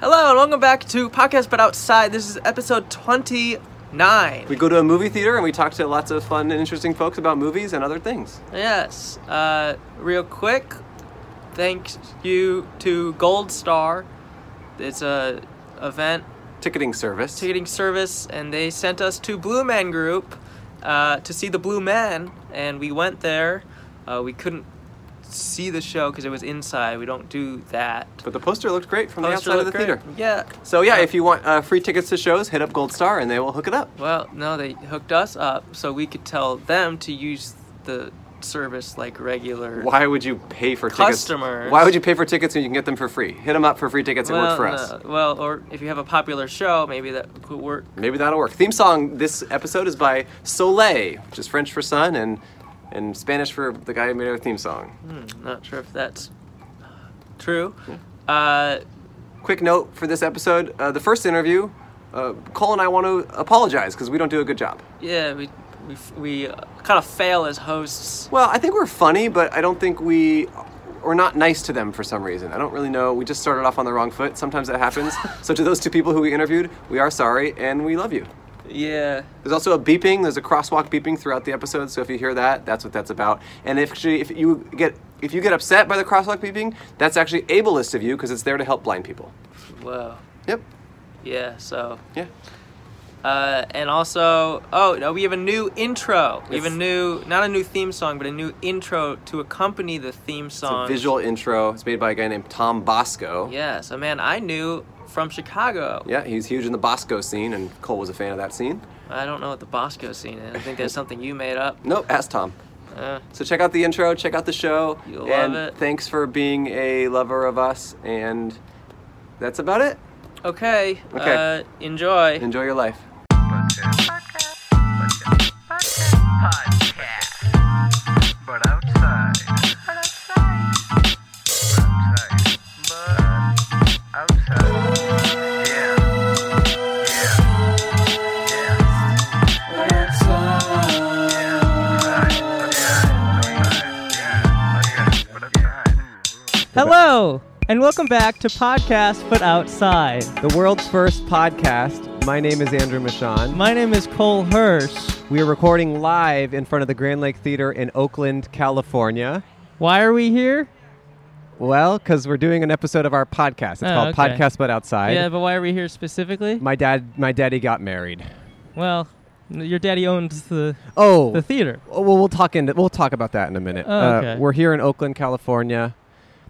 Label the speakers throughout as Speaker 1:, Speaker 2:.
Speaker 1: Hello and welcome back to Podcast But Outside. This is episode 29.
Speaker 2: We go to a movie theater and we talk to lots of fun and interesting folks about movies and other things.
Speaker 1: Yes. Uh, real quick, thank you to Gold Star. It's a event
Speaker 2: Ticketing service.
Speaker 1: ticketing service, and they sent us to Blue Man Group uh, to see the Blue Man, and we went there. Uh, we couldn't see the show because it was inside. We don't do that.
Speaker 2: But the poster looked great from
Speaker 1: Poster
Speaker 2: the outside of the
Speaker 1: looked great.
Speaker 2: theater.
Speaker 1: Yeah.
Speaker 2: So yeah, if you want uh, free tickets to shows, hit up Gold Star and they will hook it up.
Speaker 1: Well, no, they hooked us up so we could tell them to use the service like regular.
Speaker 2: Why would you pay for tickets?
Speaker 1: Customers.
Speaker 2: Why would you pay for tickets when you can get them for free? Hit them up for free tickets. It
Speaker 1: Well,
Speaker 2: worked for
Speaker 1: no.
Speaker 2: us.
Speaker 1: Well, or if you have a popular show, maybe that could work.
Speaker 2: Maybe that'll work. Theme song this episode is by Soleil, which is French for sun and and Spanish for the guy who made our theme song.
Speaker 1: I'm Hmm, not sure if that's true. Uh,
Speaker 2: Quick note for this episode: uh, the first interview, uh, Cole and I want to apologize because we don't do a good job.
Speaker 1: yeah, we we we kind of fail as hosts.
Speaker 2: Well, I think we're funny, but I don't think we we're not nice to them for some reason. I don't really know. We just started off on the wrong foot. Sometimes that happens. so to those two people who we interviewed, we are sorry and we love you.
Speaker 1: Yeah.
Speaker 2: There's also a beeping. There's a crosswalk beeping throughout the episode. So if you hear that, that's what that's about. And if actually, if you get if you get upset by the crosswalk beeping, that's actually ableist of you because it's there to help blind people.
Speaker 1: Whoa.
Speaker 2: Yep.
Speaker 1: Yeah. So.
Speaker 2: Yeah.
Speaker 1: Uh, and also, oh no, we have a new intro. We have a
Speaker 2: It's-
Speaker 1: new, not a new theme song, but a new intro to accompany the theme
Speaker 2: It's
Speaker 1: song.
Speaker 2: a visual intro. It's made by a guy named Tom Bosco.
Speaker 1: Yes, a man I knew from Chicago.
Speaker 2: Yeah, he's huge in the Bosco scene, and Cole was a fan of that scene.
Speaker 1: I don't know what the Bosco scene is. I think that's something you made up.
Speaker 2: Nope, ask Tom.
Speaker 1: Uh,
Speaker 2: So check out the intro, check out the show.
Speaker 1: You'll
Speaker 2: and
Speaker 1: love it.
Speaker 2: Thanks for being a lover of us, and that's about it.
Speaker 1: okay.
Speaker 2: Okay.
Speaker 1: Uh, enjoy.
Speaker 2: Enjoy your life.
Speaker 3: Podcast. But outside. But outside. But outside. But outside. Yeah. Yeah. Yeah. Yeah. Outside. Outside. Yeah. Outside.
Speaker 4: Hello, and welcome back to Podcast But Outside.
Speaker 5: The world's first podcast. My name is Andrew Michon.
Speaker 4: My name is Cole Hirsch.
Speaker 5: We are recording live in front of the Grand Lake Theater in Oakland, California.
Speaker 4: Why are we here?
Speaker 5: Well, because we're doing an episode of our podcast. It's
Speaker 4: Oh,
Speaker 5: called
Speaker 4: okay.
Speaker 5: Podcast But Outside.
Speaker 4: yeah, but why are we here specifically?
Speaker 5: my dad, my daddy got married.
Speaker 4: well, n- your daddy owns the,
Speaker 5: Oh,
Speaker 4: the theater.
Speaker 5: oh, well, we'll talk into we'll talk about that in a minute. Uh,
Speaker 4: Oh, okay.
Speaker 5: we're here in Oakland, California.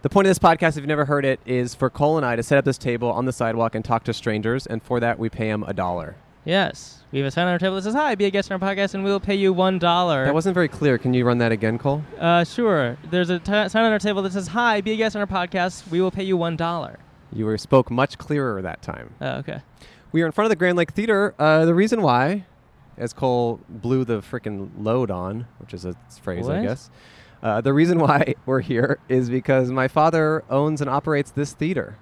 Speaker 5: The point of this podcast, if you've never heard it, is for Cole and I to set up this table on the sidewalk and talk to strangers, and for that we pay him a dollar.
Speaker 4: Yes. We have a sign on our table that says, Hi, be a guest on our podcast, and we'll pay you $1.
Speaker 5: That wasn't very clear. Can you run that again, Cole?
Speaker 4: uh, sure. There's a t- sign on our table that says, Hi, be a guest on our podcast, we will pay you $1.
Speaker 5: You were, spoke much clearer that time.
Speaker 4: Oh, okay.
Speaker 5: We are in front of the Grand Lake Theater. Uh, the reason why, as Cole blew the freaking load on, which is a phrase,
Speaker 4: What?
Speaker 5: I guess. Uh, the reason why we're here is because my father owns and operates this theater.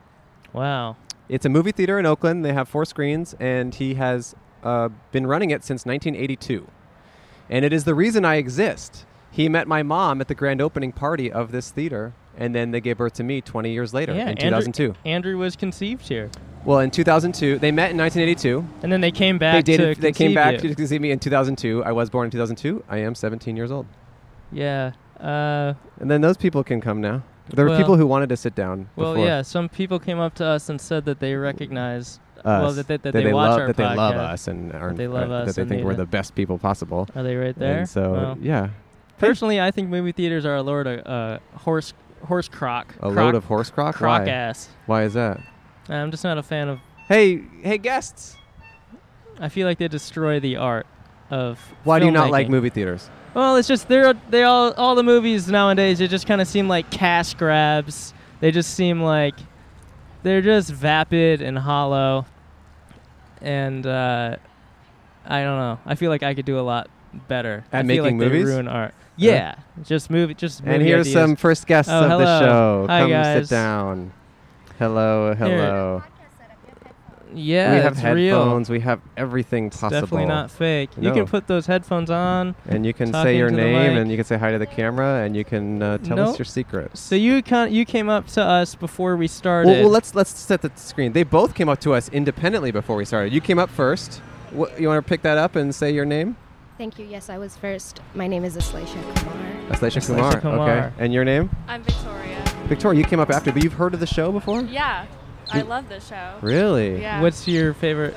Speaker 4: Wow.
Speaker 5: It's a movie theater in Oakland. They have four screens, and he has uh, been running it since 1982. And it is the reason I exist. He met my mom at the grand opening party of this theater, and then they gave birth to me 20 years later
Speaker 4: yeah,
Speaker 5: in
Speaker 4: Andrew-
Speaker 5: 2002.
Speaker 4: Andrew was conceived here.
Speaker 5: Well, in 2002, they met in 1982
Speaker 4: And then they came back
Speaker 5: they dated.
Speaker 4: to
Speaker 5: they came
Speaker 4: conceive
Speaker 5: back
Speaker 4: you.
Speaker 5: to see me in 2002. I was born in 2002. I am 17 years old.
Speaker 4: Yeah. Uh,
Speaker 5: And then those people can come now. There were
Speaker 4: Well-
Speaker 5: people who wanted to sit down.
Speaker 4: Well,
Speaker 5: before.
Speaker 4: yeah, some people came up to us and said that they recognize, well,
Speaker 5: us,
Speaker 4: that they, that they, watch
Speaker 5: love,
Speaker 4: our
Speaker 5: that they
Speaker 4: podcast.
Speaker 5: love us and are,
Speaker 4: that they
Speaker 5: uh,
Speaker 4: love us
Speaker 5: that they
Speaker 4: and
Speaker 5: think
Speaker 4: they-
Speaker 5: we're the best people possible.
Speaker 4: Are they right there?
Speaker 5: And so
Speaker 4: Well,
Speaker 5: yeah,
Speaker 4: personally, I think movie theaters are a load of uh, horse horse crock.
Speaker 5: a
Speaker 4: crock,
Speaker 5: load of horse crock.
Speaker 4: crock
Speaker 5: Why?
Speaker 4: ass.
Speaker 5: Why is that?
Speaker 4: I'm just not a fan of.
Speaker 5: Hey, hey, guests.
Speaker 4: I feel like they destroy the art of.
Speaker 5: Why do you not like
Speaker 4: filmmaking.
Speaker 5: movie theaters?
Speaker 4: Well, it's just they're they all all the movies nowadays. They just kind of seem like cash grabs. They just seem like they're just vapid and hollow. And uh, I don't know. I feel like I could do a lot better.
Speaker 5: At
Speaker 4: I feel
Speaker 5: making
Speaker 4: like
Speaker 5: movies?
Speaker 4: They ruin art. Yeah, just movie, just movie
Speaker 5: and here's
Speaker 4: ideas.
Speaker 5: some first guests
Speaker 4: Oh,
Speaker 5: of the
Speaker 4: hello.
Speaker 5: show.
Speaker 4: Hi,
Speaker 5: come
Speaker 4: guys.
Speaker 5: sit down. Hello, hello.
Speaker 4: Yeah,
Speaker 5: we have
Speaker 4: it's
Speaker 5: headphones.
Speaker 4: real.
Speaker 5: We have everything
Speaker 4: It's
Speaker 5: possible.
Speaker 4: definitely not fake. You
Speaker 5: No.
Speaker 4: can put those headphones on.
Speaker 5: And you can
Speaker 4: Talk
Speaker 5: say your
Speaker 4: into the
Speaker 5: name,
Speaker 4: mic.
Speaker 5: and you can say hi to the camera, and you can uh, tell
Speaker 4: Nope.
Speaker 5: us your secrets.
Speaker 4: So you con- you came up to us before we started.
Speaker 5: Well, well, let's let's set the screen. They both came up to us independently before we started. You came up first. Wha- you want to pick that up and say your name?
Speaker 6: Thank you. Yes, I was first. My name is Aslaysha Kumar.
Speaker 5: Asleisha Kumar.
Speaker 4: Asleisha Kumar.
Speaker 5: Okay. And your name?
Speaker 7: I'm Victoria.
Speaker 5: Victoria. You came up after, but you've heard of the show before?
Speaker 7: Yeah, I love this show.
Speaker 5: Really?
Speaker 7: Yeah.
Speaker 4: What's your favorite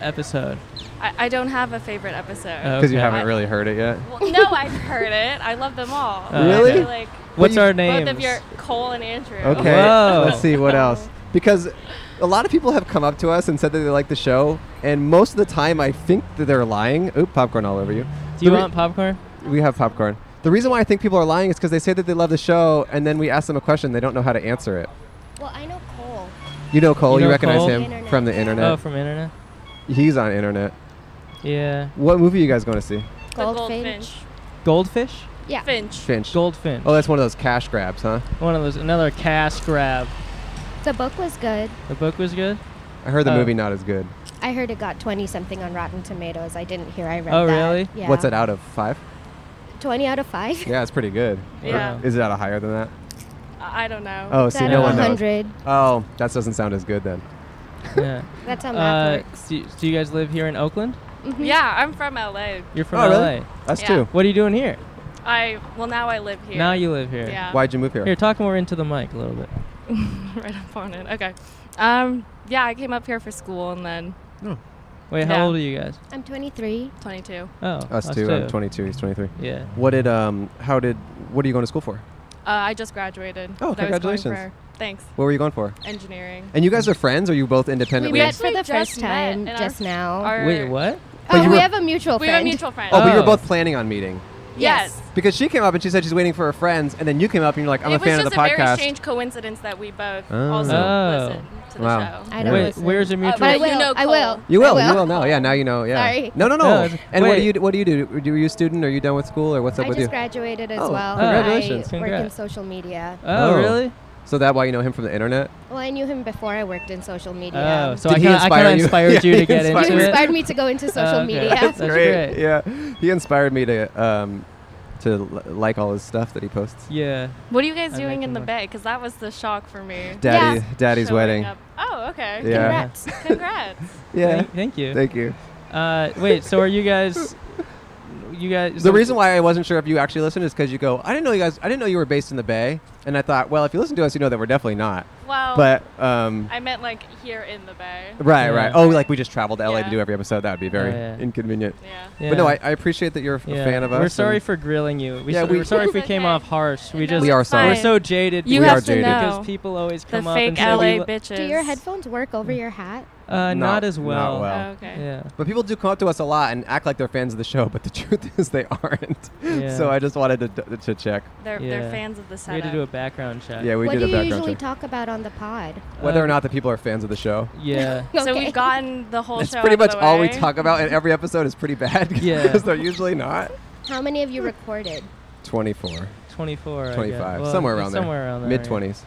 Speaker 4: episode?
Speaker 7: I, I don't have a favorite episode.
Speaker 4: Oh.
Speaker 5: Because you
Speaker 4: Okay.
Speaker 5: haven't really heard it yet.
Speaker 7: Well, no, I've heard it. I love them all.
Speaker 4: Oh,
Speaker 5: Really?
Speaker 7: I feel like
Speaker 4: What's
Speaker 5: you-
Speaker 4: our
Speaker 7: both
Speaker 4: names?
Speaker 7: of your Cole and Andrew.
Speaker 5: Okay.
Speaker 4: Whoa.
Speaker 5: Let's see what else. Because a lot of people have come up to us and said that they like the show, and most of the time I think that they're lying. Oop, popcorn all over you.
Speaker 4: Do you
Speaker 5: The re-
Speaker 4: want popcorn?
Speaker 5: We have popcorn. The reason why I think people are lying is because they say that they love the show, and then we ask them a question, they don't know how to answer it.
Speaker 6: Well, I know Cole.
Speaker 5: You know Cole. You,
Speaker 4: You know
Speaker 5: recognize
Speaker 4: Cole?
Speaker 5: him
Speaker 6: Internet.
Speaker 5: from the internet.
Speaker 4: Oh, from internet.
Speaker 5: He's on internet.
Speaker 4: Yeah.
Speaker 5: What movie are you guys going to see?
Speaker 7: The
Speaker 6: Goldfinch.
Speaker 4: Goldfish?
Speaker 6: Yeah.
Speaker 7: Finch.
Speaker 5: Finch.
Speaker 4: Goldfinch.
Speaker 5: Oh, that's one of those cash grabs, huh?
Speaker 4: One of those. Another cash grab.
Speaker 6: The book was good.
Speaker 4: The book was good.
Speaker 5: I heard the
Speaker 4: Oh.
Speaker 5: movie not as good.
Speaker 6: I heard it got 20 something on Rotten Tomatoes. I didn't hear I read
Speaker 4: Oh,
Speaker 6: that.
Speaker 4: really?
Speaker 6: Yeah.
Speaker 5: What's that out of five?
Speaker 6: 20 out of 5?
Speaker 5: Yeah, it's pretty good.
Speaker 7: Yeah.
Speaker 5: Or Is it out of higher than that?
Speaker 7: I I don't know.
Speaker 5: Oh, see, no one knows.
Speaker 6: 100.
Speaker 5: Oh, that doesn't sound as good then.
Speaker 4: Yeah.
Speaker 6: That's how Mm-hmm. math
Speaker 4: uh,
Speaker 6: works.
Speaker 4: do, you- do you guys live here in Oakland?
Speaker 7: Yeah, I'm from LA.
Speaker 4: You're from
Speaker 5: Oh,
Speaker 4: LA.
Speaker 5: really? Us
Speaker 7: Yeah.
Speaker 5: too.
Speaker 4: What are you doing here?
Speaker 7: I well now I live here.
Speaker 4: Now you live here.
Speaker 7: Yeah.
Speaker 5: Why'd you move here?
Speaker 4: Here, talk more into the mic a little bit.
Speaker 7: right up on it. Okay. Um. Yeah, I came up here for school and then
Speaker 4: Wait, how
Speaker 7: Yeah.
Speaker 4: old are you guys?
Speaker 6: I'm 23.
Speaker 7: 22.
Speaker 4: Oh,
Speaker 5: Us, too. I'm 22. He's 23.
Speaker 4: Yeah.
Speaker 5: What did um? How did? What are you going to school for?
Speaker 7: Uh, I just graduated.
Speaker 5: Oh,
Speaker 7: That was going
Speaker 5: congratulations.
Speaker 7: for- Thanks.
Speaker 5: What were you going for?
Speaker 7: Engineering.
Speaker 5: And you guys are friends? Or you both
Speaker 6: We
Speaker 5: independently?
Speaker 6: met
Speaker 7: actually
Speaker 6: for the
Speaker 7: just
Speaker 6: first
Speaker 7: met
Speaker 6: time
Speaker 7: in our-
Speaker 6: just now.
Speaker 7: our-
Speaker 4: Wait, what?
Speaker 5: But
Speaker 6: oh,
Speaker 5: you
Speaker 6: we
Speaker 5: were-
Speaker 6: have a mutual
Speaker 7: We
Speaker 6: friend.
Speaker 7: have a mutual friend.
Speaker 5: oh, but you were
Speaker 4: Oh.
Speaker 5: both planning on meeting.
Speaker 7: yes.
Speaker 5: Because she came up and she said she's waiting for her friends, and then you came up and you're like, I'm
Speaker 7: it
Speaker 5: a
Speaker 7: was
Speaker 5: fan of
Speaker 7: just
Speaker 5: the
Speaker 7: a very
Speaker 5: podcast.
Speaker 7: strange coincidence that we both uh,
Speaker 5: Oh.
Speaker 7: also
Speaker 4: Oh.
Speaker 7: listened to the
Speaker 5: Wow.
Speaker 7: show.
Speaker 6: I don't
Speaker 4: Wait,
Speaker 6: listen.
Speaker 4: where's your
Speaker 7: Uh,
Speaker 4: mutual?
Speaker 6: But I
Speaker 7: You
Speaker 6: will.
Speaker 7: know
Speaker 6: I
Speaker 7: Cole.
Speaker 6: will.
Speaker 5: You
Speaker 6: I
Speaker 5: will, you will now. Yeah, now you know. Yeah.
Speaker 6: Sorry.
Speaker 5: No, no,
Speaker 4: No,
Speaker 5: no.
Speaker 4: it's-
Speaker 5: and what do
Speaker 4: wait.
Speaker 5: you do- what do you do? Do- Do you student? Are you done with school or what's up
Speaker 6: I
Speaker 5: with
Speaker 6: just
Speaker 5: you?
Speaker 6: graduated as
Speaker 5: Oh,
Speaker 6: well.
Speaker 5: congratulations.
Speaker 6: I work in
Speaker 4: Congrats.
Speaker 6: social media.
Speaker 4: oh,
Speaker 5: Oh.
Speaker 4: really?
Speaker 5: so that why you know him from the internet?
Speaker 6: Well, I knew him before I worked in social media.
Speaker 4: Oh, so
Speaker 5: Did
Speaker 4: I
Speaker 5: he
Speaker 4: kind of
Speaker 5: inspire you?
Speaker 4: inspired you
Speaker 5: Yeah,
Speaker 4: to
Speaker 5: he
Speaker 4: get
Speaker 5: inspired
Speaker 4: into
Speaker 6: he
Speaker 5: you.
Speaker 4: it.
Speaker 6: inspired me to go into social
Speaker 4: Oh, okay.
Speaker 6: media.
Speaker 4: That's great.
Speaker 5: Yeah. He inspired me to um, to l- like all his stuff that he posts.
Speaker 4: Yeah.
Speaker 7: What are you guys
Speaker 4: I
Speaker 7: doing
Speaker 4: make
Speaker 7: in the
Speaker 4: them
Speaker 7: bay? Because that was the shock for me.
Speaker 5: Daddy, Daddy's
Speaker 7: Showing
Speaker 5: wedding.
Speaker 7: up- Oh, okay.
Speaker 5: Yeah.
Speaker 6: Congrats.
Speaker 7: Congrats.
Speaker 5: Yeah.
Speaker 4: Thank, thank you.
Speaker 5: Thank you.
Speaker 4: Uh, wait, so are you guys? You guys.
Speaker 5: The reason why I wasn't sure if you actually listened is because you go, I didn't know you guys. I didn't know you were based in the Bay, and I thought, well, if you listen to us, you know that we're definitely not.
Speaker 7: well,
Speaker 5: But um,
Speaker 7: I meant like here in the bay.
Speaker 5: right,
Speaker 4: Yeah.
Speaker 5: right. Oh, like we just traveled to LA to
Speaker 7: Yeah.
Speaker 5: do every episode. That would be very
Speaker 4: Oh, yeah.
Speaker 5: inconvenient.
Speaker 7: Yeah.
Speaker 4: Yeah.
Speaker 5: But no, I, I appreciate that you're a
Speaker 4: yeah.
Speaker 5: fan of us.
Speaker 4: We're sorry
Speaker 5: and-
Speaker 4: for grilling you. We
Speaker 5: Yeah,
Speaker 4: yeah,
Speaker 5: we-
Speaker 4: we, are sorry if we
Speaker 7: It's
Speaker 4: came
Speaker 7: okay.
Speaker 4: off harsh. We
Speaker 7: No,
Speaker 4: just
Speaker 5: We are
Speaker 7: it's
Speaker 5: sorry.
Speaker 4: we're
Speaker 7: fine.
Speaker 4: so jaded.
Speaker 7: You
Speaker 5: We
Speaker 7: have
Speaker 5: are
Speaker 7: to
Speaker 5: jaded.
Speaker 7: know
Speaker 4: because people always
Speaker 7: the
Speaker 4: come up
Speaker 7: fake
Speaker 4: and say
Speaker 7: LA
Speaker 4: we lo-
Speaker 7: bitches. Mm.
Speaker 6: Do your headphones work over your hat?
Speaker 5: Not-
Speaker 4: uh, not as
Speaker 5: not
Speaker 4: well.
Speaker 5: well.
Speaker 7: Oh, okay.
Speaker 4: Yeah.
Speaker 5: But people do come up to us a lot and act like they're fans of the show, but the truth is they aren't.
Speaker 4: Yeah.
Speaker 5: So I just wanted to, d- to check.
Speaker 7: They're,
Speaker 4: Yeah.
Speaker 7: they're fans of the
Speaker 4: We
Speaker 7: setup.
Speaker 4: had to do a background check.
Speaker 5: Yeah, we
Speaker 6: what
Speaker 5: did
Speaker 6: do
Speaker 5: a
Speaker 6: you
Speaker 5: background
Speaker 6: usually
Speaker 5: check.
Speaker 6: talk about on the pod?
Speaker 5: Whether or
Speaker 4: Um,
Speaker 5: not the people are fans of the show.
Speaker 4: Yeah.
Speaker 7: So
Speaker 6: Okay.
Speaker 7: we've gotten the whole
Speaker 5: That's
Speaker 7: show.
Speaker 5: pretty
Speaker 7: out of the
Speaker 5: much all we
Speaker 7: way.
Speaker 5: talk about, and every episode is pretty bad.
Speaker 4: Yeah.
Speaker 5: Because they're usually not.
Speaker 6: How many of you recorded?
Speaker 5: 24,
Speaker 4: 24. I guess.
Speaker 5: 25,
Speaker 4: Well,
Speaker 5: somewhere
Speaker 4: yeah,
Speaker 5: around there.
Speaker 4: somewhere around there.
Speaker 5: Mid 20s.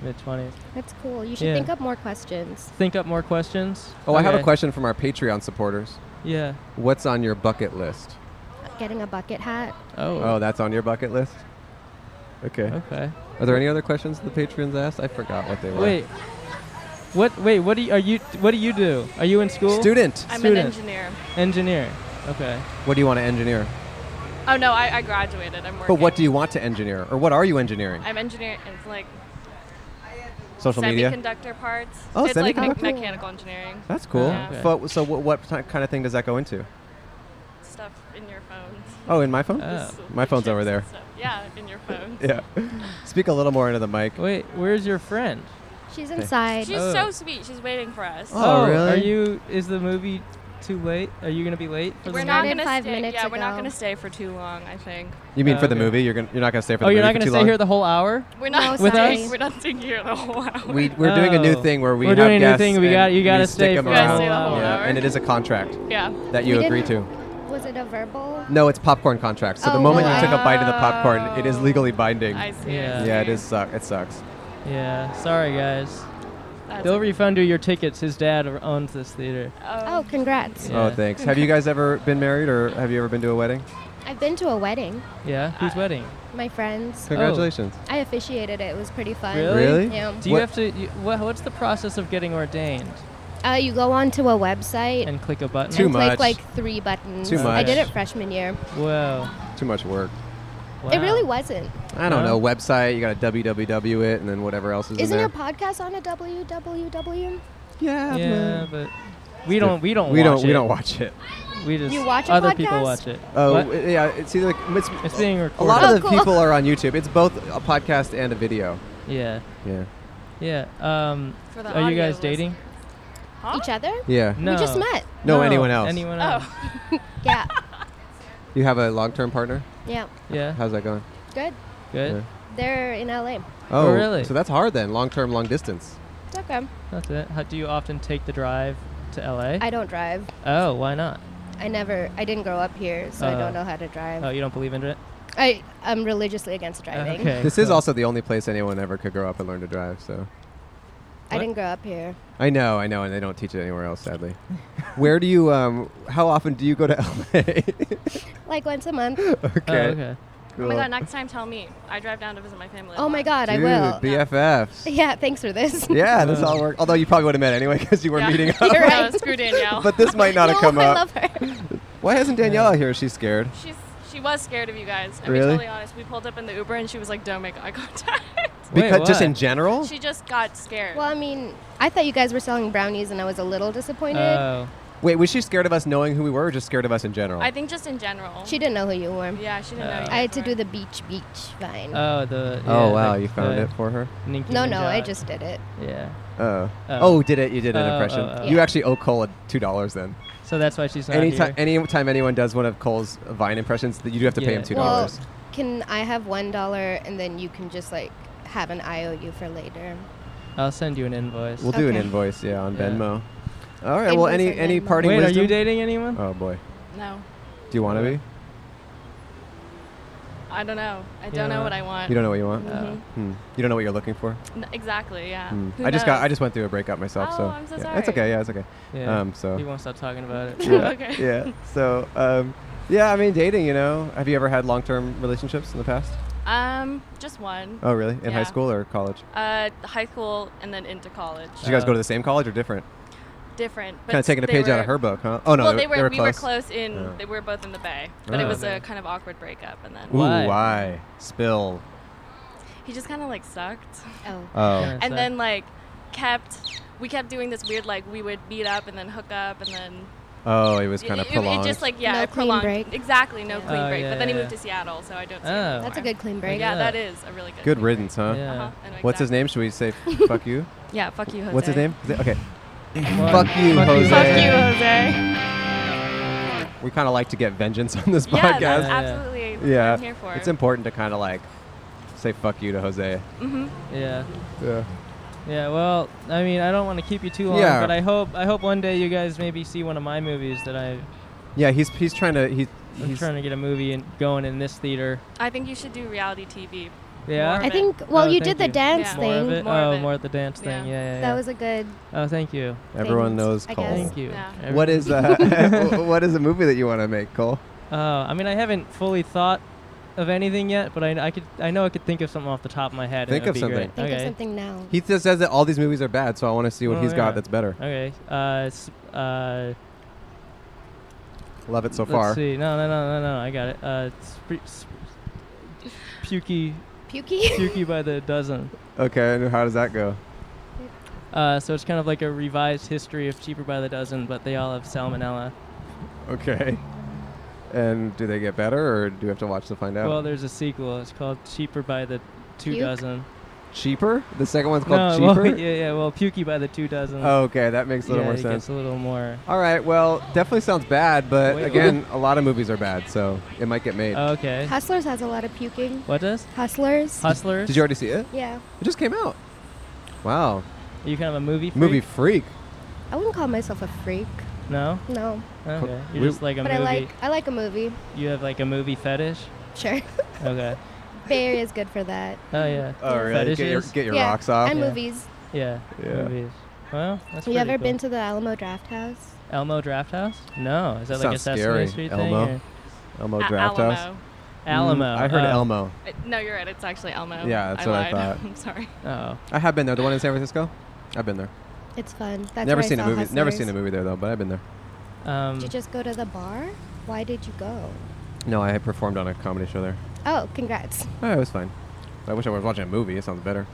Speaker 4: Mid 20s.
Speaker 6: That's cool. You should
Speaker 4: Yeah.
Speaker 6: think up more questions.
Speaker 4: Think up more questions.
Speaker 5: Oh, I have a
Speaker 4: Okay.
Speaker 5: question from our Patreon supporters.
Speaker 4: Yeah.
Speaker 5: What's on your bucket list?
Speaker 6: Getting a bucket hat.
Speaker 4: Oh.
Speaker 5: Oh, that's on your bucket list? Okay.
Speaker 4: Okay.
Speaker 5: Are there any other questions the patrons asked? I forgot what they were.
Speaker 4: Wait. What? Wait. What do you? Are you? What do you do? Are you in school?
Speaker 5: Student,
Speaker 7: I'm
Speaker 4: Student.
Speaker 7: an engineer.
Speaker 4: Engineer. Okay.
Speaker 5: what do you want to engineer?
Speaker 7: Oh no, I, I graduated. I'm working.
Speaker 5: But what do you want to engineer? Or what are you engineering?
Speaker 7: I'm engineering. It's like
Speaker 5: Social media?
Speaker 7: semiconductor parts.
Speaker 5: Oh,
Speaker 7: it's like me-
Speaker 5: semiconductor.
Speaker 7: mechanical engineering
Speaker 5: That's cool.
Speaker 7: Yeah.
Speaker 4: Okay.
Speaker 5: Fo- so, what, what ti- kind of thing does that go into?
Speaker 7: stuff in your phones.
Speaker 5: Oh, in my phone?
Speaker 4: Uh, Oh.
Speaker 7: Just
Speaker 5: My phone's
Speaker 7: chips
Speaker 5: over
Speaker 7: and
Speaker 5: there.
Speaker 7: stuff. Yeah, in your phone.
Speaker 5: Yeah. Speak a little more into the mic.
Speaker 4: Wait. Where's your friend?
Speaker 6: She's inside.
Speaker 7: She's
Speaker 4: Oh.
Speaker 7: so sweet. She's waiting for us.
Speaker 5: Oh. really?
Speaker 4: Are you? Is the movie too late? Are you gonna be late? For
Speaker 7: We're
Speaker 4: the
Speaker 7: not
Speaker 6: Started
Speaker 7: gonna
Speaker 6: five
Speaker 7: stay.
Speaker 6: minutes
Speaker 7: yeah, we're not
Speaker 6: ago.
Speaker 7: gonna stay for too long. I think
Speaker 5: You mean
Speaker 4: Uh,
Speaker 5: for the
Speaker 4: okay.
Speaker 5: movie? You're gonna you're not gonna stay for
Speaker 4: Movie? Oh,
Speaker 5: the
Speaker 4: you're
Speaker 5: movie
Speaker 4: not
Speaker 5: for
Speaker 4: gonna
Speaker 5: too
Speaker 4: stay
Speaker 5: long?
Speaker 4: here the whole hour.
Speaker 7: we're
Speaker 6: No,
Speaker 7: not
Speaker 4: With
Speaker 7: staying.
Speaker 4: us?
Speaker 7: We're not staying here the whole hour.
Speaker 5: we we're doing a new
Speaker 4: Oh.
Speaker 5: thing where we
Speaker 4: We're
Speaker 5: have
Speaker 4: doing a new
Speaker 5: guests
Speaker 4: thing. We
Speaker 5: and
Speaker 4: got- you gotta
Speaker 5: we stick
Speaker 4: stay
Speaker 5: 'em
Speaker 4: for
Speaker 7: the whole
Speaker 5: around.
Speaker 7: hour.
Speaker 5: Yeah, and it is a contract
Speaker 7: yeah.
Speaker 5: that you
Speaker 6: We
Speaker 5: agree to.
Speaker 6: didn't- Was it a verbal?
Speaker 5: No, it's popcorn contract. So the
Speaker 6: Oh,
Speaker 5: moment you
Speaker 6: really?
Speaker 5: took a bite of the popcorn, it is legally binding.
Speaker 7: I see. I
Speaker 4: Yeah.
Speaker 7: see.
Speaker 5: Yeah, it is suck. It sucks.
Speaker 4: Yeah. Sorry, guys.
Speaker 7: That's
Speaker 4: They'll refund you your tickets. His dad o- owns this theater.
Speaker 6: Oh, congrats.
Speaker 4: Yeah.
Speaker 5: Oh, thanks. Have you guys ever been married, or have you ever been to a wedding?
Speaker 6: I've been to a wedding.
Speaker 4: Yeah, whose
Speaker 7: Uh,
Speaker 4: wedding?
Speaker 6: My friends.
Speaker 5: Congratulations.
Speaker 6: I officiated it. It was pretty fun.
Speaker 4: Really?
Speaker 5: Oh. Really?
Speaker 6: Yeah.
Speaker 4: Do you
Speaker 5: What-
Speaker 4: have to? You, what, what's the process of getting ordained?
Speaker 6: Uh, you go onto a website
Speaker 4: And click a button.
Speaker 5: Too
Speaker 6: and click
Speaker 5: much.
Speaker 6: like three buttons.
Speaker 5: Too
Speaker 6: I did
Speaker 4: much.
Speaker 6: it freshman year.
Speaker 4: Whoa.
Speaker 5: Too much work.
Speaker 6: It really
Speaker 4: Wow.
Speaker 6: wasn't.
Speaker 5: I don't
Speaker 4: No?
Speaker 5: know. Website. You got to www it, and then whatever else is
Speaker 6: Isn't
Speaker 5: in
Speaker 6: your
Speaker 5: there.
Speaker 6: podcast on a www?
Speaker 5: yeah.
Speaker 4: Yeah, but we don't. We don't.
Speaker 5: We
Speaker 4: watch
Speaker 5: don't. We
Speaker 4: it.
Speaker 5: don't watch it.
Speaker 4: We just.
Speaker 6: You watch a
Speaker 4: Other people
Speaker 6: podcast?
Speaker 4: watch it.
Speaker 5: Oh,
Speaker 4: What?
Speaker 5: yeah. It's either it's,
Speaker 4: it's being
Speaker 5: a
Speaker 4: recorded.
Speaker 5: lot
Speaker 6: Oh,
Speaker 5: of the
Speaker 6: cool.
Speaker 5: people are on YouTube. It's both a podcast and a video.
Speaker 4: yeah.
Speaker 5: Yeah.
Speaker 4: Yeah. Um,
Speaker 7: For the
Speaker 4: are you
Speaker 7: audio
Speaker 4: guys dating?
Speaker 7: listeners. Huh?
Speaker 6: Each other?
Speaker 5: Yeah.
Speaker 4: No.
Speaker 6: We just met.
Speaker 5: No, anyone else.
Speaker 4: Anyone else?
Speaker 7: Oh.
Speaker 6: Yeah.
Speaker 5: You have a long-term partner.
Speaker 6: yeah.
Speaker 4: Yeah.
Speaker 5: How's that going?
Speaker 6: Good.
Speaker 4: Good.
Speaker 5: Yeah.
Speaker 6: They're in LA.
Speaker 4: Oh, really?
Speaker 5: So that's hard then. Long-term, long distance.
Speaker 6: It's okay.
Speaker 4: That's it. How, do you often take the drive to LA?
Speaker 6: I don't drive.
Speaker 4: oh, why not?
Speaker 6: I never. I didn't grow up here, so I
Speaker 4: Oh.
Speaker 6: don't know how to drive.
Speaker 4: Oh, you don't believe in it?
Speaker 6: I I'm religiously against
Speaker 4: Uh-huh.
Speaker 6: driving.
Speaker 4: Okay.
Speaker 5: This is
Speaker 4: cool.
Speaker 5: also the only place anyone ever could grow up and learn to drive. So
Speaker 6: I didn't grow up here.
Speaker 5: I know, I know, and they don't teach it anywhere else, sadly. Where do you? Um, how often do you go to LA? okay.
Speaker 6: Like once a month.
Speaker 4: Oh, okay.
Speaker 7: Oh
Speaker 5: cool.
Speaker 7: my god, next time tell me. I drive down to visit my family. a
Speaker 6: Oh my
Speaker 7: lot.
Speaker 6: god,
Speaker 5: Dude,
Speaker 6: I will.
Speaker 5: BFFs.
Speaker 6: Yeah, thanks for this.
Speaker 5: Yeah,
Speaker 4: Uh,
Speaker 5: this all worked. Although you probably would have met anyway because you were
Speaker 7: Yeah.
Speaker 5: meeting up.
Speaker 6: You're
Speaker 7: No,
Speaker 6: right.
Speaker 7: screw Danielle.
Speaker 5: But this might not have
Speaker 6: No,
Speaker 5: come
Speaker 6: I
Speaker 5: up.
Speaker 6: love her.
Speaker 5: Why isn't Daniela here? She's scared.
Speaker 7: She's she was scared of you guys. I'm
Speaker 5: Really?
Speaker 7: totally honest. We pulled up in the Uber and she was like, "Don't make eye contact."
Speaker 4: Wait,
Speaker 5: because just
Speaker 4: what?
Speaker 5: in
Speaker 4: Oh.
Speaker 5: general.
Speaker 7: she just got scared.
Speaker 6: Well, I mean, I thought you guys were selling brownies, and I was a little disappointed.
Speaker 4: Oh.
Speaker 5: Wait, was she scared of us knowing who we were, or just scared of us in general?
Speaker 7: I think just in general.
Speaker 6: she didn't know who you were.
Speaker 7: Yeah, she didn't know.
Speaker 4: Uh,
Speaker 7: you
Speaker 6: I had
Speaker 7: guys
Speaker 6: to
Speaker 7: were.
Speaker 6: do the beach beach vine.
Speaker 4: Oh, the.
Speaker 5: oh
Speaker 4: yeah,
Speaker 5: wow,
Speaker 4: like
Speaker 5: you found
Speaker 4: the
Speaker 5: it for her.
Speaker 4: Nicki
Speaker 6: no, no, I
Speaker 4: Minaj.
Speaker 6: just did it.
Speaker 4: Yeah.
Speaker 5: Oh.
Speaker 4: Oh.
Speaker 5: Oh, did it? You did an
Speaker 4: Oh,
Speaker 5: impression.
Speaker 4: oh, oh.
Speaker 5: You
Speaker 6: Yeah.
Speaker 5: actually owe Cole a two dollars then.
Speaker 4: So that's why she's not
Speaker 5: Anytime,
Speaker 4: here.
Speaker 5: anytime anyone does one of Cole's Vine impressions, that you do have to pay
Speaker 4: Yeah.
Speaker 5: him two
Speaker 6: Well,
Speaker 5: dollars.
Speaker 6: can I have one dollar, and then you can just like have an IOU for later?
Speaker 4: I'll send you an invoice.
Speaker 5: We'll, do an
Speaker 6: okay.
Speaker 5: invoice, yeah, on
Speaker 4: Yeah.
Speaker 5: Venmo. All right.
Speaker 6: Invoice
Speaker 5: Well,
Speaker 6: on
Speaker 5: any any
Speaker 6: Venmo.
Speaker 5: parting
Speaker 4: Wait, are
Speaker 5: wisdom?
Speaker 4: you dating anyone?
Speaker 5: oh boy,
Speaker 7: No,
Speaker 5: do you want to be?
Speaker 7: I don't know. I don't
Speaker 4: Yeah.
Speaker 7: know what I want.
Speaker 5: You don't know what you want.
Speaker 7: Mhm.
Speaker 5: Hmm. You don't know what you're looking for.
Speaker 7: N- exactly. Yeah.
Speaker 5: Hmm.
Speaker 7: Who
Speaker 5: I just got I
Speaker 7: knows?
Speaker 5: just went through a breakup myself, so,
Speaker 7: Oh, I'm so
Speaker 5: yeah, it's
Speaker 7: sorry.
Speaker 5: okay. Yeah, it's okay.
Speaker 4: Yeah.
Speaker 5: Um, so
Speaker 4: He won't stop talking about it.
Speaker 5: yeah,
Speaker 7: Okay.
Speaker 5: yeah. So um, yeah, I mean dating. You know, have you ever had long-term relationships in the past?
Speaker 7: Um, just one.
Speaker 5: Oh really? In high
Speaker 7: Yeah.
Speaker 5: school or college?
Speaker 7: Uh, high school and then into college.
Speaker 5: Did you guys
Speaker 4: Uh,
Speaker 5: go to the same college or different?
Speaker 7: Different. but
Speaker 5: Kind of taking a
Speaker 7: they
Speaker 5: page out
Speaker 7: were-
Speaker 5: of her book, huh? Oh no,
Speaker 7: well, they were, we
Speaker 5: close.
Speaker 7: were close in.
Speaker 5: Yeah.
Speaker 7: They were both in the bay, but it
Speaker 5: Oh.
Speaker 7: was a kind of awkward breakup, and then
Speaker 5: Ooh,
Speaker 4: Why?
Speaker 5: why? Spill.
Speaker 7: he just kind of like sucked.
Speaker 6: Oh,
Speaker 5: Oh.
Speaker 4: Yeah.
Speaker 7: and
Speaker 4: So-
Speaker 7: then like kept we kept doing this weird like we would meet up and then hook up and then
Speaker 5: Oh, it was
Speaker 7: it-
Speaker 5: kind of
Speaker 7: it, it
Speaker 5: prolonged.
Speaker 7: just like yeah
Speaker 6: No
Speaker 7: it
Speaker 6: clean
Speaker 7: prolonged
Speaker 6: break.
Speaker 7: exactly no
Speaker 6: Yeah.
Speaker 7: clean
Speaker 4: Oh,
Speaker 7: break
Speaker 4: yeah,
Speaker 7: but then he
Speaker 4: yeah.
Speaker 7: moved to Seattle so I don't see
Speaker 4: Oh.
Speaker 7: him
Speaker 6: that's a
Speaker 7: anymore.
Speaker 6: good clean break.
Speaker 7: yeah
Speaker 4: Yeah.
Speaker 7: that is a really good
Speaker 5: Good
Speaker 7: clean
Speaker 5: riddance, huh?
Speaker 4: Yeah.
Speaker 7: break. uh-huh. I know
Speaker 5: What's his
Speaker 7: exactly.
Speaker 5: name? Should we say fuck you?
Speaker 7: yeah fuck you Jose
Speaker 5: What's his name? Is it- Okay.
Speaker 4: Well,
Speaker 5: Fuck you,
Speaker 4: fuck you,
Speaker 5: Jose.
Speaker 7: fuck you Jose
Speaker 5: We kind of like to get vengeance on this
Speaker 7: yeah that's
Speaker 5: podcast.
Speaker 4: Yeah, yeah.
Speaker 7: absolutely what
Speaker 5: yeah.
Speaker 7: I'm here for
Speaker 5: It's important to kind of like say fuck you to Jose.
Speaker 7: mm-hmm.
Speaker 4: Yeah.
Speaker 5: Yeah.
Speaker 4: Yeah, well, I mean, I don't want to keep you too long,
Speaker 5: Yeah.
Speaker 4: but I hope I hope one day you guys maybe see one of my movies that I,
Speaker 5: Yeah, he's he's trying to he's,
Speaker 4: I'm
Speaker 5: he's
Speaker 4: trying to get a movie in, going in this theater.
Speaker 7: I think you should do reality TV
Speaker 4: Yeah.
Speaker 7: More
Speaker 6: I think. Well,
Speaker 4: Oh,
Speaker 6: you
Speaker 4: thank
Speaker 6: did the
Speaker 4: you.
Speaker 6: dance
Speaker 7: Yeah.
Speaker 4: More
Speaker 6: thing.
Speaker 4: of it.
Speaker 7: More
Speaker 4: oh,
Speaker 7: of it.
Speaker 4: more of the dance
Speaker 7: Yeah.
Speaker 4: thing. Yeah, yeah,
Speaker 6: That
Speaker 4: yeah.
Speaker 6: was a good.
Speaker 4: Oh, thank you.
Speaker 5: everyone knows
Speaker 6: things, I
Speaker 5: Cole.
Speaker 6: guess.
Speaker 4: Thank you.
Speaker 7: Yeah.
Speaker 4: Everyone-
Speaker 5: What is uh, what is a movie that you want to make, Cole?
Speaker 4: Uh, I mean, I haven't fully thought of anything yet, but I, I could I know I could think of something off the top of my head. and
Speaker 5: Think
Speaker 4: it would
Speaker 5: of
Speaker 4: be
Speaker 5: something.
Speaker 4: great.
Speaker 6: Think of
Speaker 4: Okay.
Speaker 6: something now.
Speaker 5: He just says that all these movies are bad, so I want to see what
Speaker 4: Oh,
Speaker 5: he's
Speaker 4: yeah.
Speaker 5: got that's better.
Speaker 4: Okay. Uh, s- uh,
Speaker 5: Love it so
Speaker 4: let's
Speaker 5: far.
Speaker 4: see. No, no, no, no, no. I got it. Uh, sp- sp- pukey,
Speaker 6: Pukey.
Speaker 4: pukey by the dozen.
Speaker 5: Okay, and how does that go?
Speaker 4: Uh, so it's kind of like a revised history of Cheaper by the Dozen, but they all have salmonella.
Speaker 5: Okay. And do they get better, or do we have to watch to find out?
Speaker 4: Well, there's a sequel. It's called Cheaper by the Two
Speaker 6: Puke?
Speaker 4: Dozen.
Speaker 5: cheaper. The second one's called
Speaker 4: no, well,
Speaker 5: cheaper. Oh,
Speaker 4: yeah, yeah. Well, Pukey by the Two Dozen.
Speaker 5: okay, that makes a little
Speaker 4: yeah,
Speaker 5: more
Speaker 4: it gets
Speaker 5: sense.
Speaker 4: a little more.
Speaker 5: All right. Well, definitely sounds bad, but
Speaker 4: Wait,
Speaker 5: again, a lot of movies are bad, so it might get made.
Speaker 4: Okay.
Speaker 6: Hustlers has a lot of puking.
Speaker 4: what does?
Speaker 6: Hustlers.
Speaker 4: Hustlers.
Speaker 5: Did you already see it?
Speaker 6: yeah.
Speaker 5: It just came out. Wow.
Speaker 4: Are you kind of a movie freak?
Speaker 5: Movie freak.
Speaker 6: I wouldn't call myself a freak.
Speaker 4: No.
Speaker 6: No.
Speaker 4: Okay. You're
Speaker 5: we-
Speaker 4: just like a
Speaker 6: but
Speaker 4: movie.
Speaker 6: I like I like a movie.
Speaker 4: you have like a movie fetish.
Speaker 6: Sure.
Speaker 4: Okay.
Speaker 6: Bay Area is good for that.
Speaker 4: Oh yeah.
Speaker 5: Oh, really? Get your,
Speaker 4: Fetishes?
Speaker 5: get your
Speaker 6: yeah.
Speaker 5: rocks off.
Speaker 6: And
Speaker 4: Yeah.
Speaker 6: movies.
Speaker 4: Yeah.
Speaker 5: Yeah.
Speaker 4: Movies. Well, that's
Speaker 6: Have you
Speaker 4: pretty
Speaker 6: ever
Speaker 4: cool.
Speaker 6: been to the Alamo Draft House?
Speaker 4: Elmo Draft House? No. Is that like a
Speaker 5: Sounds
Speaker 4: Sesame
Speaker 5: scary,
Speaker 4: Street
Speaker 5: Elmo.
Speaker 4: thing? or-
Speaker 5: Elmo
Speaker 7: A-
Speaker 5: Draft
Speaker 7: Alamo.
Speaker 5: House. Mm,
Speaker 4: Alamo.
Speaker 5: I heard
Speaker 4: oh.
Speaker 5: Elmo.
Speaker 7: Uh, No, you're right. It's actually Elmo.
Speaker 5: Yeah, that's what I
Speaker 7: Oh, lied.
Speaker 5: thought.
Speaker 7: I'm sorry.
Speaker 4: Oh.
Speaker 5: I have been there. The one in San Francisco. I've been there.
Speaker 6: It's fun. That's
Speaker 5: never
Speaker 6: where I
Speaker 5: seen a
Speaker 6: saw
Speaker 5: movie. Never
Speaker 6: Hustlers.
Speaker 5: seen a movie there though, but I've been there.
Speaker 4: Um,
Speaker 6: Did you just go to the bar? Why did you go?
Speaker 5: No, I had performed on a comedy show there.
Speaker 6: Oh, congrats.
Speaker 5: Oh, it was fine. I wish I was watching a movie. It sounds better.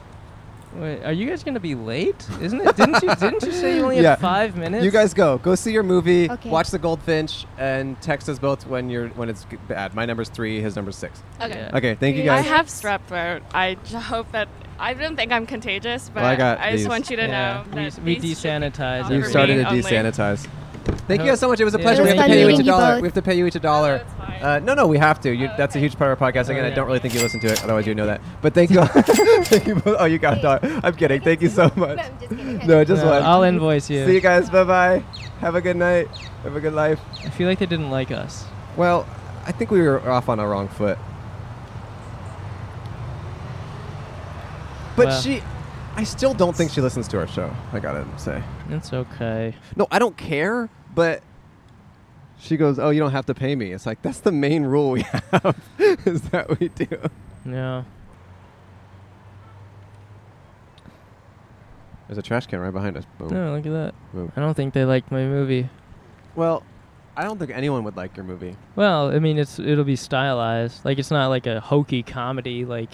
Speaker 4: wait, are you guys gonna be late? Isn't it? Didn't you? Didn't you say you only
Speaker 5: Yeah.
Speaker 4: had five minutes?
Speaker 5: You guys go. Go see your movie.
Speaker 6: Okay.
Speaker 5: Watch the Goldfinch and text us both when you're when it's g- bad. My number's three. His number's six.
Speaker 7: Okay.
Speaker 4: Yeah.
Speaker 5: Okay, thank you
Speaker 6: Yeah.
Speaker 7: I
Speaker 5: guys.
Speaker 7: have strep throat. I j- hope that I don't think I'm contagious, but
Speaker 5: Well, I
Speaker 7: I,
Speaker 5: got
Speaker 7: just
Speaker 5: these.
Speaker 7: want you to know
Speaker 4: Yeah, we-
Speaker 7: that
Speaker 4: we
Speaker 7: these should be
Speaker 4: desanitize
Speaker 7: off
Speaker 4: We've
Speaker 5: We've
Speaker 7: for
Speaker 4: for
Speaker 5: started
Speaker 7: me
Speaker 5: to
Speaker 7: only.
Speaker 5: desanitize. Thank you
Speaker 4: Hope-
Speaker 5: guys so much. It was a
Speaker 4: Yeah.
Speaker 5: pleasure.
Speaker 4: It
Speaker 5: we
Speaker 4: was
Speaker 5: have to
Speaker 4: fun
Speaker 5: pay you each a
Speaker 6: meeting you
Speaker 5: dollar.
Speaker 6: both.
Speaker 5: We have to pay you each a
Speaker 4: Oh,
Speaker 5: dollar.
Speaker 7: it's fine.
Speaker 5: Uh, no, no, we have to. You,
Speaker 7: Oh,
Speaker 5: that's a
Speaker 7: okay.
Speaker 5: huge part of our podcast. Again, I
Speaker 4: yeah.
Speaker 5: don't really think you listen to it. Otherwise, you know that. But thank you. thank you both. Oh, you got a dollar. I'm kidding. Thank you so much.
Speaker 6: I'm just kidding.
Speaker 5: No, just
Speaker 4: No,
Speaker 5: one.
Speaker 4: I'll invoice you.
Speaker 5: See you guys. Bye bye. Have a good night. Have a good life.
Speaker 4: I feel like they didn't like us.
Speaker 5: Well, I think we were off on a wrong foot. But
Speaker 4: Well.
Speaker 5: she, I still don't think she listens to our show. I gotta say,
Speaker 4: It's okay.
Speaker 5: no, I don't care. But she goes, "Oh, you don't have to pay me." It's like that's the main rule we have is that we do.
Speaker 4: No.
Speaker 5: There's a trash can right behind us. Boom.
Speaker 4: No, look at that.
Speaker 5: boom.
Speaker 4: I don't think they liked my movie.
Speaker 5: Well, I don't think anyone would like your movie.
Speaker 4: Well, I mean, it's it'll be stylized. Like it's not like a hokey comedy like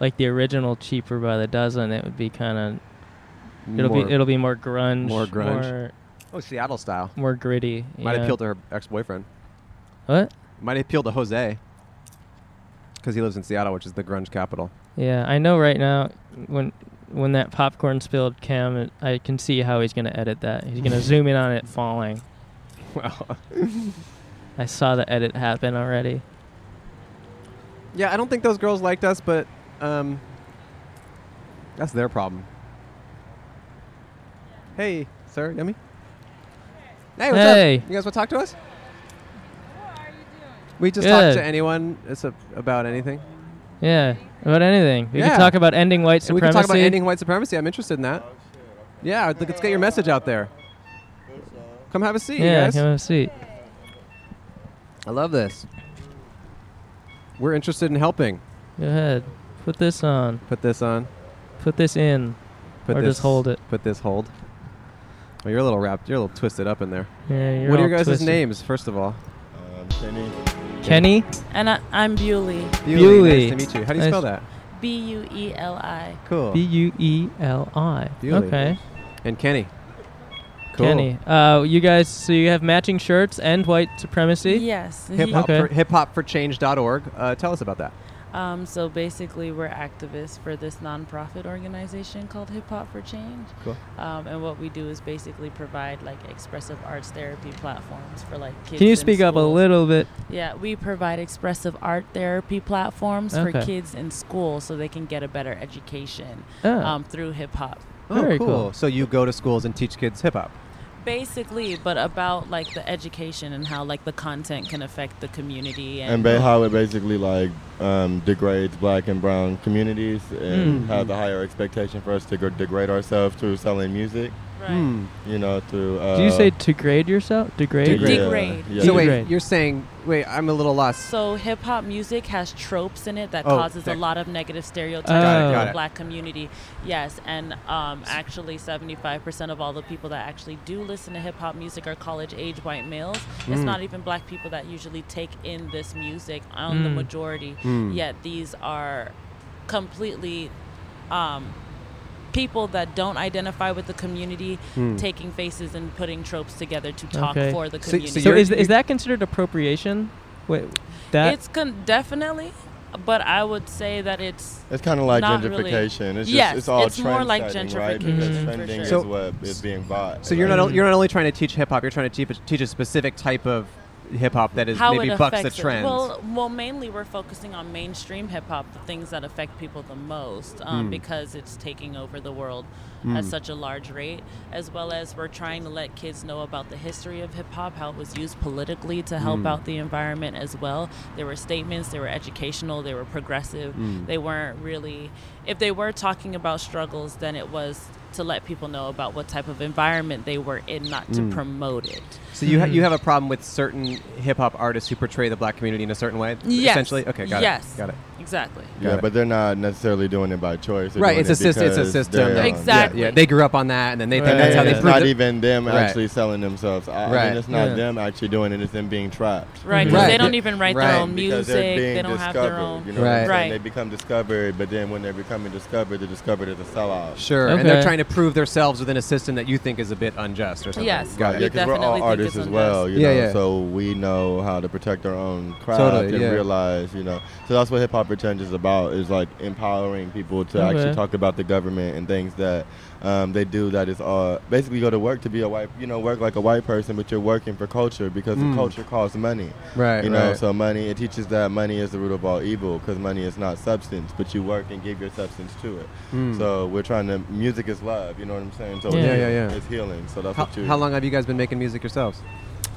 Speaker 4: like the original Cheaper by the Dozen. It would be kind of it'll
Speaker 5: More-
Speaker 4: be it'll be more grunge,
Speaker 5: more grunge.
Speaker 4: more,
Speaker 5: oh Seattle style.
Speaker 4: more gritty.
Speaker 5: Might
Speaker 4: yeah.
Speaker 5: appeal to her ex-boyfriend.
Speaker 4: What?
Speaker 5: Might appeal to Jose. Because he lives in Seattle, which is the grunge capital.
Speaker 4: Yeah, I know. Right now, when when that popcorn spilled, Cam, it- I can see how he's gonna edit that. He's gonna zoom in on it falling.
Speaker 5: Wow.
Speaker 4: I saw the edit happen already.
Speaker 5: Yeah, I don't think those girls liked us, but um, that's their problem. Hey, sir, yummy. Hey, what's
Speaker 4: Hey.
Speaker 5: up? You guys want to talk to us? We just talk
Speaker 4: Good.
Speaker 5: to anyone. It's a, about anything.
Speaker 4: Yeah, about anything. We
Speaker 5: Yeah.
Speaker 4: could talk about ending white
Speaker 5: And we
Speaker 4: supremacy.
Speaker 5: can talk about ending white supremacy. I'm interested in that. Yeah, th- let's get your message out there. Come have a seat,
Speaker 4: yeah,
Speaker 5: you guys.
Speaker 4: come have a seat.
Speaker 5: I love this. We're interested in helping.
Speaker 4: Go ahead. Put this on.
Speaker 5: Put this on.
Speaker 4: Put this in.
Speaker 5: Put
Speaker 4: Or
Speaker 5: this,
Speaker 4: just hold it.
Speaker 5: Put this hold. Well, you're a little wrapped. You're a little twisted up in there.
Speaker 4: Yeah, you're
Speaker 5: what are
Speaker 4: all
Speaker 5: your guys'
Speaker 4: twisted.
Speaker 5: names, first of all?
Speaker 8: Um,
Speaker 4: Kenny.
Speaker 9: And I, I'm Bewley.
Speaker 5: Bewley. Nice
Speaker 4: Bewley.
Speaker 5: to meet you. How do you
Speaker 4: Nice.
Speaker 5: spell that?
Speaker 9: B U E L I.
Speaker 5: Cool.
Speaker 4: B U E L I.
Speaker 5: Bewley.
Speaker 4: Okay.
Speaker 5: and Kenny. Cool.
Speaker 4: Kenny. Uh, you guys. So you have matching shirts and white supremacy.
Speaker 9: Yes.
Speaker 5: Hip hop
Speaker 4: Okay.
Speaker 5: for, hiphopforchange.org. Uh, tell us about that.
Speaker 9: Um, so basically, we're activists for this nonprofit organization called Hip Hop for Change.
Speaker 5: Cool.
Speaker 9: Um, and what we do is basically provide like expressive arts therapy platforms for like kids.
Speaker 4: Can you
Speaker 9: in
Speaker 4: speak up a
Speaker 9: school.
Speaker 4: little bit?
Speaker 9: Yeah, we provide expressive art therapy platforms for
Speaker 4: Okay.
Speaker 9: kids in school so they can get a better education
Speaker 4: Oh.
Speaker 9: um, through hip hop.
Speaker 4: Very
Speaker 5: oh, cool.
Speaker 4: cool.
Speaker 5: So you go to schools and teach kids hip hop.
Speaker 9: Basically, but about like the education and how like the content can affect the community
Speaker 8: and ba- how it basically like um, degrades black and brown communities and
Speaker 4: Mm.
Speaker 8: has a higher expectation for us to gr- degrade ourselves through selling music
Speaker 9: right.
Speaker 5: Hmm.
Speaker 8: you know through uh,
Speaker 4: Do you say degrade yourself? Degrade.
Speaker 8: yeah,
Speaker 9: Degrade.
Speaker 8: yeah.
Speaker 5: So
Speaker 4: You're
Speaker 5: wait,
Speaker 4: right.
Speaker 5: you're saying, wait, I'm a little lost.
Speaker 9: So hip hop music has tropes in it that
Speaker 5: Oh,
Speaker 9: causes
Speaker 5: thank-
Speaker 9: a lot of negative stereotypes
Speaker 4: Got it,
Speaker 9: in
Speaker 5: got
Speaker 9: the
Speaker 5: it.
Speaker 9: black community. Yes, and um, actually, 75% of all the people that actually do listen to hip hop music are college age white males. It's
Speaker 4: Mm.
Speaker 9: not even black people that usually take in this music on the
Speaker 4: Mm.
Speaker 9: majority.
Speaker 5: Mm.
Speaker 9: Yet these are completely um, people that don't identify with the community
Speaker 5: Mm.
Speaker 9: taking faces and putting tropes together to talk
Speaker 4: Okay.
Speaker 9: for the
Speaker 5: So- so
Speaker 9: community.
Speaker 4: So
Speaker 5: You're-
Speaker 4: is,
Speaker 5: you-
Speaker 4: is that considered appropriation? Wait, that
Speaker 9: it's con- definitely, but I would say that it's
Speaker 8: it's kind of like
Speaker 9: Not really.
Speaker 8: gentrification it's
Speaker 9: Yes,
Speaker 8: just it's all
Speaker 9: it's more like
Speaker 8: trendsetting, right?
Speaker 9: gentrification,
Speaker 8: Because
Speaker 4: Mhm. for
Speaker 8: trending
Speaker 9: sure.
Speaker 8: is
Speaker 5: Mm. So-
Speaker 8: what is being bought
Speaker 5: So you're not
Speaker 8: right?
Speaker 5: o- you're not only trying to teach hip hop, you're trying to teach, teach a specific type of hip hop that is
Speaker 9: how
Speaker 5: maybe
Speaker 9: it
Speaker 5: bucks the
Speaker 9: affects it.
Speaker 5: trend.
Speaker 9: Well, well, mainly we're focusing on mainstream hip hop, the things that affect people the most, um,
Speaker 5: Mm.
Speaker 9: because it's taking over the world
Speaker 5: Mm.
Speaker 9: at such a large rate. As well as we're trying to let kids know about the history of hip hop, how it was used politically to help
Speaker 5: Mm.
Speaker 9: out the environment as well. There were statements, they were educational, they were progressive.
Speaker 5: Mm.
Speaker 9: They weren't really. If they were talking about struggles, then it was to let people know about what type of environment they were in, not to promote it.
Speaker 5: Hmm. Mm. So you ha-
Speaker 9: Mm.
Speaker 5: you have a problem with certain hip hop artists who portray the black community in a certain way,
Speaker 9: Yes.
Speaker 5: essentially. Okay, got
Speaker 9: Yes.
Speaker 5: it. Got it.
Speaker 9: Exactly.
Speaker 5: Got
Speaker 8: Yeah,
Speaker 5: it.
Speaker 8: but they're not necessarily doing it by choice. They're
Speaker 5: Right,
Speaker 8: doing
Speaker 5: it's a
Speaker 8: it
Speaker 5: system. It's a
Speaker 8: because
Speaker 5: system.
Speaker 8: they're, um,
Speaker 9: Exactly.
Speaker 5: Yeah, they grew up on that, and then they think that's how they
Speaker 8: it's
Speaker 5: prove
Speaker 8: not
Speaker 5: it.
Speaker 8: even them
Speaker 5: Right.
Speaker 8: actually selling themselves. I, I
Speaker 5: Right.
Speaker 8: mean, it's not
Speaker 4: Yeah.
Speaker 8: them actually doing it. It's them being trapped.
Speaker 9: Right. 'cause
Speaker 5: Right.
Speaker 9: They don't even write
Speaker 5: Right.
Speaker 9: their own
Speaker 8: Because
Speaker 9: music.
Speaker 8: they're being
Speaker 9: They don't have
Speaker 8: discovered.
Speaker 9: their own.
Speaker 8: You know what I'm saying?
Speaker 5: Right.
Speaker 9: Right.
Speaker 8: They become discovered, but then when they're becoming discovered, they're discovered as a sellout.
Speaker 5: Sure, and they're
Speaker 4: Okay.
Speaker 5: trying to prove themselves within a system that you think is a bit unjust or something.
Speaker 9: Yes.
Speaker 8: Yeah,
Speaker 5: got it.
Speaker 9: We
Speaker 8: because we're
Speaker 9: definitely
Speaker 8: all
Speaker 9: think
Speaker 8: artists
Speaker 9: it's
Speaker 8: as well,
Speaker 9: unjust.
Speaker 8: you
Speaker 5: Yeah,
Speaker 8: know.
Speaker 5: yeah.
Speaker 8: So we know how to protect our own craft
Speaker 5: Totally,
Speaker 8: and
Speaker 5: yeah.
Speaker 8: realize, you know. So that's what hip hop pretend is about is like empowering people to
Speaker 4: Okay.
Speaker 8: actually talk about the government and things that um, they do that is all basically go to work to be a white, you know, work like a white person, but you're working for culture because
Speaker 5: Mm.
Speaker 8: the culture costs money.
Speaker 5: Right,
Speaker 8: You know,
Speaker 5: right.
Speaker 8: so money it teaches that money is the root of all evil because money is not substance, but you work and give your substance to it.
Speaker 5: Mm.
Speaker 8: So we're trying to music is love, you know what I'm saying? So
Speaker 4: Yeah.
Speaker 8: it's-
Speaker 5: Yeah, yeah, yeah.
Speaker 8: it's healing. So that's
Speaker 5: How,
Speaker 8: what you
Speaker 5: how long have you guys been making music yourselves?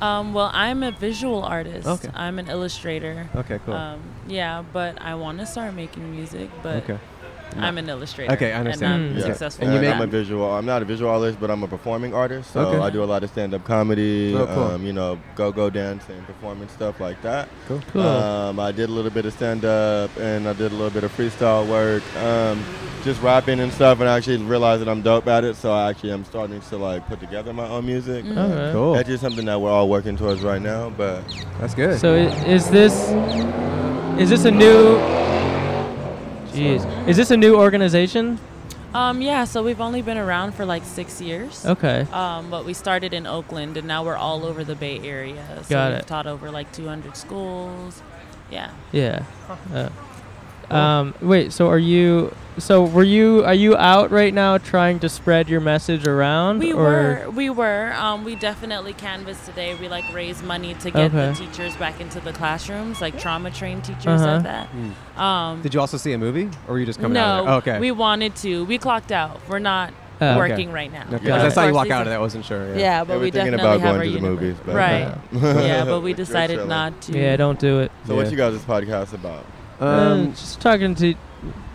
Speaker 9: Um, well, I'm a visual artist.
Speaker 5: Okay.
Speaker 9: I'm an illustrator.
Speaker 5: Okay, cool.
Speaker 9: Um, yeah, but I want to start making music, but
Speaker 5: okay.
Speaker 9: I'm an illustrator.
Speaker 5: Okay, I understand.
Speaker 9: And I'm
Speaker 4: Mm.
Speaker 8: Yeah.
Speaker 9: successful.
Speaker 8: And
Speaker 5: you
Speaker 9: with
Speaker 5: make-
Speaker 8: I'm a
Speaker 9: that.
Speaker 8: visual. I'm not a visual artist, but I'm a performing artist. So
Speaker 5: Okay.
Speaker 8: I do a lot of stand-up comedy.
Speaker 5: Oh, cool.
Speaker 8: um, you know, go-go dancing, performing stuff like that.
Speaker 5: Cool.
Speaker 4: Cool.
Speaker 8: Um, I did a little bit of stand-up, and I did a little bit of freestyle work. Um, just rapping and stuff, and I actually realized that I'm dope at it. So I actually am starting to like put together my own music.
Speaker 9: Mm.
Speaker 4: Alright.
Speaker 5: Cool.
Speaker 8: That's just something that we're all working towards right now. But
Speaker 5: That's good.
Speaker 4: So i- is this is this a new? Jeez, is this a new organization?
Speaker 9: Um, yeah, so we've only been around for like six years.
Speaker 4: Okay.
Speaker 9: Um, but we started in Oakland, and now we're all over the Bay Area. So
Speaker 4: Got
Speaker 9: we've
Speaker 4: it.
Speaker 9: taught over like 200 schools. Yeah.
Speaker 4: Yeah. Uh, um, wait. So are you? So were you? Are you out right now trying to spread your message around?
Speaker 9: We
Speaker 4: or?
Speaker 9: were, we were. Um, we definitely canvassed today. We like raised money to get the
Speaker 4: Okay.
Speaker 9: teachers back into the classrooms, like trauma trained teachers
Speaker 4: Uh-huh.
Speaker 9: like that.
Speaker 5: Hmm.
Speaker 9: Um,
Speaker 5: Mm. Did you also see a movie, or were you just coming
Speaker 9: no,
Speaker 5: out? Of there? Oh, okay.
Speaker 9: we wanted to. We clocked out. We're not
Speaker 4: Oh, okay.
Speaker 9: working right now.
Speaker 5: Okay,
Speaker 8: Yeah.
Speaker 5: I saw you
Speaker 9: First
Speaker 5: walk
Speaker 9: season-
Speaker 5: out of that. I wasn't sure.
Speaker 9: Yeah, but
Speaker 8: They were
Speaker 9: we
Speaker 8: thinking
Speaker 9: definitely
Speaker 8: about
Speaker 9: have
Speaker 8: going
Speaker 9: our
Speaker 8: to the
Speaker 9: universe.
Speaker 8: movies, but-
Speaker 9: right? yeah, but we
Speaker 8: You're
Speaker 9: decided
Speaker 8: chilling.
Speaker 9: not to.
Speaker 4: Yeah. Don't do it.
Speaker 8: So
Speaker 5: Yeah.
Speaker 8: what you guys this podcast about?
Speaker 4: Um,
Speaker 5: Um,
Speaker 4: just talking to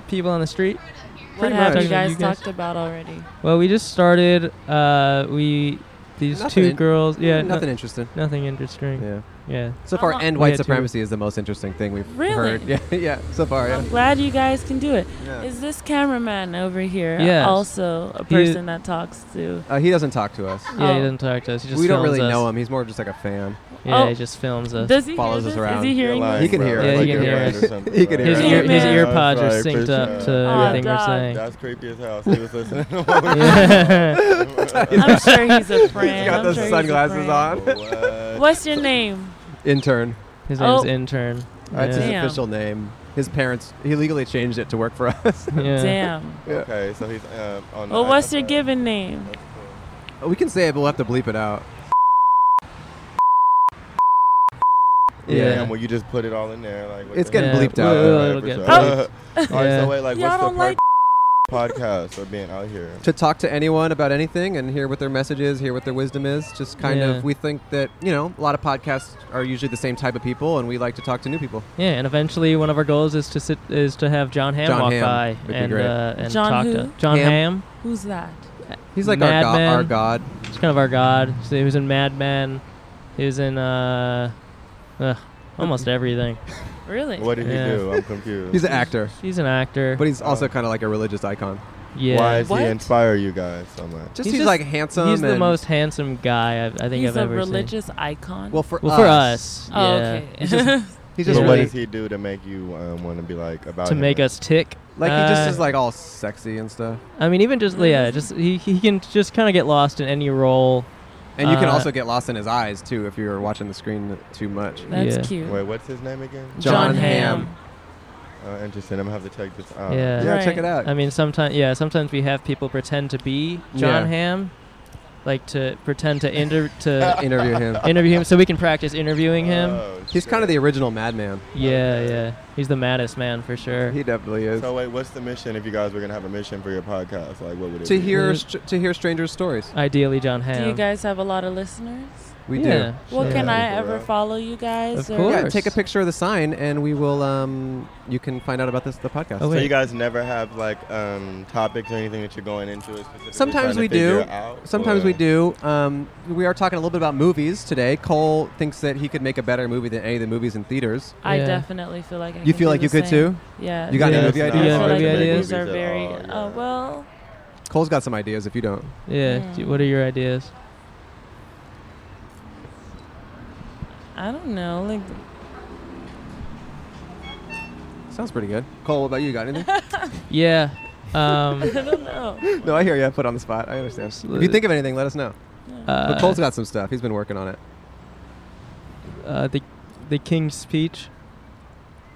Speaker 4: people on the street.
Speaker 9: What
Speaker 4: pretty
Speaker 9: have
Speaker 4: much.
Speaker 9: you guys,
Speaker 4: You guys-
Speaker 9: talked about already?
Speaker 4: Well, we just started. Uh, we these
Speaker 5: Nothing
Speaker 4: two
Speaker 5: in-
Speaker 4: girls. Yeah. no-
Speaker 5: nothing interesting.
Speaker 4: nothing interesting.
Speaker 5: Yeah.
Speaker 4: Yeah.
Speaker 5: So
Speaker 9: How
Speaker 5: far,
Speaker 9: long-
Speaker 5: end white
Speaker 4: Yeah, too.
Speaker 5: supremacy is the most interesting thing we've
Speaker 9: Really?
Speaker 5: heard. Yeah, yeah. So far, yeah.
Speaker 9: I'm glad you guys can do it. Is
Speaker 5: Yeah.
Speaker 9: this cameraman over here
Speaker 4: Yes.
Speaker 9: also a
Speaker 4: He-
Speaker 9: person that talks to?
Speaker 5: Uh, he doesn't talk to us.
Speaker 4: Yeah,
Speaker 9: Oh.
Speaker 4: he doesn't talk to us. He just
Speaker 5: we don't
Speaker 4: films
Speaker 5: really
Speaker 4: us.
Speaker 5: know him. He's more just like a fan.
Speaker 4: Yeah,
Speaker 9: Oh.
Speaker 4: he just films us.
Speaker 9: Does he
Speaker 5: follows us
Speaker 9: hear this?
Speaker 5: around.
Speaker 9: Is he hearing
Speaker 8: You're
Speaker 9: this?
Speaker 5: He can
Speaker 8: lying,
Speaker 5: hear
Speaker 8: bro. Like
Speaker 4: us. Yeah, he
Speaker 8: you're
Speaker 4: can
Speaker 8: blind
Speaker 4: hear
Speaker 8: or
Speaker 4: us.
Speaker 8: something,
Speaker 5: He can
Speaker 8: bro.
Speaker 5: hear
Speaker 4: His,
Speaker 5: us.
Speaker 4: ear, his
Speaker 9: man.
Speaker 4: earpods
Speaker 8: That's
Speaker 4: are
Speaker 8: right,
Speaker 4: synced
Speaker 8: for
Speaker 4: up
Speaker 8: sure.
Speaker 4: to
Speaker 9: Aw,
Speaker 4: everything we're
Speaker 9: dog.
Speaker 4: saying.
Speaker 8: That's creepy as hell. He was listening. to what we-
Speaker 4: Yeah.
Speaker 9: I'm sure he's a friend.
Speaker 5: He's got
Speaker 9: I'm
Speaker 5: those
Speaker 9: sure he's a
Speaker 5: sunglasses
Speaker 9: friend.
Speaker 5: on. Uh,
Speaker 8: What?
Speaker 9: What's your name?
Speaker 5: Intern.
Speaker 4: His
Speaker 9: Oh.
Speaker 4: name's Intern.
Speaker 5: That's his
Speaker 4: Yeah.
Speaker 9: Damn.
Speaker 5: official name. His parents, he legally changed it to work for us.
Speaker 4: Yeah.
Speaker 9: Damn.
Speaker 8: Okay, so he's um, on. the
Speaker 9: Well, what's your
Speaker 8: iPad.
Speaker 9: given name?
Speaker 5: we can say it, but we'll have to bleep it out.
Speaker 8: Damn,
Speaker 4: Yeah.
Speaker 8: well, you just put it all in there. Like, what
Speaker 5: It's
Speaker 8: the-
Speaker 5: getting
Speaker 4: Yeah,
Speaker 5: bleeped out.
Speaker 4: we'll-
Speaker 8: Alright,
Speaker 4: it'll
Speaker 8: for
Speaker 4: get
Speaker 8: sure.
Speaker 4: bleeped.
Speaker 8: Alright,
Speaker 4: Yeah.
Speaker 8: so wait, like,
Speaker 9: Y'all
Speaker 8: what's the
Speaker 9: don't like
Speaker 8: purpose of podcast for being out here?
Speaker 5: To talk to anyone about anything and hear what their message is, hear what their wisdom is. Just kind
Speaker 4: Yeah.
Speaker 5: of, we think that, you know, a lot of podcasts are usually the same type of people, and we like to talk to new people.
Speaker 4: Yeah, and eventually one of our goals is to sit is to have John Hamm
Speaker 5: John
Speaker 4: walk
Speaker 5: Hamm
Speaker 4: by
Speaker 5: would be
Speaker 4: and
Speaker 5: great.
Speaker 4: uh, and
Speaker 9: John
Speaker 4: talk
Speaker 9: who?
Speaker 4: to John Hamm.
Speaker 5: Hamm.
Speaker 9: Who's that?
Speaker 5: He's like
Speaker 4: Mad
Speaker 5: our, go-
Speaker 4: Men.
Speaker 5: our god.
Speaker 4: He's kind of our god. So he was in Mad Men. He was in uh, uh almost everything.
Speaker 9: Really?
Speaker 8: What did
Speaker 4: Yeah.
Speaker 8: he do? I'm confused.
Speaker 5: He's an actor,
Speaker 4: He's an actor.
Speaker 5: but he's also
Speaker 8: Oh.
Speaker 5: kind of like a religious icon.
Speaker 4: yeah.
Speaker 8: Why does
Speaker 9: What?
Speaker 8: he inspire you guys so much?
Speaker 5: Just
Speaker 4: He's
Speaker 5: he's,
Speaker 4: just-
Speaker 5: like handsome.
Speaker 4: He's the
Speaker 5: and-
Speaker 4: most handsome guy I've, I think
Speaker 9: He's
Speaker 4: I've
Speaker 9: a
Speaker 4: ever
Speaker 9: religious icon.
Speaker 5: Well, for
Speaker 4: seen. Well,
Speaker 5: us,
Speaker 4: for us.
Speaker 9: oh,
Speaker 4: yeah.
Speaker 9: okay.
Speaker 4: He's just-
Speaker 5: he's
Speaker 8: But
Speaker 5: just
Speaker 8: what
Speaker 5: really-
Speaker 8: does he do to make you um, want to be like about
Speaker 4: to
Speaker 8: him?
Speaker 4: make us tick.
Speaker 5: like he just
Speaker 4: Uh,
Speaker 5: is like all sexy and stuff.
Speaker 4: I mean, even just yeah, just he, he can just kind of get lost in any role.
Speaker 5: And you can
Speaker 4: Uh,
Speaker 5: also get lost in his eyes too if you're watching the screen too much.
Speaker 9: That's
Speaker 4: Yeah.
Speaker 9: cute.
Speaker 8: Wait, what's his name again?
Speaker 5: John Hamm.
Speaker 8: Uh, interesting. I'm gonna have to check this out.
Speaker 4: Yeah.
Speaker 5: Uh, Yeah, check
Speaker 9: Right.
Speaker 5: it out.
Speaker 4: I mean, sometimes yeah, sometimes we have people pretend to be John
Speaker 5: Yeah.
Speaker 4: Ham, like to pretend to inter- to
Speaker 5: Interview him.
Speaker 4: interview him, so we can practice interviewing him.
Speaker 8: Oh,
Speaker 5: He's kind of
Speaker 8: shit.
Speaker 5: the original madman.
Speaker 4: Yeah, yeah, he's the maddest man for sure.
Speaker 5: He definitely is.
Speaker 8: So wait, what's the mission? If you guys were gonna have a mission for your podcast, like what would it
Speaker 5: to
Speaker 8: be?
Speaker 5: hear
Speaker 4: Yeah.
Speaker 5: str- to hear strangers' stories.
Speaker 4: Ideally, John Ham.
Speaker 9: Do you guys have a lot of listeners?
Speaker 5: We
Speaker 4: Yeah.
Speaker 5: do.
Speaker 9: Well,
Speaker 8: Sure.
Speaker 9: can
Speaker 8: Yeah,
Speaker 9: I
Speaker 8: people
Speaker 9: ever
Speaker 8: out.
Speaker 9: follow you guys?
Speaker 4: Of
Speaker 9: or-
Speaker 4: course.
Speaker 5: Yeah, take a picture of the sign, and we will. Um, you can find out about this the podcast.
Speaker 4: Oh,
Speaker 8: So
Speaker 4: wait.
Speaker 8: you guys never have like um, topics or anything that you're going into specifically trying
Speaker 5: Sometimes
Speaker 8: to
Speaker 5: we do.
Speaker 8: figure out,
Speaker 5: Sometimes
Speaker 8: or-
Speaker 5: we do. Um, we are talking a little bit about movies today. Cole thinks that he could make a better movie than any of the movies in theaters.
Speaker 9: I
Speaker 4: Yeah.
Speaker 9: definitely feel like I
Speaker 5: You feel like you could too.
Speaker 9: Yeah.
Speaker 5: You got
Speaker 4: Yeah,
Speaker 5: any movie
Speaker 8: it's
Speaker 5: ideas?
Speaker 4: not
Speaker 9: I feel
Speaker 4: Yeah, maybe
Speaker 9: like
Speaker 4: ideas?
Speaker 9: movies are
Speaker 8: Movies at
Speaker 9: very.
Speaker 8: all, yeah.
Speaker 9: Uh, well,
Speaker 5: Cole's got some ideas. If you don't,
Speaker 4: Yeah.
Speaker 9: Hmm.
Speaker 4: d- What are your ideas?
Speaker 9: I don't know. Like,
Speaker 5: sounds pretty good. Cole, what about you? You Got anything?
Speaker 4: Yeah. Um,
Speaker 9: I don't know.
Speaker 5: no, I hear you. I put on the spot. I understand. If you think of anything, let us know. But
Speaker 4: uh,
Speaker 5: Cole's got some stuff. He's been working on it.
Speaker 4: uh, the the King's Speech.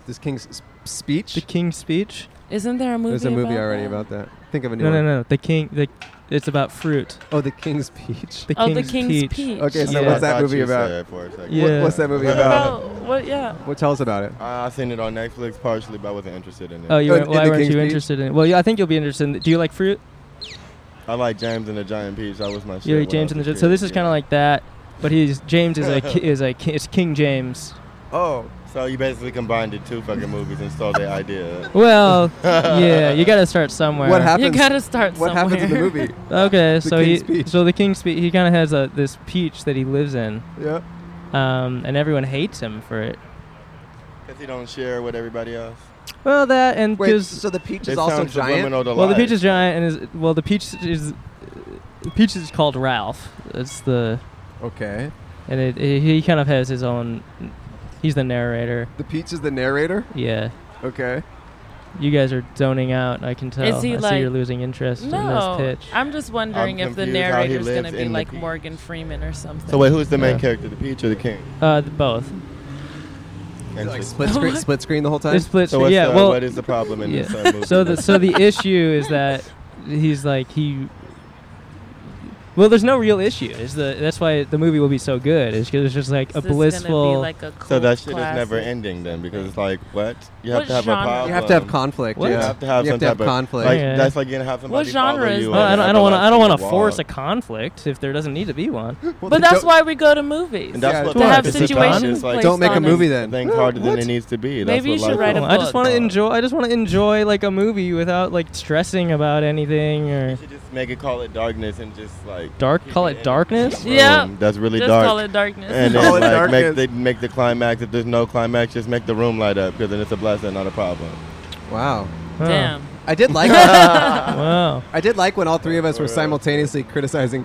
Speaker 5: This King's s- speech.
Speaker 4: The King's Speech.
Speaker 9: Isn't there a movie?
Speaker 5: There's a movie
Speaker 9: about
Speaker 5: already
Speaker 9: that?
Speaker 5: about that. Think of a new
Speaker 4: No, no,
Speaker 5: one.
Speaker 4: no. The King. The it's about fruit.
Speaker 5: Oh, the King's speech.
Speaker 4: The
Speaker 9: Oh,
Speaker 4: King's,
Speaker 9: the King's Peach.
Speaker 5: Okay, so
Speaker 8: I
Speaker 4: Yeah.
Speaker 5: what's that
Speaker 8: thought
Speaker 5: movie
Speaker 8: you
Speaker 5: about?
Speaker 8: said it for a second.
Speaker 4: Yeah.
Speaker 5: What, what's that movie
Speaker 8: What
Speaker 5: about?
Speaker 8: about-
Speaker 7: Oh,
Speaker 9: About what? Yeah.
Speaker 5: Well, tell us about it.
Speaker 8: I I seen it on Netflix partially, but I wasn't interested in it.
Speaker 4: Oh, you
Speaker 5: Oh,
Speaker 4: weren't,
Speaker 5: in
Speaker 4: why
Speaker 5: the
Speaker 4: weren't
Speaker 5: King's
Speaker 4: you
Speaker 5: Speech?
Speaker 4: interested in? it? Well, yeah, I think you'll be interested. in th- Do you like fruit?
Speaker 8: I like James and the Giant Peach. That was my. shit
Speaker 4: You
Speaker 8: when
Speaker 4: like
Speaker 8: I
Speaker 4: James
Speaker 8: was
Speaker 4: and
Speaker 8: a
Speaker 4: the Gi-
Speaker 8: kid,
Speaker 4: So this is
Speaker 8: yeah.
Speaker 4: kind of like that, but he's James is a ki- is a ki- it's King James.
Speaker 5: Oh,
Speaker 8: So you basically combined the two fucking movies and stole the idea.
Speaker 4: Well, yeah, you got to start somewhere.
Speaker 5: what happens?
Speaker 7: You gotta start
Speaker 5: What
Speaker 7: somewhere.
Speaker 5: happens in the movie?
Speaker 4: Okay,
Speaker 5: The
Speaker 4: so
Speaker 5: King's
Speaker 4: he
Speaker 5: Peach.
Speaker 4: so the King's Speech he kind of has a this peach that he lives in,
Speaker 5: yeah.
Speaker 4: um, and everyone hates him for it.
Speaker 8: Because he don't share with everybody else.
Speaker 4: Well, that and
Speaker 5: Wait,
Speaker 4: because
Speaker 5: so the peach
Speaker 8: It
Speaker 5: is also
Speaker 8: sounds
Speaker 5: giant.
Speaker 8: subliminal to
Speaker 4: well the
Speaker 8: life.
Speaker 4: peach is giant and is well the peach is peach is called Ralph. That's the
Speaker 5: Okay.
Speaker 4: and it, he kind of has his own. He's the narrator.
Speaker 5: The peach is the narrator.
Speaker 4: Yeah.
Speaker 5: Okay.
Speaker 4: You guys are zoning out. I can tell.
Speaker 9: Is he
Speaker 4: I see
Speaker 9: like-
Speaker 4: you're losing interest
Speaker 9: No,
Speaker 4: in this pitch.
Speaker 9: I'm just wondering
Speaker 8: I'm
Speaker 9: if the
Speaker 8: confused how he
Speaker 9: narrator's
Speaker 8: lives
Speaker 9: gonna be
Speaker 8: in the
Speaker 9: like
Speaker 8: peach.
Speaker 9: Morgan Freeman or something.
Speaker 8: So wait, who's the main
Speaker 4: Yeah.
Speaker 8: character, the Peach or the King?
Speaker 4: uh, th- both.
Speaker 5: Like
Speaker 8: Interesting.
Speaker 5: split screen, split screen the whole time.
Speaker 4: They split.
Speaker 8: So
Speaker 4: screen-
Speaker 8: what's
Speaker 4: yeah.
Speaker 8: the,
Speaker 4: well,
Speaker 8: what is the problem in this
Speaker 4: yeah.
Speaker 8: uh, movie?
Speaker 4: so the so the issue is that he's like he. Well, there's no real issue. Is the that's why the movie will be so good. Is because it's just like
Speaker 9: Is
Speaker 4: a
Speaker 9: this gonna be
Speaker 4: blissful.
Speaker 9: like a
Speaker 8: So
Speaker 9: cult
Speaker 8: that shit
Speaker 9: classic?
Speaker 8: is never ending then, because it's like what you have
Speaker 9: What
Speaker 8: to have
Speaker 9: genre?
Speaker 8: a problem.
Speaker 5: you have to have conflict.
Speaker 4: What?
Speaker 8: You
Speaker 5: Yeah.
Speaker 8: have to have
Speaker 5: You
Speaker 8: some
Speaker 5: have to have
Speaker 8: type of
Speaker 5: conflict.
Speaker 8: Like,
Speaker 4: Yeah.
Speaker 8: That's like you have somebody
Speaker 9: genre
Speaker 8: follow
Speaker 9: is
Speaker 8: you
Speaker 9: that?
Speaker 4: Well,
Speaker 8: on
Speaker 4: I
Speaker 8: an
Speaker 4: don't. I don't want to. I don't want to
Speaker 8: everlasting
Speaker 4: force
Speaker 8: wall.
Speaker 4: a conflict if there doesn't need to be one.
Speaker 5: Well,
Speaker 9: But
Speaker 5: they
Speaker 9: that's
Speaker 5: don't-
Speaker 9: why we go to movies.
Speaker 8: And that's
Speaker 5: Yeah,
Speaker 8: what
Speaker 5: to
Speaker 8: that
Speaker 5: have
Speaker 8: is.
Speaker 9: situations
Speaker 8: It's like,
Speaker 9: placed
Speaker 5: Don't make a
Speaker 9: on it.
Speaker 5: movie then.
Speaker 8: things harder
Speaker 5: What?
Speaker 8: than it needs to be. That's
Speaker 9: Maybe
Speaker 8: what
Speaker 9: you should
Speaker 8: life
Speaker 9: write a
Speaker 8: is.
Speaker 4: I just
Speaker 9: book.
Speaker 4: want to enjoy. I just want to enjoy like a movie without like stressing about anything or
Speaker 8: You should just make it call it darkness and just like
Speaker 4: dark.
Speaker 8: keep
Speaker 4: Call
Speaker 8: it
Speaker 4: it
Speaker 8: in.
Speaker 4: darkness.
Speaker 7: Yeah.
Speaker 8: Room. that's really
Speaker 7: Just
Speaker 8: dark.
Speaker 7: call it darkness.
Speaker 8: and
Speaker 5: Call
Speaker 8: then
Speaker 5: it
Speaker 8: like
Speaker 5: darkness.
Speaker 8: make they make the climax. If there's no climax, just make the room light up because then it's a blessing, not a problem.
Speaker 5: Wow.
Speaker 4: Huh.
Speaker 9: Damn.
Speaker 5: I did like. I
Speaker 4: Wow.
Speaker 5: did like when all three of us were
Speaker 8: Alright.
Speaker 5: simultaneously criticizing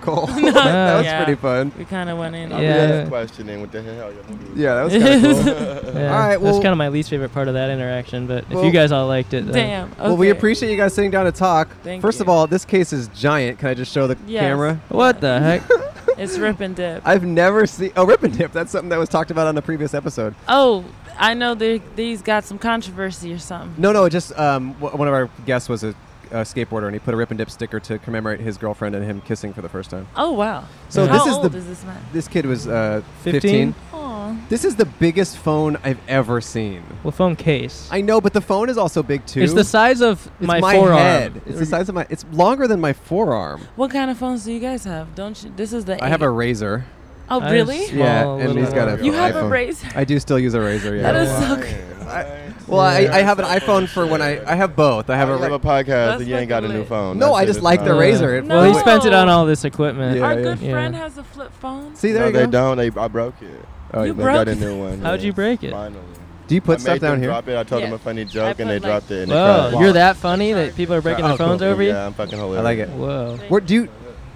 Speaker 5: Cole. that
Speaker 4: Yeah.
Speaker 5: was
Speaker 9: Yeah.
Speaker 5: pretty fun.
Speaker 9: We kind of went in.
Speaker 8: I'll
Speaker 4: Yeah.
Speaker 8: be just questioning what the hell you're doing.
Speaker 5: Yeah, that was kind of cool.
Speaker 4: Yeah,
Speaker 5: All right,
Speaker 4: that's
Speaker 5: well-
Speaker 4: kind of my least favorite part of that interaction. But if
Speaker 5: Well-
Speaker 4: you guys all liked it, then
Speaker 9: Damn.
Speaker 5: Well, we
Speaker 9: okay.
Speaker 5: appreciate you guys sitting down to talk.
Speaker 9: Thank
Speaker 5: First of
Speaker 9: you.
Speaker 5: all, this case is giant. Can I just show the
Speaker 9: Yes.
Speaker 5: camera?
Speaker 4: What the heck?
Speaker 9: It's rip and dip.
Speaker 5: I've never seen. Oh, rip and dip. That's something that was talked about on a previous episode.
Speaker 9: Oh, I know they, these got some controversy or something.
Speaker 5: No, no. it Just um, w- one of our guests was a, a skateboarder, and he put a rip and dip sticker to commemorate his girlfriend and him kissing for the first time.
Speaker 9: Oh wow.
Speaker 5: So
Speaker 9: How
Speaker 5: this is
Speaker 9: old
Speaker 5: the
Speaker 9: is this man?
Speaker 5: this kid was uh, 15.
Speaker 4: 15?
Speaker 9: Aw.
Speaker 5: This is the biggest phone I've ever seen.
Speaker 4: well, phone case.
Speaker 5: I know, but the phone is also big too.
Speaker 4: it's the size of
Speaker 5: It's
Speaker 4: my, forearm.
Speaker 5: head. It's the size of my. It's longer than my forearm.
Speaker 9: What kind of phones do you guys have? Don't you? This is the.
Speaker 5: I have
Speaker 9: eight-
Speaker 5: a razor.
Speaker 9: Oh
Speaker 4: I
Speaker 9: really?
Speaker 4: s-
Speaker 5: Yeah,
Speaker 4: Small
Speaker 5: and
Speaker 4: little
Speaker 5: he's got a.
Speaker 9: You have a
Speaker 5: iPhone.
Speaker 9: razor.
Speaker 5: I do still use a razor. Yeah.
Speaker 9: That is so.
Speaker 8: Why?
Speaker 9: Good.
Speaker 8: Why?
Speaker 5: Well,
Speaker 4: Yeah.
Speaker 5: I, I have an iPhone for when I I have both. I have
Speaker 8: I
Speaker 5: a.
Speaker 8: have
Speaker 5: ra-
Speaker 8: a podcast
Speaker 9: That's
Speaker 8: and you ain't got a
Speaker 9: fucking
Speaker 8: new
Speaker 9: lit.
Speaker 8: phone.
Speaker 5: No,
Speaker 8: That
Speaker 5: I
Speaker 8: shit
Speaker 5: just
Speaker 8: is
Speaker 5: like the
Speaker 8: fine.
Speaker 5: razor. It
Speaker 4: Well, he
Speaker 9: No.
Speaker 4: spent it on all this equipment.
Speaker 5: Yeah,
Speaker 9: Our
Speaker 5: yeah.
Speaker 9: good
Speaker 4: Yeah.
Speaker 9: friend has a flip phone.
Speaker 5: See there
Speaker 8: no,
Speaker 5: you
Speaker 8: they
Speaker 5: go.
Speaker 8: don't. They, I broke it.
Speaker 5: Oh,
Speaker 9: You
Speaker 5: you
Speaker 8: They
Speaker 9: broke
Speaker 8: got a
Speaker 9: it?
Speaker 8: new one.
Speaker 4: How'd
Speaker 8: yeah.
Speaker 4: you break it?
Speaker 8: Finally.
Speaker 5: Do you
Speaker 8: I
Speaker 5: put
Speaker 8: made
Speaker 5: stuff
Speaker 8: them
Speaker 5: down here?
Speaker 8: Drop it. I told
Speaker 9: Yeah.
Speaker 8: them a funny
Speaker 9: I
Speaker 8: joke
Speaker 9: put,
Speaker 8: and they
Speaker 9: like-
Speaker 8: dropped it. And
Speaker 4: Whoa,
Speaker 8: they
Speaker 4: you're that funny that people are breaking
Speaker 5: Oh,
Speaker 4: their phones
Speaker 5: cool.
Speaker 4: over you.
Speaker 8: Yeah, I'm fucking hilarious.
Speaker 5: I like it.
Speaker 4: Whoa.
Speaker 5: Where do you?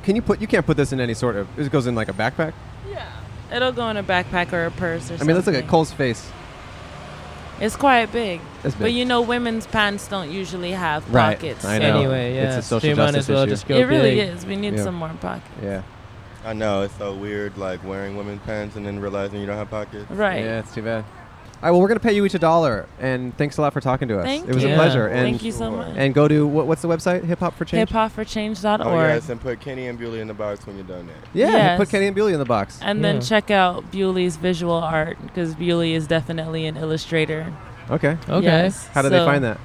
Speaker 5: Can you put? You can't put this in any sort of. This goes in like a backpack.
Speaker 9: Yeah. It'll go in a backpack or a purse or
Speaker 5: I
Speaker 9: something.
Speaker 5: mean, let's look at Cole's face.
Speaker 9: It's quite big.
Speaker 5: That's big.
Speaker 9: But you know, women's pants don't usually have
Speaker 5: Right,
Speaker 9: pockets.
Speaker 5: I
Speaker 9: so-
Speaker 5: know.
Speaker 4: Anyway,
Speaker 5: It's
Speaker 4: yeah.
Speaker 5: a social
Speaker 4: so you might
Speaker 5: justice
Speaker 4: as well
Speaker 5: issue.
Speaker 4: just go
Speaker 9: It really
Speaker 4: big.
Speaker 9: is. We need
Speaker 5: Yeah.
Speaker 9: some more pockets.
Speaker 5: Yeah.
Speaker 8: I know it's so weird, like wearing women's pants and then realizing you don't have pockets.
Speaker 9: Right.
Speaker 5: Yeah, it's too bad. All right. Well, we're gonna pay you each a dollar, and thanks a lot for talking to us.
Speaker 9: Thank
Speaker 5: it was a
Speaker 4: you.
Speaker 5: pleasure.
Speaker 8: Yeah.
Speaker 5: And
Speaker 9: Thank you so much.
Speaker 5: and go to what, what's the website? Hip Hop for Change.
Speaker 9: HipHopForChange.org.
Speaker 8: Oh yes, and put Kenny and Bewley in the box when you're done that.
Speaker 5: Yeah.
Speaker 9: Yes.
Speaker 5: Put Kenny and Bewley in the box.
Speaker 9: And
Speaker 4: Yeah.
Speaker 9: then check out Bewley's visual art because Bewley is definitely an illustrator.
Speaker 5: Okay.
Speaker 4: Okay.
Speaker 9: Yes.
Speaker 5: How do they
Speaker 9: So
Speaker 5: find that?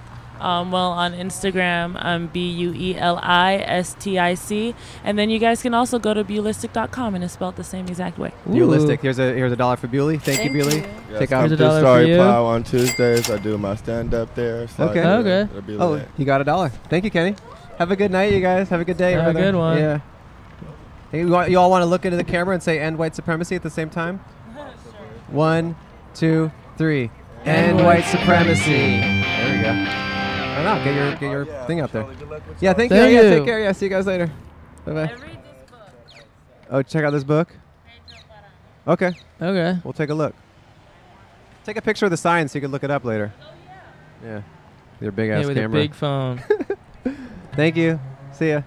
Speaker 9: Um, well, on Instagram, um, B U E L I S T I C. And then you guys can also go to Bulistic.com and it's spelled the same exact way.
Speaker 5: Bulistic. Here's a here's a dollar for Buelie. Thank,
Speaker 7: Thank
Speaker 5: you, Buelie.
Speaker 7: you.
Speaker 8: Yes,
Speaker 5: Check
Speaker 8: I'm
Speaker 5: out.
Speaker 4: Here's a
Speaker 8: through
Speaker 4: dollar for
Speaker 8: Sorry
Speaker 4: you.
Speaker 8: Plow on Tuesdays. I do my stand up there. So
Speaker 5: Okay.
Speaker 8: it'll-
Speaker 4: Okay.
Speaker 8: it'll be
Speaker 5: Oh,
Speaker 8: lit.
Speaker 5: he got a dollar. Thank you, Kenny. Have a good night, you guys. Have a good day.
Speaker 4: Have a
Speaker 5: brother.
Speaker 4: good one.
Speaker 5: Yeah. Hey, you, wa- you all want to look into the camera and say "End white supremacy" at the same time? One, two, three. End white supremacy. There we go. I don't know. Get your get your thing out there. Yeah. Thank,
Speaker 4: Thank
Speaker 5: you. Yeah.
Speaker 4: you.
Speaker 5: Take care. Yeah. See you guys later. Bye bye. Oh, check out this book. Okay.
Speaker 4: Okay.
Speaker 5: We'll take a look. Take a picture of the sign so you can look it up later. yeah. Your big ass
Speaker 4: Yeah, with a
Speaker 5: camera.
Speaker 4: big phone.
Speaker 5: Thank you. See ya.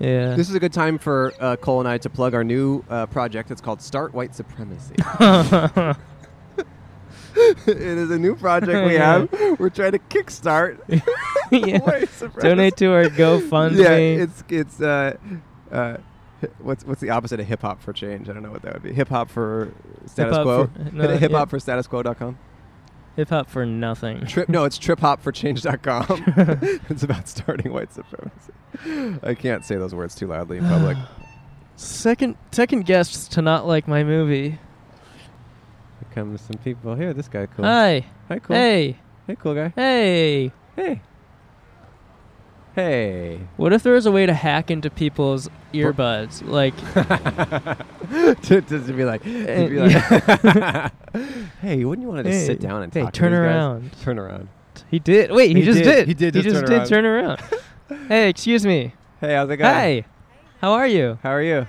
Speaker 4: yeah.
Speaker 5: This is a good time for uh, Cole and I to plug our new uh, project. It's called Start White Supremacy. it is a new project we have. We're trying to kickstart
Speaker 4: yeah.
Speaker 5: white supremacy.
Speaker 4: Donate to our GoFundMe.
Speaker 5: Yeah, it's it's uh, uh, hi- what's what's the opposite of hip hop for change? I don't know what that would be. Hip hop for status
Speaker 4: Hip-hop
Speaker 5: quo.
Speaker 4: for- no, yeah.
Speaker 5: hip hop for status quo.com.
Speaker 4: Hip hop for nothing.
Speaker 5: Trip no, it's triphopforchange.com. it's about starting white supremacy. I can't say those words too loudly in public.
Speaker 4: Second second guests to not like my movie.
Speaker 5: Here comes some people. Here, this guy cool.
Speaker 4: Hi.
Speaker 5: Hi, cool.
Speaker 4: Hey.
Speaker 5: hey, cool guy.
Speaker 4: Hey.
Speaker 5: Hey, hey.
Speaker 4: What if there was a way to hack into people's earbuds? Like
Speaker 5: to, to be like, to be
Speaker 4: Eh,
Speaker 5: like hey, wouldn't you want to just
Speaker 4: Hey,
Speaker 5: sit down and
Speaker 4: hey,
Speaker 5: talk to
Speaker 4: turn
Speaker 5: these guys?
Speaker 4: around.
Speaker 5: Turn around.
Speaker 4: he did. Wait, he,
Speaker 5: He
Speaker 4: just
Speaker 5: did.
Speaker 4: did.
Speaker 5: He did
Speaker 4: He
Speaker 5: just
Speaker 4: just
Speaker 5: turn
Speaker 4: did turn around. hey, excuse me.
Speaker 5: Hey, how's it going?
Speaker 4: Hi. How are you?
Speaker 5: How are you?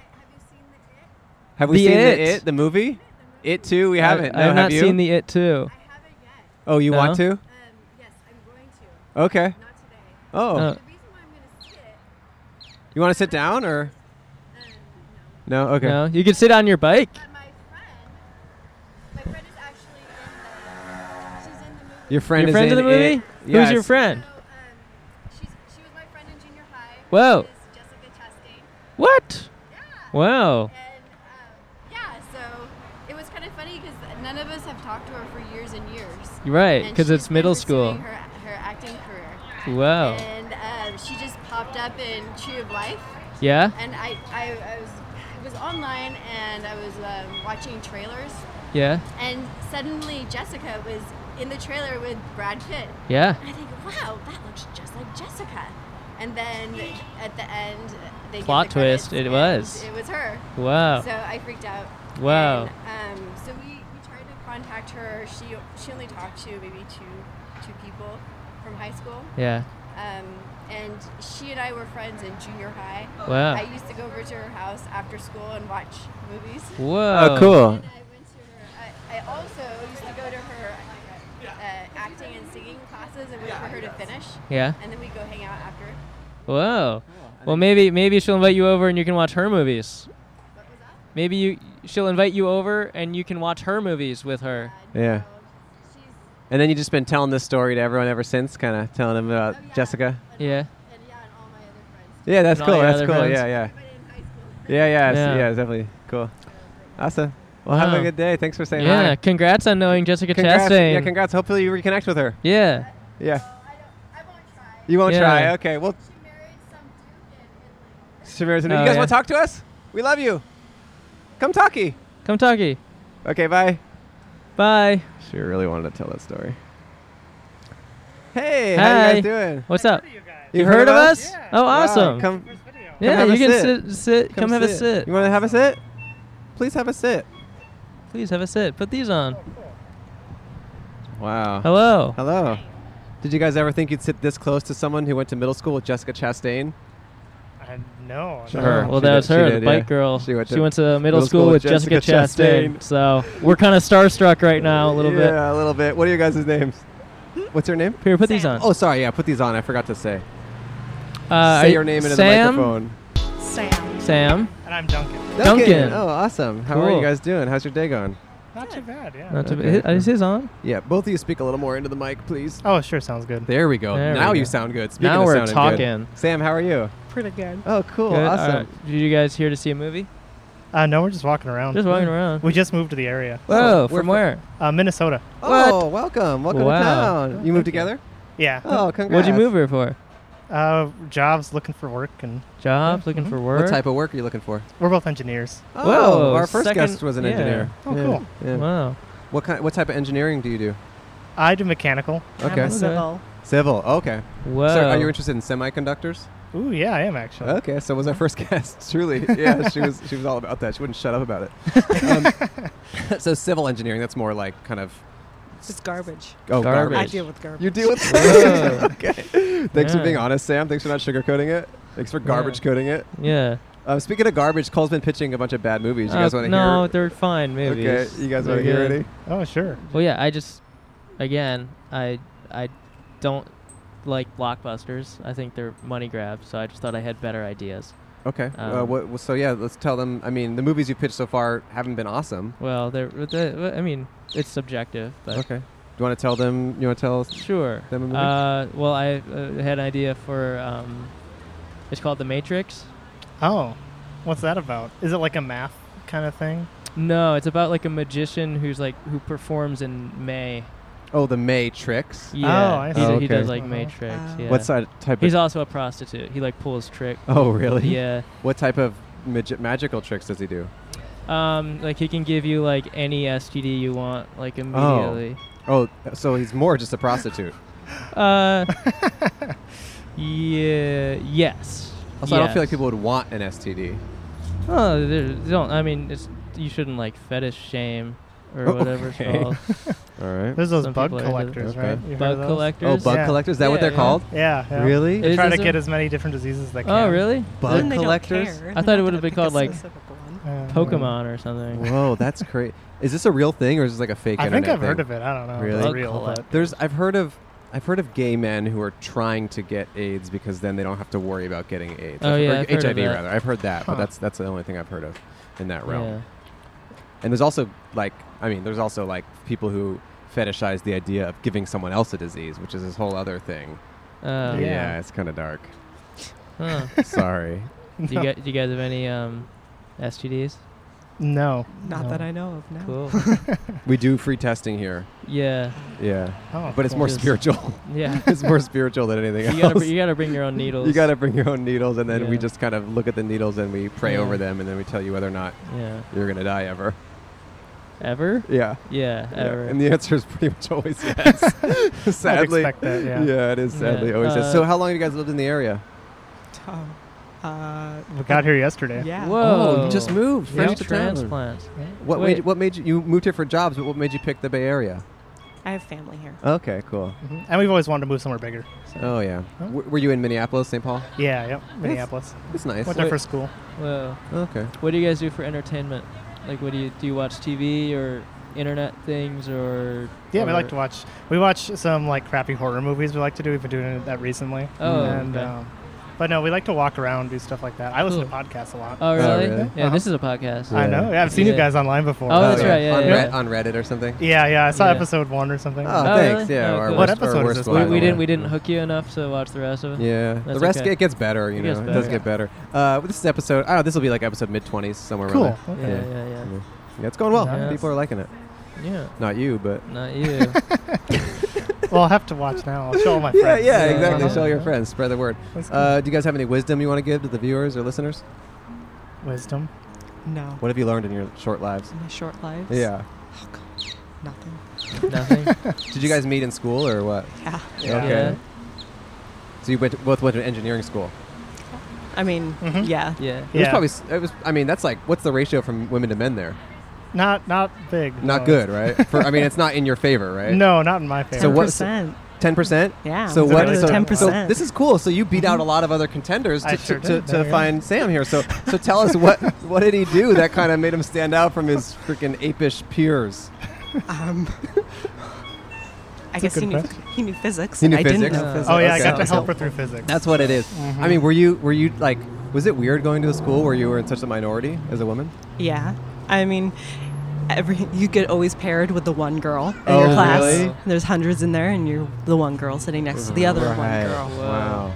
Speaker 5: Have we
Speaker 4: The
Speaker 5: seen
Speaker 4: It.
Speaker 5: the it, the movie? It too. We
Speaker 4: I-
Speaker 5: haven't.
Speaker 4: I,
Speaker 5: no,
Speaker 4: have not
Speaker 5: you?
Speaker 4: seen the It too.
Speaker 5: Oh, you want
Speaker 4: No.
Speaker 5: to? Okay. Oh.
Speaker 4: Uh,
Speaker 5: You want to sit down or? No. Okay.
Speaker 4: No, you could sit on your bike.
Speaker 5: Your friend
Speaker 4: your
Speaker 5: is
Speaker 4: friend
Speaker 5: in
Speaker 4: in the movie.
Speaker 5: It. Yes.
Speaker 4: Who's your friend?
Speaker 10: um,
Speaker 4: Whoa.
Speaker 10: Whoa.
Speaker 4: What? Wow.
Speaker 10: And um, yeah, so it was kind of funny because none of us have talked to her for years and years.
Speaker 4: You're Right,
Speaker 10: And
Speaker 4: because
Speaker 10: she's
Speaker 4: it's middle
Speaker 10: been pursuing
Speaker 4: school.
Speaker 10: Her, her acting career.
Speaker 4: Wow.
Speaker 10: And um, she just popped up in Tree of Life,
Speaker 4: Yeah.
Speaker 10: and I, I, I was I was online and I was um, watching trailers,
Speaker 4: Yeah.
Speaker 10: and suddenly Jessica was in the trailer with Brad Pitt.
Speaker 4: Yeah.
Speaker 10: And I think, wow, that looks just like Jessica. And then at the end, they give
Speaker 4: Plot
Speaker 10: the
Speaker 4: twist,
Speaker 10: credits,
Speaker 4: it
Speaker 10: and
Speaker 4: was.
Speaker 10: It was her.
Speaker 4: Wow.
Speaker 10: So I freaked out.
Speaker 4: Wow.
Speaker 10: And, um, so we, we tried to contact her. She she only talked to maybe two two people from high school.
Speaker 4: Yeah.
Speaker 10: Um, and she and I were friends in junior high. I
Speaker 4: Wow.
Speaker 10: used to go over to her house after school and watch movies.
Speaker 4: Whoa.
Speaker 5: Oh, cool.
Speaker 10: And I went to her. I, I also used to go to her uh, acting and singing classes and wait for her to finish,
Speaker 4: Yeah.
Speaker 10: and then we go hang out after.
Speaker 4: Whoa. Well, maybe maybe she'll invite you over and you can watch her movies.
Speaker 10: What was that?
Speaker 4: Maybe you she'll invite you over and you can watch her movies with her.
Speaker 5: Yeah.
Speaker 10: So she's
Speaker 5: And then you just been telling this story to everyone ever since, kind of telling them about
Speaker 10: Oh, yeah.
Speaker 5: Jessica.
Speaker 4: Yeah.
Speaker 10: and yeah, and all my other friends.
Speaker 5: Yeah, that's
Speaker 4: And all
Speaker 5: cool.
Speaker 4: your
Speaker 5: That's
Speaker 4: other
Speaker 5: cool.
Speaker 4: friends.
Speaker 5: Yeah, yeah,
Speaker 10: But in high school.
Speaker 5: yeah, yeah,
Speaker 4: Yeah.
Speaker 5: yeah. Yeah, definitely cool.
Speaker 4: Oh,
Speaker 5: Awesome. Well, have
Speaker 4: Wow.
Speaker 5: a good day. Thanks for saying
Speaker 4: Yeah.
Speaker 5: hi.
Speaker 4: Congrats on knowing Jessica
Speaker 5: Congrats.
Speaker 4: Chastain.
Speaker 5: Yeah, congrats. Hopefully you reconnect with her.
Speaker 4: Yeah.
Speaker 5: Yeah.
Speaker 10: I don't. I won't try.
Speaker 5: You won't
Speaker 4: Yeah.
Speaker 5: try. Okay. Well,
Speaker 10: She married some dude in Atlanta.
Speaker 5: Shamira's in-
Speaker 4: Oh,
Speaker 5: you guys
Speaker 4: yeah.
Speaker 5: want to talk to us? We love you. Come talkie.
Speaker 4: Come talkie.
Speaker 5: Okay. Bye.
Speaker 4: Bye.
Speaker 5: She really wanted to tell that story. Hey, how
Speaker 4: Hi.
Speaker 5: you guys doing?
Speaker 4: What's up?
Speaker 5: You
Speaker 4: You've heard of us? Oh,
Speaker 5: Wow,
Speaker 4: awesome.
Speaker 5: Come,
Speaker 4: yeah,
Speaker 5: have
Speaker 4: you
Speaker 5: a
Speaker 4: can
Speaker 5: sit.
Speaker 4: sit sit come, have a sit.
Speaker 5: You want to have a sit? Please have a sit.
Speaker 4: Please have a sit. Put these on.
Speaker 5: Wow.
Speaker 4: Hello.
Speaker 5: Hello. Did you guys ever think you'd sit this close to someone who went to middle school with Jessica Chastain?
Speaker 11: I know.
Speaker 5: Sure.
Speaker 4: Her. Well,
Speaker 5: She
Speaker 4: that
Speaker 5: did-
Speaker 4: was
Speaker 5: she
Speaker 4: her,
Speaker 5: did,
Speaker 4: the bike
Speaker 5: yeah.
Speaker 4: girl. She
Speaker 5: She
Speaker 4: went
Speaker 5: went
Speaker 4: to,
Speaker 5: to
Speaker 4: middle, school, with Jessica, Chastain.
Speaker 5: Chastain.
Speaker 4: So we're kind of starstruck right now a little
Speaker 5: yeah,
Speaker 4: bit.
Speaker 5: a little bit. What are your guys' names?
Speaker 11: Hmm?
Speaker 5: What's your name?
Speaker 4: Here, put these on.
Speaker 5: Oh, sorry. Yeah, put these on. I forgot to say.
Speaker 4: Uh,
Speaker 5: say
Speaker 4: are-
Speaker 5: your name into
Speaker 4: Sam,
Speaker 5: the microphone.
Speaker 10: Sam.
Speaker 4: Sam.
Speaker 11: And I'm Duncan.
Speaker 4: Duncan.
Speaker 5: Oh, awesome. How are
Speaker 4: Cool.
Speaker 5: you guys doing? How's your day going?
Speaker 11: Not too bad, yeah.
Speaker 4: Not to be,
Speaker 5: Okay.
Speaker 4: is his on?
Speaker 5: Yeah, both of you speak a little more into the mic, please.
Speaker 11: oh, sure, sounds good.
Speaker 5: There we go.
Speaker 4: There we
Speaker 5: now
Speaker 4: go.
Speaker 5: you sound good. Speaking
Speaker 4: Now
Speaker 5: of
Speaker 4: we're
Speaker 5: sounding good.
Speaker 4: talking.
Speaker 5: Sam, how are you?
Speaker 11: Pretty good.
Speaker 5: Oh, cool.
Speaker 4: Good. uh,
Speaker 5: Awesome.
Speaker 4: Alright. Did you guys here to see a movie?
Speaker 11: Uh, no, we're just walking around.
Speaker 4: Just walking around.
Speaker 11: We just moved to the area.
Speaker 4: Whoa,
Speaker 5: we're
Speaker 4: from
Speaker 5: fr-
Speaker 4: where?
Speaker 11: Uh, Minnesota.
Speaker 5: Oh, welcome. Welcome
Speaker 4: Wow.
Speaker 5: to town. You moved together?
Speaker 11: Yeah.
Speaker 5: Oh,
Speaker 4: What'd you move here for?
Speaker 11: Uh, jobs, looking for work, and Mm-hmm.
Speaker 4: Jobs, looking for work.
Speaker 5: Mm-hmm. What type of work are you looking for?
Speaker 11: we're both engineers.
Speaker 5: Oh, our first
Speaker 4: second-
Speaker 5: guest was an
Speaker 4: yeah.
Speaker 5: engineer.
Speaker 11: Oh, cool.
Speaker 4: Wow.
Speaker 5: What kind? What type of engineering do you do?
Speaker 11: I do mechanical.
Speaker 5: Okay.
Speaker 9: civil.
Speaker 5: Civil. Okay. So,
Speaker 4: Whoa.
Speaker 5: are you interested in semiconductors?
Speaker 11: Ooh, yeah, I am actually.
Speaker 5: Okay. So, was our first guest truly? Yeah, she was. She was all about that. She wouldn't shut up about it. Um, so, civil engineering. That's more like kind of.
Speaker 12: It's garbage.
Speaker 5: Oh, garbage.
Speaker 12: I deal with garbage.
Speaker 5: You deal with
Speaker 12: Whoa.
Speaker 5: garbage. okay. Thanks for
Speaker 12: Yeah.
Speaker 5: being honest, Sam. Thanks for not sugarcoating it. Thanks for garbage coding it.
Speaker 4: Yeah.
Speaker 5: Uh, speaking of garbage, Cole's been pitching a bunch of bad movies. You
Speaker 4: Uh,
Speaker 5: guys want to hear?
Speaker 4: no, they're fine movies.
Speaker 5: Okay, you guys
Speaker 4: They're
Speaker 5: want to hear
Speaker 4: good.
Speaker 5: any?
Speaker 11: Oh, sure.
Speaker 4: Well, yeah, I just, again, I, I don't like blockbusters. I think they're money grabs. So I just thought I had better ideas.
Speaker 5: Okay. uh,
Speaker 4: Um,
Speaker 5: what, well, so yeah, let's tell them. I mean, the movies you pitched so far haven't been awesome.
Speaker 4: Well, they're, they're, I mean, it's subjective, but
Speaker 5: okay. Do you want to tell them? You want to tell? us-
Speaker 4: Sure.
Speaker 5: Them a movie?
Speaker 4: Uh, well, I uh, had an idea for. Um, it's called The Matrix.
Speaker 11: Oh, what's that about? Is it like a math kind of thing?
Speaker 4: No, it's about like a magician who's like who performs in May.
Speaker 5: oh, the May tricks.
Speaker 4: Yeah.
Speaker 11: Oh, I
Speaker 4: he's a-
Speaker 5: see.
Speaker 4: He does
Speaker 5: Okay.
Speaker 4: like May
Speaker 11: Uh-huh.
Speaker 4: tricks. Yeah.
Speaker 5: What side type?
Speaker 4: He's
Speaker 5: of,
Speaker 4: also a prostitute. He like pulls trick.
Speaker 5: oh, really?
Speaker 4: Yeah.
Speaker 5: What type of magi- magical tricks does he do?
Speaker 4: Um, like he can give you like any STD you want, like immediately.
Speaker 5: Oh. Oh, so he's more just a prostitute.
Speaker 4: Uh. yeah. Yes.
Speaker 5: Also, I don't feel like
Speaker 4: yes.
Speaker 5: people would want an STD.
Speaker 4: Oh, there- don't. I mean, it's you shouldn't like fetish shame or
Speaker 5: Oh,
Speaker 4: whatever it's
Speaker 5: okay.
Speaker 4: called.
Speaker 5: All right.
Speaker 11: There's those
Speaker 4: Some
Speaker 11: bug
Speaker 4: people are into
Speaker 11: collectors,
Speaker 5: Okay.
Speaker 11: right? You heard
Speaker 4: Bug
Speaker 11: of those?
Speaker 4: collectors.
Speaker 5: Oh, bug collectors. Is that what
Speaker 4: Yeah,
Speaker 5: they're
Speaker 4: yeah.
Speaker 5: called?
Speaker 11: Yeah. yeah.
Speaker 5: Really?
Speaker 11: They
Speaker 4: Is
Speaker 11: try to
Speaker 4: this
Speaker 11: get
Speaker 4: a-
Speaker 11: as many different diseases as they can.
Speaker 4: Oh, really?
Speaker 5: Bug
Speaker 12: Then they don't
Speaker 5: collectors.
Speaker 12: care.
Speaker 4: I
Speaker 12: They're
Speaker 4: thought it
Speaker 12: not
Speaker 4: would
Speaker 12: gonna
Speaker 4: have been
Speaker 12: pick a
Speaker 4: called like
Speaker 12: specific one.
Speaker 11: Uh,
Speaker 4: Pokemon or something.
Speaker 5: Whoa, that's crazy. Is this a real thing or is this like a fake?
Speaker 11: I think
Speaker 5: internet
Speaker 11: I've heard
Speaker 5: thing?
Speaker 11: of it. I don't know. If
Speaker 5: Really?
Speaker 11: it's real, but
Speaker 5: There's I've heard of I've heard of gay men who are trying to get AIDS because then they don't have to worry about getting AIDS.
Speaker 4: Oh,
Speaker 5: I've-
Speaker 4: yeah,
Speaker 5: or
Speaker 4: I've heard
Speaker 5: HIV
Speaker 4: of that.
Speaker 5: rather. I've heard that,
Speaker 11: Huh.
Speaker 5: but that's that's the only thing I've heard of in that realm.
Speaker 4: Yeah.
Speaker 5: And there's also like I mean, there's also like people who fetishize the idea of giving someone else a disease, which is this whole other thing.
Speaker 4: Uh,
Speaker 11: Yeah.
Speaker 5: it's kind of dark.
Speaker 4: huh.
Speaker 5: Sorry.
Speaker 4: do, you guys, do you guys have any um, STDs?
Speaker 11: no.
Speaker 12: Not
Speaker 11: no.
Speaker 12: that I know of. No.
Speaker 4: Cool.
Speaker 5: We do free testing here.
Speaker 4: yeah.
Speaker 5: Yeah.
Speaker 11: Oh,
Speaker 5: But it's
Speaker 11: cool.
Speaker 5: more
Speaker 4: Just-
Speaker 5: spiritual.
Speaker 4: Yeah.
Speaker 5: it's more spiritual than anything
Speaker 4: You
Speaker 5: else.
Speaker 4: gotta, br- you gotta bring your own needles.
Speaker 5: You got to bring your own needles, and then we
Speaker 4: Yeah.
Speaker 5: just kind of look at the needles and we pray
Speaker 4: Yeah.
Speaker 5: over them, and then we tell you whether or not
Speaker 4: Yeah.
Speaker 5: you're going to die ever.
Speaker 4: Ever?
Speaker 5: Yeah.
Speaker 4: Yeah.
Speaker 5: Yeah.
Speaker 4: Ever.
Speaker 5: And the answer is pretty much always yes. sadly.
Speaker 11: expect that, yeah.
Speaker 5: it is
Speaker 4: Yeah.
Speaker 5: sadly always yes.
Speaker 4: Uh,
Speaker 5: So, how long have you guys lived in the area?
Speaker 12: Oh, uh,
Speaker 11: We got here yesterday.
Speaker 12: yeah.
Speaker 4: Whoa.
Speaker 5: Oh, you just moved.
Speaker 4: No
Speaker 5: French to town.
Speaker 4: transplants.
Speaker 5: What
Speaker 4: Wait.
Speaker 5: made, what made you, you moved here for jobs, but what made you pick the Bay Area?
Speaker 12: I have family here.
Speaker 5: Okay, cool.
Speaker 11: Mhm. And we've always wanted to move somewhere bigger. So.
Speaker 5: Oh, yeah.
Speaker 11: Huh?
Speaker 5: W- were you in Minneapolis, St. Paul?
Speaker 11: Yeah. Yep. Minneapolis.
Speaker 5: It's nice.
Speaker 11: Went there for school.
Speaker 4: Whoa.
Speaker 5: okay.
Speaker 4: What do you guys do for entertainment? Like, what do you do? You watch TV or internet things or?
Speaker 11: Yeah, we like
Speaker 4: or-
Speaker 11: to watch. We watch some like crappy horror movies. We like to do. We've been doing that recently.
Speaker 4: Oh,
Speaker 11: And,
Speaker 4: okay.
Speaker 11: um, but no, we like to walk around, do stuff like that. I listen to
Speaker 4: Cool.
Speaker 11: podcasts a lot. Uh-huh.
Speaker 4: Oh really?
Speaker 5: really? Uh-huh.
Speaker 4: Yeah, this is a podcast.
Speaker 11: I know. Yeah, I've seen
Speaker 4: Yeah.
Speaker 11: you guys online before.
Speaker 4: Oh, that's
Speaker 11: yeah.
Speaker 4: right, yeah,
Speaker 5: on,
Speaker 4: yeah,
Speaker 5: Red-
Speaker 4: yeah.
Speaker 5: on Reddit or something?
Speaker 11: Yeah, yeah. I saw
Speaker 4: Yeah.
Speaker 11: episode one or something.
Speaker 5: Oh,
Speaker 4: Oh,
Speaker 5: thanks.
Speaker 4: really?
Speaker 5: Yeah.
Speaker 4: Oh,
Speaker 5: our
Speaker 4: cool.
Speaker 11: What
Speaker 5: worst- our
Speaker 11: episode is
Speaker 5: worst
Speaker 11: this?
Speaker 5: one,
Speaker 4: We,
Speaker 5: I
Speaker 4: we
Speaker 5: don't
Speaker 4: didn't
Speaker 5: know.
Speaker 4: we didn't hook you enough to watch the rest of it.
Speaker 5: Yeah, the
Speaker 4: That's
Speaker 5: rest
Speaker 4: okay.
Speaker 5: it gets better, you
Speaker 4: It
Speaker 5: know.
Speaker 4: gets
Speaker 5: It does
Speaker 4: better.
Speaker 5: get better. Uh, this is episode. I don't know. This will be like episode mid twenties somewhere
Speaker 11: Cool.
Speaker 5: around
Speaker 11: Okay.
Speaker 5: there.
Speaker 4: Yeah, yeah, yeah.
Speaker 5: Yeah, it's going well.
Speaker 11: Nice.
Speaker 5: People are liking it.
Speaker 4: Yeah.
Speaker 5: Not you, but
Speaker 4: Not you.
Speaker 11: well, I'll have to watch now. I'll show all my
Speaker 5: yeah,
Speaker 11: friends.
Speaker 5: yeah,
Speaker 4: Yeah.
Speaker 5: exactly.
Speaker 4: Uh-huh.
Speaker 5: Show your friends. Spread the word.
Speaker 11: That's cool.
Speaker 5: Uh, do you guys have any wisdom you want to give to the viewers or listeners?
Speaker 11: Wisdom.
Speaker 12: No.
Speaker 5: What have you learned in your short lives?
Speaker 12: My short lives. Oh,
Speaker 5: Yeah.
Speaker 12: Nothing.
Speaker 4: Nothing.
Speaker 5: Did you guys meet in school or what?
Speaker 12: Yeah.
Speaker 11: Yeah.
Speaker 5: Okay. So you went to, both went to engineering school.
Speaker 12: I mean,
Speaker 5: Mm-hmm.
Speaker 11: Mhm.
Speaker 12: yeah.
Speaker 4: Yeah. Yeah.
Speaker 5: It was
Speaker 11: Yeah.
Speaker 5: probably. s- It was. I mean, that's like. What's the ratio from women to men there?
Speaker 11: Not not big.
Speaker 5: Not
Speaker 11: no.
Speaker 5: good, right? For, I mean, it's not in your favor, right?
Speaker 11: No, not in my favor.
Speaker 5: So
Speaker 12: Ten
Speaker 5: what-
Speaker 12: percent.
Speaker 5: Ten percent.
Speaker 12: Yeah.
Speaker 5: So
Speaker 11: It's
Speaker 5: what?
Speaker 11: really
Speaker 5: So,
Speaker 11: tough.
Speaker 5: so
Speaker 12: 10%.
Speaker 5: this is cool. So you beat out a
Speaker 12: Mm-hmm.
Speaker 5: lot of other contenders
Speaker 11: I
Speaker 5: to,
Speaker 11: sure
Speaker 5: to,
Speaker 11: did.
Speaker 5: to,
Speaker 11: There
Speaker 5: to
Speaker 11: you
Speaker 5: find Sam here. So so tell us what what did he do that kind of made him stand out from his freaking apish peers?
Speaker 12: Um, I guess
Speaker 11: good
Speaker 12: he knew,
Speaker 11: question.
Speaker 12: he knew physics.
Speaker 5: He
Speaker 12: and
Speaker 5: knew
Speaker 12: I
Speaker 5: physics?
Speaker 12: Didn't know
Speaker 4: Oh,
Speaker 12: physics.
Speaker 11: Oh yeah, I
Speaker 5: Okay.
Speaker 11: got to
Speaker 5: So-
Speaker 11: help her through physics. Mm-hmm.
Speaker 5: That's what it is. I mean, were you were you like? Was it weird going to a school where you were in such a minority as a woman?
Speaker 12: Yeah. I mean, every you get always paired with the one girl in
Speaker 5: Oh,
Speaker 12: your class.
Speaker 5: really?
Speaker 12: There's hundreds in there, and you're the one girl sitting next to the other
Speaker 5: Right.
Speaker 12: one girl.
Speaker 5: Wow.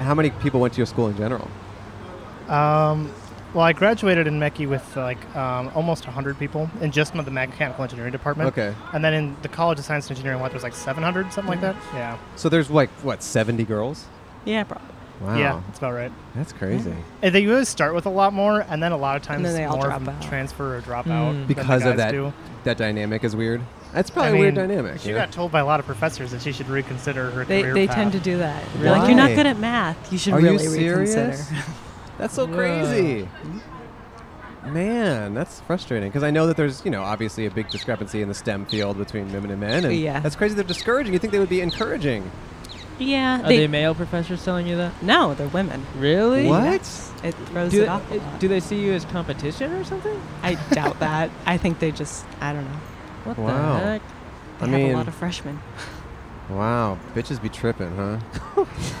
Speaker 5: How many people went to your school in general?
Speaker 11: Um, Well, I graduated in Mechie with like um, almost 100 people in just the mechanical engineering department.
Speaker 5: Okay.
Speaker 11: And then in the College of Science and Engineering, what, there's like 700, something like that? Yeah.
Speaker 5: So there's like what, 70 girls?
Speaker 12: Yeah, probably.
Speaker 5: Wow.
Speaker 11: Yeah, that's about right.
Speaker 5: That's crazy.
Speaker 11: And they usually start with a lot more, and then a lot of times
Speaker 12: then they all
Speaker 11: more
Speaker 12: drop
Speaker 11: of them
Speaker 12: out. Mm.
Speaker 11: transfer or drop out than Mm-hmm. the
Speaker 5: Because of
Speaker 11: guys
Speaker 5: that,
Speaker 11: do.
Speaker 5: that dynamic is weird. That's
Speaker 11: I
Speaker 5: probably a weird
Speaker 11: mean,
Speaker 5: dynamic.
Speaker 11: She
Speaker 5: you know?
Speaker 11: got told by a lot of professors that she should reconsider her
Speaker 12: They,
Speaker 11: career
Speaker 12: they
Speaker 11: path.
Speaker 12: tend to do that. They're Like, you're not
Speaker 5: Why?
Speaker 12: good at math. You should
Speaker 5: Are you
Speaker 12: really reconsider.
Speaker 5: serious? That's so crazy. Man, that's frustrating because I know that there's, you know, obviously a big discrepancy in the STEM field between women and men, and
Speaker 12: Yeah.
Speaker 5: that's crazy. They're discouraging. You think they would be encouraging?
Speaker 12: Yeah.
Speaker 4: Are they male professors telling you that?
Speaker 12: Uh, No, they're women.
Speaker 4: Really?
Speaker 5: What?
Speaker 12: Yes. It throws
Speaker 4: Do
Speaker 12: it
Speaker 4: they-
Speaker 12: off. a lot.
Speaker 4: Do they see you as competition or something?
Speaker 12: I doubt that. I think they just, I don't know.
Speaker 4: What
Speaker 5: Wow.
Speaker 4: the heck?
Speaker 12: They
Speaker 5: I
Speaker 12: have
Speaker 5: mean,
Speaker 12: a lot of freshmen.
Speaker 5: wow, bitches be tripping, huh?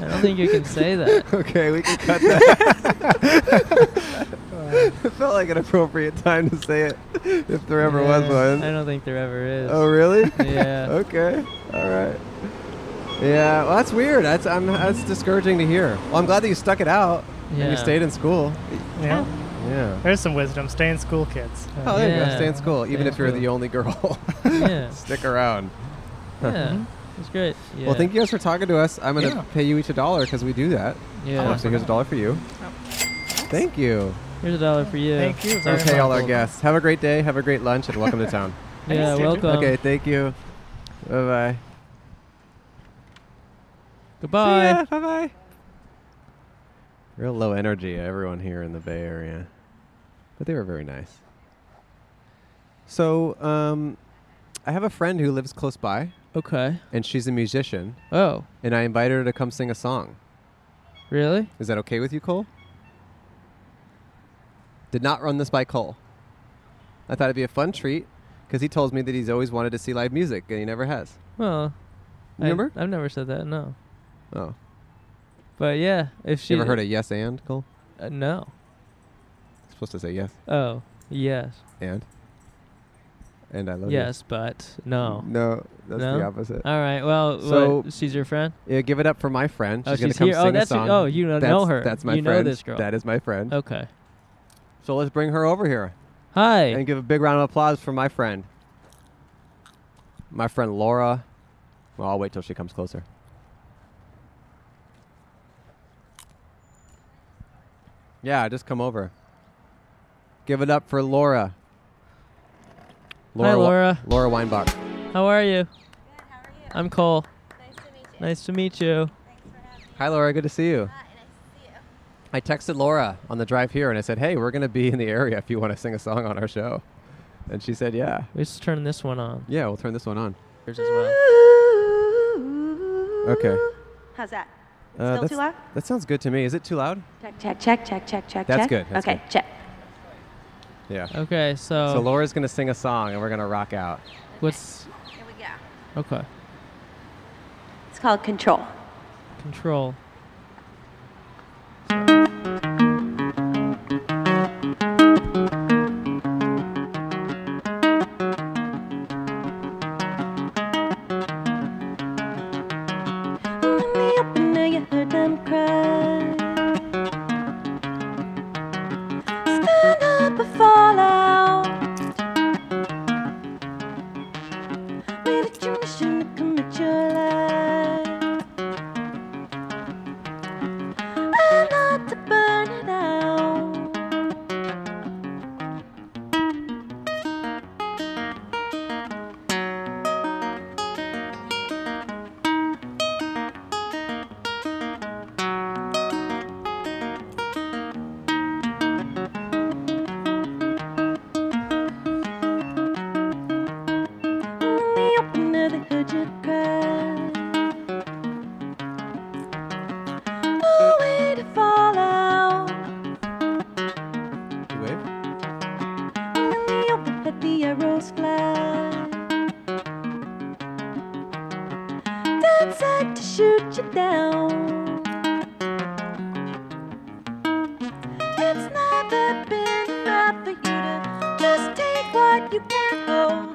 Speaker 4: I don't think you can say that.
Speaker 5: okay, we can cut that. it felt like an appropriate time to say it, if there ever was
Speaker 4: Yeah,
Speaker 5: one.
Speaker 4: I don't think there ever is.
Speaker 5: Oh, really?
Speaker 4: Yeah.
Speaker 5: okay. All right. Yeah. Well, that's weird. That's I'm, that's discouraging to hear. Well, I'm glad that you stuck it out and
Speaker 4: Yeah.
Speaker 5: you stayed in school.
Speaker 11: Yeah.
Speaker 5: Yeah.
Speaker 11: There's some wisdom. Stay in school, kids.
Speaker 5: Oh, there you go.
Speaker 4: Yeah.
Speaker 5: Stay in school, even
Speaker 4: Stay
Speaker 5: if
Speaker 4: in
Speaker 5: you're
Speaker 4: school.
Speaker 5: the only girl.
Speaker 4: Yeah.
Speaker 5: Stick around.
Speaker 4: Yeah. It's great. Yeah.
Speaker 5: Well, thank you guys for talking to us. I'm gonna
Speaker 11: Yeah.
Speaker 5: pay you each a dollar because we do that.
Speaker 4: Yeah.
Speaker 5: Um, so here's a dollar for you. Thank you.
Speaker 4: Here's a dollar for you.
Speaker 11: Thank you. Very
Speaker 5: Okay, all our
Speaker 11: helpful.
Speaker 5: guests. Have a great day. Have a great lunch, and welcome to town.
Speaker 4: Yeah,
Speaker 11: Thanks, dude.
Speaker 4: welcome.
Speaker 5: Okay, thank you. Bye bye.
Speaker 4: Goodbye.
Speaker 5: Bye bye. Real low energy, everyone here in the Bay Area. But they were very nice. So, um, I have a friend who lives close by,
Speaker 4: Okay.
Speaker 5: and she's a musician,
Speaker 4: Oh,
Speaker 5: and I invited her to come sing a song.
Speaker 4: really?
Speaker 5: Is that okay with you, Cole? Did not run this by Cole. I thought it'd be a fun treat because he told me that he's always wanted to see live music, and he never has.
Speaker 4: Well, I-
Speaker 5: Remember?
Speaker 4: I've never said that. No.
Speaker 5: Oh.
Speaker 4: But yeah, if she
Speaker 5: You ever heard of yes and, Cole?
Speaker 4: Uh, no.
Speaker 5: supposed to say yes
Speaker 4: Oh, yes.
Speaker 5: and. And I love you.
Speaker 4: yes, but no.
Speaker 5: No, that's the
Speaker 4: No?
Speaker 5: opposite.
Speaker 4: All right. Well,
Speaker 5: So-
Speaker 4: what, she's your friend.
Speaker 5: Yeah, give it up for my friend.
Speaker 4: Oh,
Speaker 5: She's gonna
Speaker 4: she's
Speaker 5: come
Speaker 4: here. Oh,
Speaker 5: sing
Speaker 4: that's
Speaker 5: a
Speaker 4: your-
Speaker 5: song.
Speaker 4: oh, you know- know
Speaker 5: That's-
Speaker 4: her.
Speaker 5: That's my
Speaker 4: You know
Speaker 5: friend.
Speaker 4: this girl.
Speaker 5: That is my friend.
Speaker 4: Okay.
Speaker 5: So let's bring her over here
Speaker 4: Hi.
Speaker 5: and give a big round of applause for my friend. My friend Laura. Well, I'll wait till she comes closer. Yeah, just come over. Give it up for Laura.
Speaker 4: Hi,
Speaker 5: Wa-
Speaker 4: Laura.
Speaker 5: Laura Weinbach.
Speaker 4: How are you? Good. How are you? I'm Cole. Nice to meet you.
Speaker 5: Hi, Laura. Good to see you. I texted Laura on the drive here and I said, "Hey, we're gonna be in the area if you want to sing a song on our show," and she said, "Yeah,
Speaker 4: We just turn this one on.
Speaker 5: yeah, we'll turn this one on."
Speaker 4: Yours as well.
Speaker 5: Okay.
Speaker 13: How's that?
Speaker 5: Uh,
Speaker 13: Still
Speaker 5: that's-
Speaker 13: too loud?
Speaker 5: That sounds good to me. Is it too loud?
Speaker 13: Check, check, check, check, check, check.
Speaker 5: That's
Speaker 13: check.
Speaker 5: good, that's
Speaker 13: okay, check.
Speaker 5: Yeah.
Speaker 4: Okay. So.
Speaker 5: So Laura's gonna sing a song and we're gonna rock out.
Speaker 4: What's
Speaker 13: Here we go.
Speaker 4: okay?
Speaker 13: It's called Control.
Speaker 4: Control.
Speaker 13: Lift me up and now you heard them cry. Stand up or fall out. Made it your mission to commit your life. And not to burn it out. me up another hood you cry. No way to fall out.
Speaker 5: You wave?
Speaker 13: When the open let the arrows fly. That's like to shoot you down. It's never been right for you to just take what you can hold.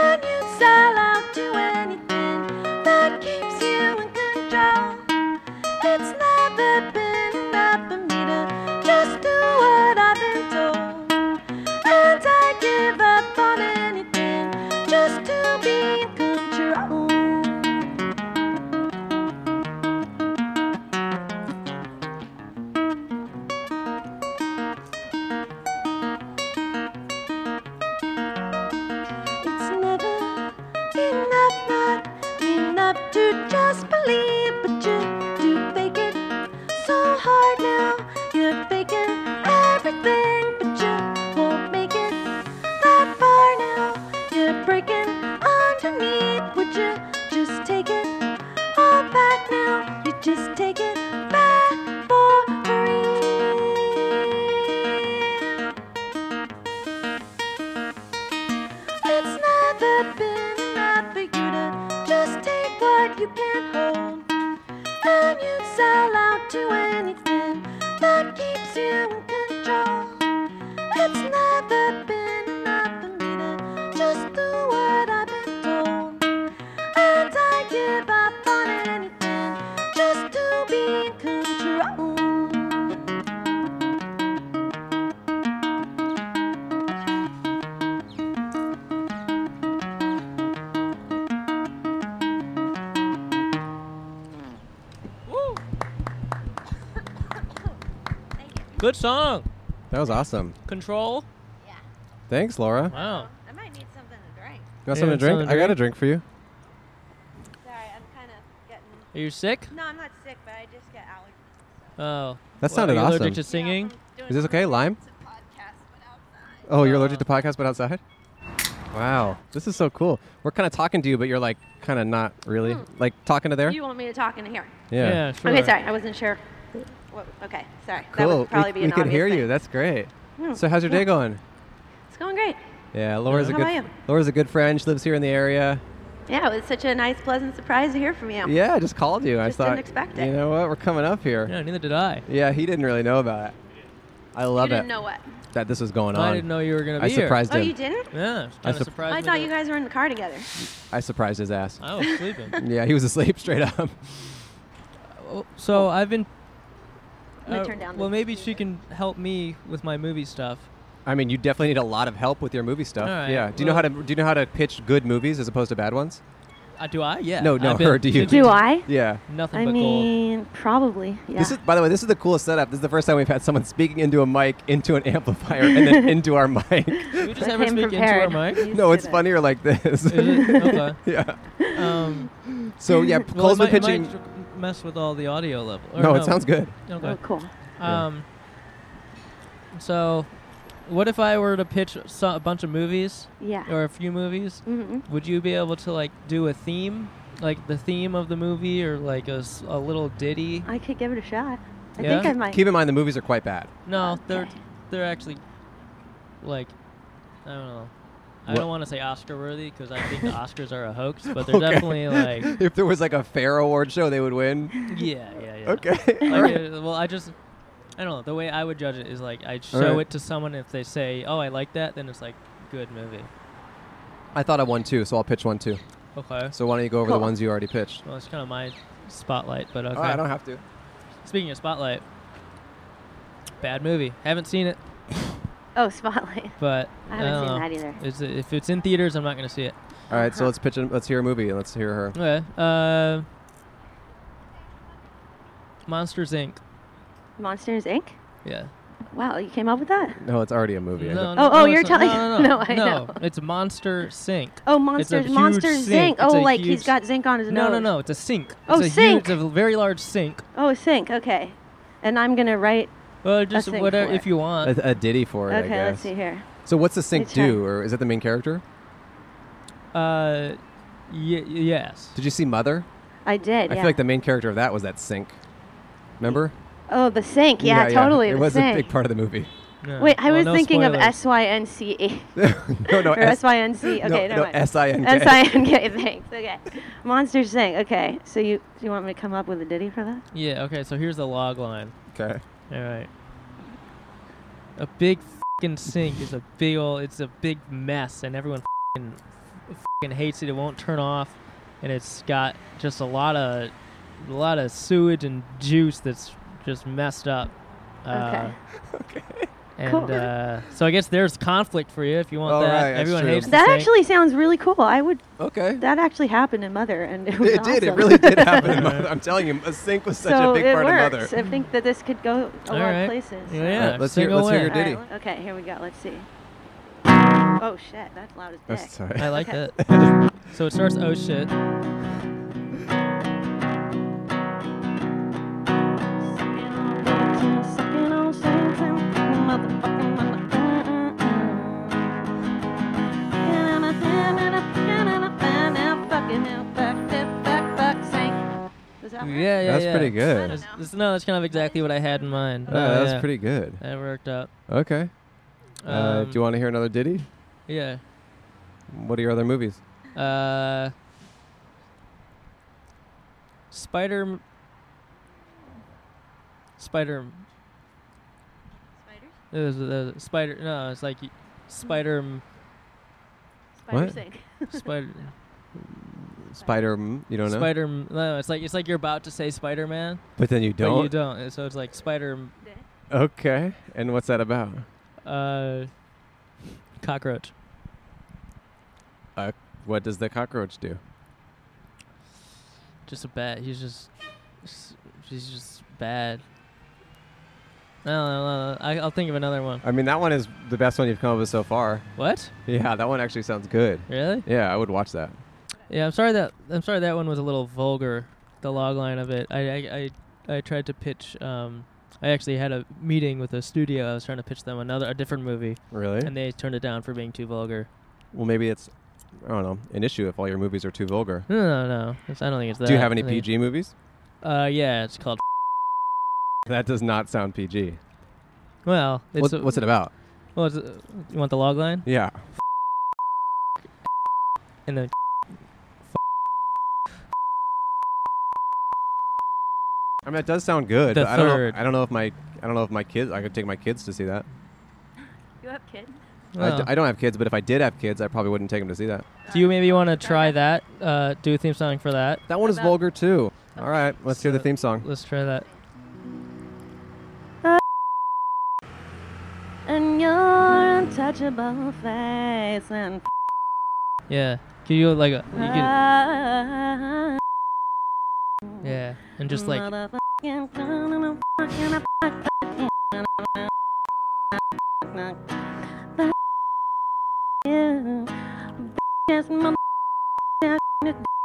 Speaker 13: And you sell out to anything that keeps you in control. It's never been enough for me to just to just believe, but you do fake it so hard now. You're faking everything, but you won't make it that far now. You're breaking underneath. Would you just take it all back now? You just take it back for free. It's never been enough for you to just take what you can hold. And you sell out to anything that keeps you in control. It's never been enough for me to just do what I've been told. And I give up on anything just to be in control.
Speaker 4: Good song.
Speaker 5: That was awesome.
Speaker 4: Control.
Speaker 5: Thanks, Laura.
Speaker 4: Wow.
Speaker 14: I might need something to drink.
Speaker 5: You got something to drink? I got a drink for you.
Speaker 14: Sorry, I'm kind of getting.
Speaker 4: Are you sick?
Speaker 14: No, I'm not sick, but I just got allergies.
Speaker 4: Oh.
Speaker 5: That
Speaker 4: Well,
Speaker 5: sounded
Speaker 4: are you
Speaker 5: awesome.
Speaker 4: Allergic to singing?
Speaker 5: Is this okay? Lime? Oh, you're allergic to podcasts but outside? Wow. This is so cool. We're kind of talking to you, but you're like kind of not really. Like talking to there?
Speaker 14: Hmm. You want me to talk in here?
Speaker 5: Yeah. Yeah,
Speaker 14: Okay,
Speaker 5: sure.
Speaker 14: sorry, I wasn't sure. What, okay, sorry. That
Speaker 5: cool.
Speaker 14: would probably be
Speaker 5: we
Speaker 14: an
Speaker 5: we can
Speaker 14: obvious
Speaker 5: hear
Speaker 14: thing.
Speaker 5: you. That's great.
Speaker 14: Hmm.
Speaker 5: So, how's your
Speaker 14: Yeah.
Speaker 5: day going?
Speaker 14: It's going great.
Speaker 5: Yeah, Laura's a
Speaker 14: How
Speaker 5: good
Speaker 14: about you?
Speaker 5: Laura's a good friend. She lives here in the area.
Speaker 14: Yeah, it was such a nice, pleasant surprise to hear from you.
Speaker 5: Yeah, I just called you. I
Speaker 14: Just
Speaker 5: thought
Speaker 14: didn't expect it.
Speaker 5: you know what? We're coming up here.
Speaker 4: Yeah, neither did I.
Speaker 5: Yeah, he didn't really know about it. I love
Speaker 14: didn't
Speaker 5: it.
Speaker 14: know what?
Speaker 5: That this was going on.
Speaker 4: I didn't know you were gonna
Speaker 5: I
Speaker 4: be here.
Speaker 5: surprised
Speaker 14: Oh,
Speaker 5: him.
Speaker 14: you didn't? Oh,
Speaker 4: Yeah.
Speaker 5: I,
Speaker 4: Kinda
Speaker 5: sup-
Speaker 4: surprised
Speaker 14: I
Speaker 4: me
Speaker 14: thought
Speaker 4: that-
Speaker 14: you guys were in the car together.
Speaker 5: I surprised his ass.
Speaker 4: I was sleeping.
Speaker 5: yeah, he was asleep straight up.
Speaker 4: So I've been.
Speaker 14: I'm gonna turn down
Speaker 4: Oh, well,
Speaker 14: the
Speaker 4: maybe she can help me with my movie stuff.
Speaker 5: I mean, you definitely need a lot of help with your movie stuff.
Speaker 4: All right,
Speaker 5: yeah. Do you know how to do you know how to pitch good movies as opposed to bad ones?
Speaker 4: Uh, do I? Yeah.
Speaker 5: No, no,
Speaker 4: I've been
Speaker 5: her. Do you?
Speaker 4: pitching
Speaker 14: Do I?
Speaker 5: Yeah.
Speaker 4: Nothing
Speaker 14: I
Speaker 4: but gold.
Speaker 14: mean, probably. Yeah.
Speaker 5: This is, by the way, this is the coolest setup. This is the first time we've had someone speaking into a mic, into an amplifier, and then into our mic.
Speaker 4: We just
Speaker 14: I
Speaker 4: have her
Speaker 14: came
Speaker 4: speak
Speaker 14: prepared.
Speaker 4: into our mic.
Speaker 5: no, it's funnier like this.
Speaker 4: Okay.
Speaker 5: yeah.
Speaker 4: Um,
Speaker 5: So, yeah,
Speaker 4: well, it
Speaker 5: Cole's been
Speaker 4: might, it might
Speaker 5: pitching-
Speaker 4: dr- mess with all the audio level. or
Speaker 5: No, it sounds good.
Speaker 4: Okay.
Speaker 14: Oh, cool.
Speaker 5: Yeah.
Speaker 4: Um, so, what if I were to pitch so, a bunch of movies?
Speaker 14: Yeah.
Speaker 4: Or a few movies?
Speaker 14: Mhm.
Speaker 4: Would you be able to like do a theme, like the theme of the movie, or like a, s- a little ditty?
Speaker 14: I could give it a shot. I
Speaker 4: Yeah?
Speaker 14: think I might.
Speaker 5: Keep in mind the movies are quite bad.
Speaker 4: No, they're they're actually like I don't know. I
Speaker 5: What-
Speaker 4: don't want to say Oscar worthy because I think the Oscars are a hoax, but they're definitely like
Speaker 5: if there was like a fair award show, they would win.
Speaker 4: yeah, yeah, yeah.
Speaker 5: Okay.
Speaker 4: Like,
Speaker 5: all right.
Speaker 4: uh, well, I just I don't know. The way I would judge it is like I'd
Speaker 5: All
Speaker 4: show
Speaker 5: right.
Speaker 4: it to someone if they say, "Oh, I like that," then it's like good movie.
Speaker 5: I thought I won two, so I'll pitch one too.
Speaker 4: Okay.
Speaker 5: So why don't you go over the
Speaker 4: Cool.
Speaker 5: ones you already pitched?
Speaker 4: Well, it's kind of my spotlight, but okay.
Speaker 5: I don't have to.
Speaker 4: Speaking of spotlight, bad movie. Haven't seen it,
Speaker 14: Oh, Spotlight.
Speaker 4: but
Speaker 14: I haven't
Speaker 4: don't
Speaker 14: seen
Speaker 4: know.
Speaker 14: that either.
Speaker 4: It's, if it's in theaters, I'm not gonna see it.
Speaker 5: All
Speaker 14: Uh-huh.
Speaker 5: right, so let's pitch. An, let's hear a movie and let's hear her.
Speaker 4: Okay. Uh, Monsters Inc.
Speaker 14: Monsters Inc.
Speaker 4: Yeah.
Speaker 14: Wow, you came up with that?
Speaker 5: No, it's already a movie. I
Speaker 4: No,
Speaker 5: bet.
Speaker 4: no,
Speaker 14: Oh, oh,
Speaker 4: no,
Speaker 14: you're
Speaker 4: it's not-
Speaker 14: telling-
Speaker 4: No, no, no.
Speaker 14: No, I know.
Speaker 4: It's Monster Sink.
Speaker 14: Oh, Monsters-
Speaker 4: It's a
Speaker 14: Monster
Speaker 4: huge
Speaker 14: Zinc.
Speaker 4: It's
Speaker 14: Oh,
Speaker 4: a
Speaker 14: like he's
Speaker 4: huge-
Speaker 14: got zinc on his
Speaker 4: no, No,
Speaker 14: nose.
Speaker 4: no, no. It's a sink.
Speaker 14: Oh,
Speaker 4: it's a
Speaker 14: sink.
Speaker 4: Huge, it's a very large sink.
Speaker 14: Oh, Sync. Okay. And I'm gonna write.
Speaker 4: Well, just
Speaker 14: sink
Speaker 4: whatever
Speaker 14: for
Speaker 4: if you want.
Speaker 5: A, a ditty for it. I
Speaker 14: Okay, let's
Speaker 5: guess.
Speaker 14: see here.
Speaker 5: So what's the sync
Speaker 14: Let's try.
Speaker 5: do, or is it the main character?
Speaker 4: Uh, y- yes.
Speaker 5: Did you see Mother?
Speaker 14: I did.
Speaker 5: I
Speaker 14: yeah.
Speaker 5: feel like the main character of that was that sync. Remember?
Speaker 14: oh, the Sync. Yeah, totally.
Speaker 5: It
Speaker 14: the
Speaker 5: was
Speaker 14: Sync.
Speaker 5: a big part of the movie.
Speaker 14: Wait, I was thinking of
Speaker 5: S.
Speaker 14: S Y N C E.
Speaker 5: No, no,
Speaker 14: Or
Speaker 5: S-
Speaker 14: S-Y-N-C. E. Okay,
Speaker 5: no,
Speaker 14: never
Speaker 5: no,
Speaker 14: mind.
Speaker 5: S-I-N-K.
Speaker 14: S-I-N-K, thanks. Okay. Monster Sing. Okay. So you do you want me to come up with a ditty for that?
Speaker 4: Yeah. Okay. So here's the log line.
Speaker 5: Okay.
Speaker 4: All right. A big fing sink is a big ol' It's a big mess, and everyone fing fing hates it. It won't turn off, and it's got just a lot of a lot of sewage and juice that's just messed up. Uh,
Speaker 5: okay.
Speaker 4: And
Speaker 14: Cool.
Speaker 4: uh, so I guess there's conflict for you if you want
Speaker 5: All
Speaker 4: that.
Speaker 5: right, that's
Speaker 4: everyone
Speaker 5: true.
Speaker 4: hates the
Speaker 14: That
Speaker 4: sink.
Speaker 14: actually sounds really cool. I would
Speaker 5: Okay.
Speaker 14: That actually happened in Mother and it was
Speaker 5: It did. It
Speaker 14: awesome.
Speaker 5: really did happen. in Mother. I'm telling you, a sync was such
Speaker 14: so
Speaker 5: a big
Speaker 14: it
Speaker 5: part
Speaker 14: works.
Speaker 5: of Mother.
Speaker 14: I think that this could go a
Speaker 4: All
Speaker 14: lot
Speaker 4: right.
Speaker 14: of places.
Speaker 4: Yeah, yeah,
Speaker 5: Alright, let's
Speaker 4: sing
Speaker 5: hear- let's hear
Speaker 4: away.
Speaker 5: your ditty.
Speaker 14: Alright, okay, here we go. Let's see. Oh shit, that's loud as dick.
Speaker 5: That's tight.
Speaker 4: I like
Speaker 14: Okay.
Speaker 4: that. so it starts, oh shit. Yeah, yeah.
Speaker 5: That's
Speaker 4: yeah.
Speaker 5: pretty good.
Speaker 4: That's- that's- no, that's kind of exactly what I had in mind. Oh,
Speaker 5: Yeah, Oh, that was
Speaker 4: yeah.
Speaker 5: pretty good.
Speaker 4: That worked out.
Speaker 5: Okay. uh, do
Speaker 4: Um,
Speaker 5: you want to hear another ditty?
Speaker 4: Yeah.
Speaker 5: What are your other movies?
Speaker 4: Uh, Spider. Spider. It was the spider. No, it's like y- spider. m-
Speaker 5: What?
Speaker 15: sink.
Speaker 4: Spider.
Speaker 5: Spider. m- You don't know.
Speaker 4: Spider. m- No, it's like it's like you're about to say Spider Man.
Speaker 5: But then you
Speaker 4: But you
Speaker 5: don't?
Speaker 4: don't. and So it's like Spider. m-
Speaker 5: Okay. And what's that about?
Speaker 4: Uh, cockroach.
Speaker 5: Uh, what does the cockroach do?
Speaker 4: Just a bad. He's just. s- He's just bad. No, no, no. I, I'll think of another one.
Speaker 5: I mean, that one is the best one you've come up with so far.
Speaker 4: What?
Speaker 5: Yeah, that one actually sounds good.
Speaker 4: Really?
Speaker 5: Yeah, I would watch that.
Speaker 4: Yeah, I'm sorry that I'm sorry that one was a little vulgar. The log line of it. I I I, I tried to pitch. Um, I actually had a meeting with a studio. I was trying to pitch them another a different movie.
Speaker 5: Really?
Speaker 4: And they turned it down for being too vulgar.
Speaker 5: Well, maybe it's, I don't know, an issue if all your movies are too vulgar.
Speaker 4: No, no, no. It's- I don't think it's that.
Speaker 5: Do you have any
Speaker 4: I think-
Speaker 5: PG movies?
Speaker 4: Uh, yeah, it's called.
Speaker 5: That does not sound PG.
Speaker 4: Well, it's
Speaker 5: What-
Speaker 4: a-
Speaker 5: what's it about?
Speaker 4: Well, it's, uh, you want the log line?
Speaker 5: Yeah.
Speaker 4: And then.
Speaker 5: I mean, it does sound good.
Speaker 4: The
Speaker 5: but I don't
Speaker 4: third.
Speaker 5: know. I don't know if my I don't know if my kids. I could take my kids to see that.
Speaker 15: You have kids?
Speaker 5: I, d-
Speaker 4: Oh.
Speaker 5: I don't have kids, but if I did have kids, I probably wouldn't take them to see that.
Speaker 4: Do you maybe want to try that? Uh, do a theme song for that.
Speaker 5: That one is vulgar too. All right, let's hear the
Speaker 4: So-
Speaker 5: theme song.
Speaker 4: Let's try that.
Speaker 15: And your untouchable face and
Speaker 4: Yeah. Can you like a, you
Speaker 15: Uh,
Speaker 4: can,
Speaker 15: can,
Speaker 4: yeah, and just like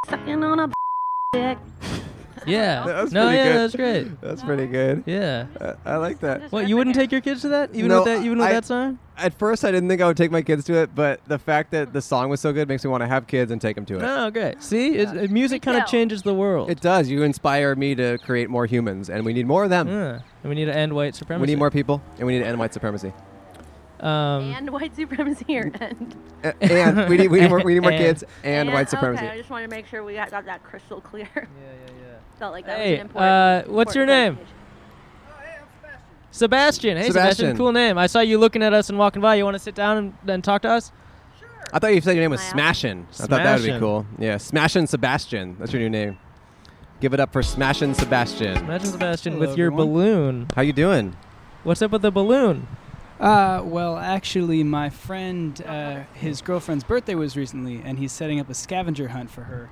Speaker 15: sucking on a dick.
Speaker 4: yeah.
Speaker 5: That was
Speaker 4: no,
Speaker 5: pretty
Speaker 4: yeah,
Speaker 5: good.
Speaker 4: that's great.
Speaker 5: That's pretty good.
Speaker 4: Yeah.
Speaker 5: I like that.
Speaker 4: What you wouldn't take your kids to that even
Speaker 5: No,
Speaker 4: with that even with
Speaker 5: I-
Speaker 4: that song?
Speaker 5: At first, I didn't think I would take my kids to it, but the fact that the song was so good makes me want to have kids and take them to it.
Speaker 4: Oh, great. See, it, it- music kind of changes the world.
Speaker 5: It does. You inspire me to create more humans, and we need more of them.
Speaker 4: Yeah. And we need to end white
Speaker 5: We
Speaker 4: supremacy.
Speaker 5: need more people, and we need to end white supremacy.
Speaker 4: Um,
Speaker 15: And white supremacy or and.
Speaker 5: A- and we need, we need more, we need more
Speaker 4: And-
Speaker 5: kids and, white supremacy.
Speaker 15: Okay, I just wanted to make sure we got, got that crystal clear. Yeah, yeah,
Speaker 4: yeah.
Speaker 15: Felt like that was
Speaker 4: hey,
Speaker 15: an important.
Speaker 4: uh, what's your name? Sebastian. Hey, Sebastian.
Speaker 5: Sebastian.
Speaker 4: Cool name. I saw you looking at us and walking by. You want to sit down and, and talk to us?
Speaker 5: I thought you said your name was Smashin. I thought that would be
Speaker 4: Smashin'.
Speaker 5: cool. Yeah, Smashin Sebastian. That's your new name. Give it up for Smashin Sebastian.
Speaker 4: Imagine Sebastian
Speaker 16: Hello,
Speaker 4: with your
Speaker 16: everyone.
Speaker 4: balloon.
Speaker 5: How you doing?
Speaker 4: What's up with the balloon?
Speaker 16: Uh, well, actually, my friend, uh, his girlfriend's birthday was recently, and he's setting up a scavenger hunt for her,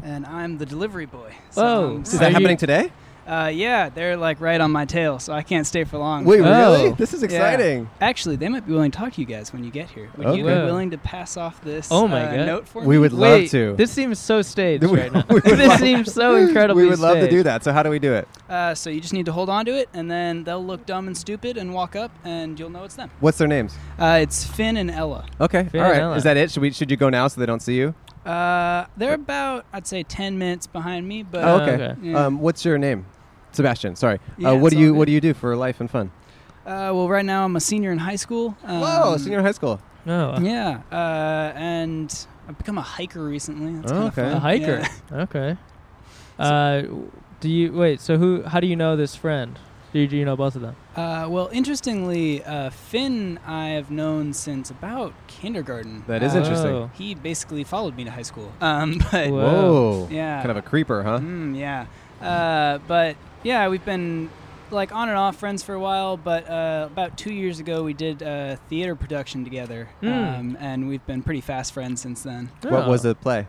Speaker 16: and I'm the delivery boy. So
Speaker 5: Whoa.
Speaker 16: I'm
Speaker 5: Is that
Speaker 16: sorry.
Speaker 5: happening today?
Speaker 16: Uh, yeah, they're like right on my tail, so I can't stay for long.
Speaker 5: Wait, really? Oh. This is
Speaker 16: Yeah.
Speaker 5: exciting.
Speaker 16: Actually, they might be willing to talk to you guys when you get here. Would you be
Speaker 5: Okay.
Speaker 16: willing to pass off this
Speaker 4: Oh my
Speaker 16: uh,
Speaker 4: god!
Speaker 16: note for
Speaker 5: We
Speaker 16: me?
Speaker 5: would love Wait, to.
Speaker 4: This seems so staged
Speaker 5: We-
Speaker 4: right now.
Speaker 5: we would
Speaker 4: this
Speaker 5: love-
Speaker 4: seems so incredibly.
Speaker 5: We would love to
Speaker 4: staged.
Speaker 5: do that. So how do we do it?
Speaker 16: Uh, so you just need to hold on to it, and then they'll look dumb and stupid and walk up, and you'll know it's them.
Speaker 5: What's their names?
Speaker 16: Uh, it's Finn and Ella.
Speaker 5: Okay.
Speaker 16: Fair
Speaker 5: All right.
Speaker 16: enough.
Speaker 5: Is that it? Should we? Should you go now so they don't see you?
Speaker 16: Uh, they're about I'd say ten minutes behind me,
Speaker 4: Uh,
Speaker 16: but
Speaker 5: oh, okay.
Speaker 16: Yeah.
Speaker 5: Um, what's your name? Sebastian. Sorry.
Speaker 16: Yeah,
Speaker 5: uh,
Speaker 16: it's
Speaker 5: what do
Speaker 16: all
Speaker 5: you
Speaker 16: good.
Speaker 5: What do you do for life and fun?
Speaker 16: Uh, well, right now I'm a senior in high school. Um,
Speaker 5: Whoa, senior in high school.
Speaker 4: No.
Speaker 16: Yeah, uh, and I've become a hiker recently. That's kinda
Speaker 4: Oh,
Speaker 16: fun.
Speaker 4: A hiker.
Speaker 16: Yeah.
Speaker 4: Okay. Uh, w- do you wait? So who? How do you know this friend? Do you, do you know both of them?
Speaker 16: Uh, well, interestingly, uh, Finn I have known since about kindergarten.
Speaker 5: That is
Speaker 16: Uh,
Speaker 5: interesting.
Speaker 16: He basically followed me to high school. Um, but
Speaker 5: Whoa.
Speaker 16: yeah,
Speaker 5: Kind of a creeper, huh?
Speaker 16: Mm, yeah. Uh, but yeah, we've been like on and off friends for a while. But uh, about two years ago, we did a theater production together,
Speaker 4: Hmm.
Speaker 5: Mm.
Speaker 16: um, and we've been pretty fast friends since then.
Speaker 5: What
Speaker 4: Oh.
Speaker 5: was the play?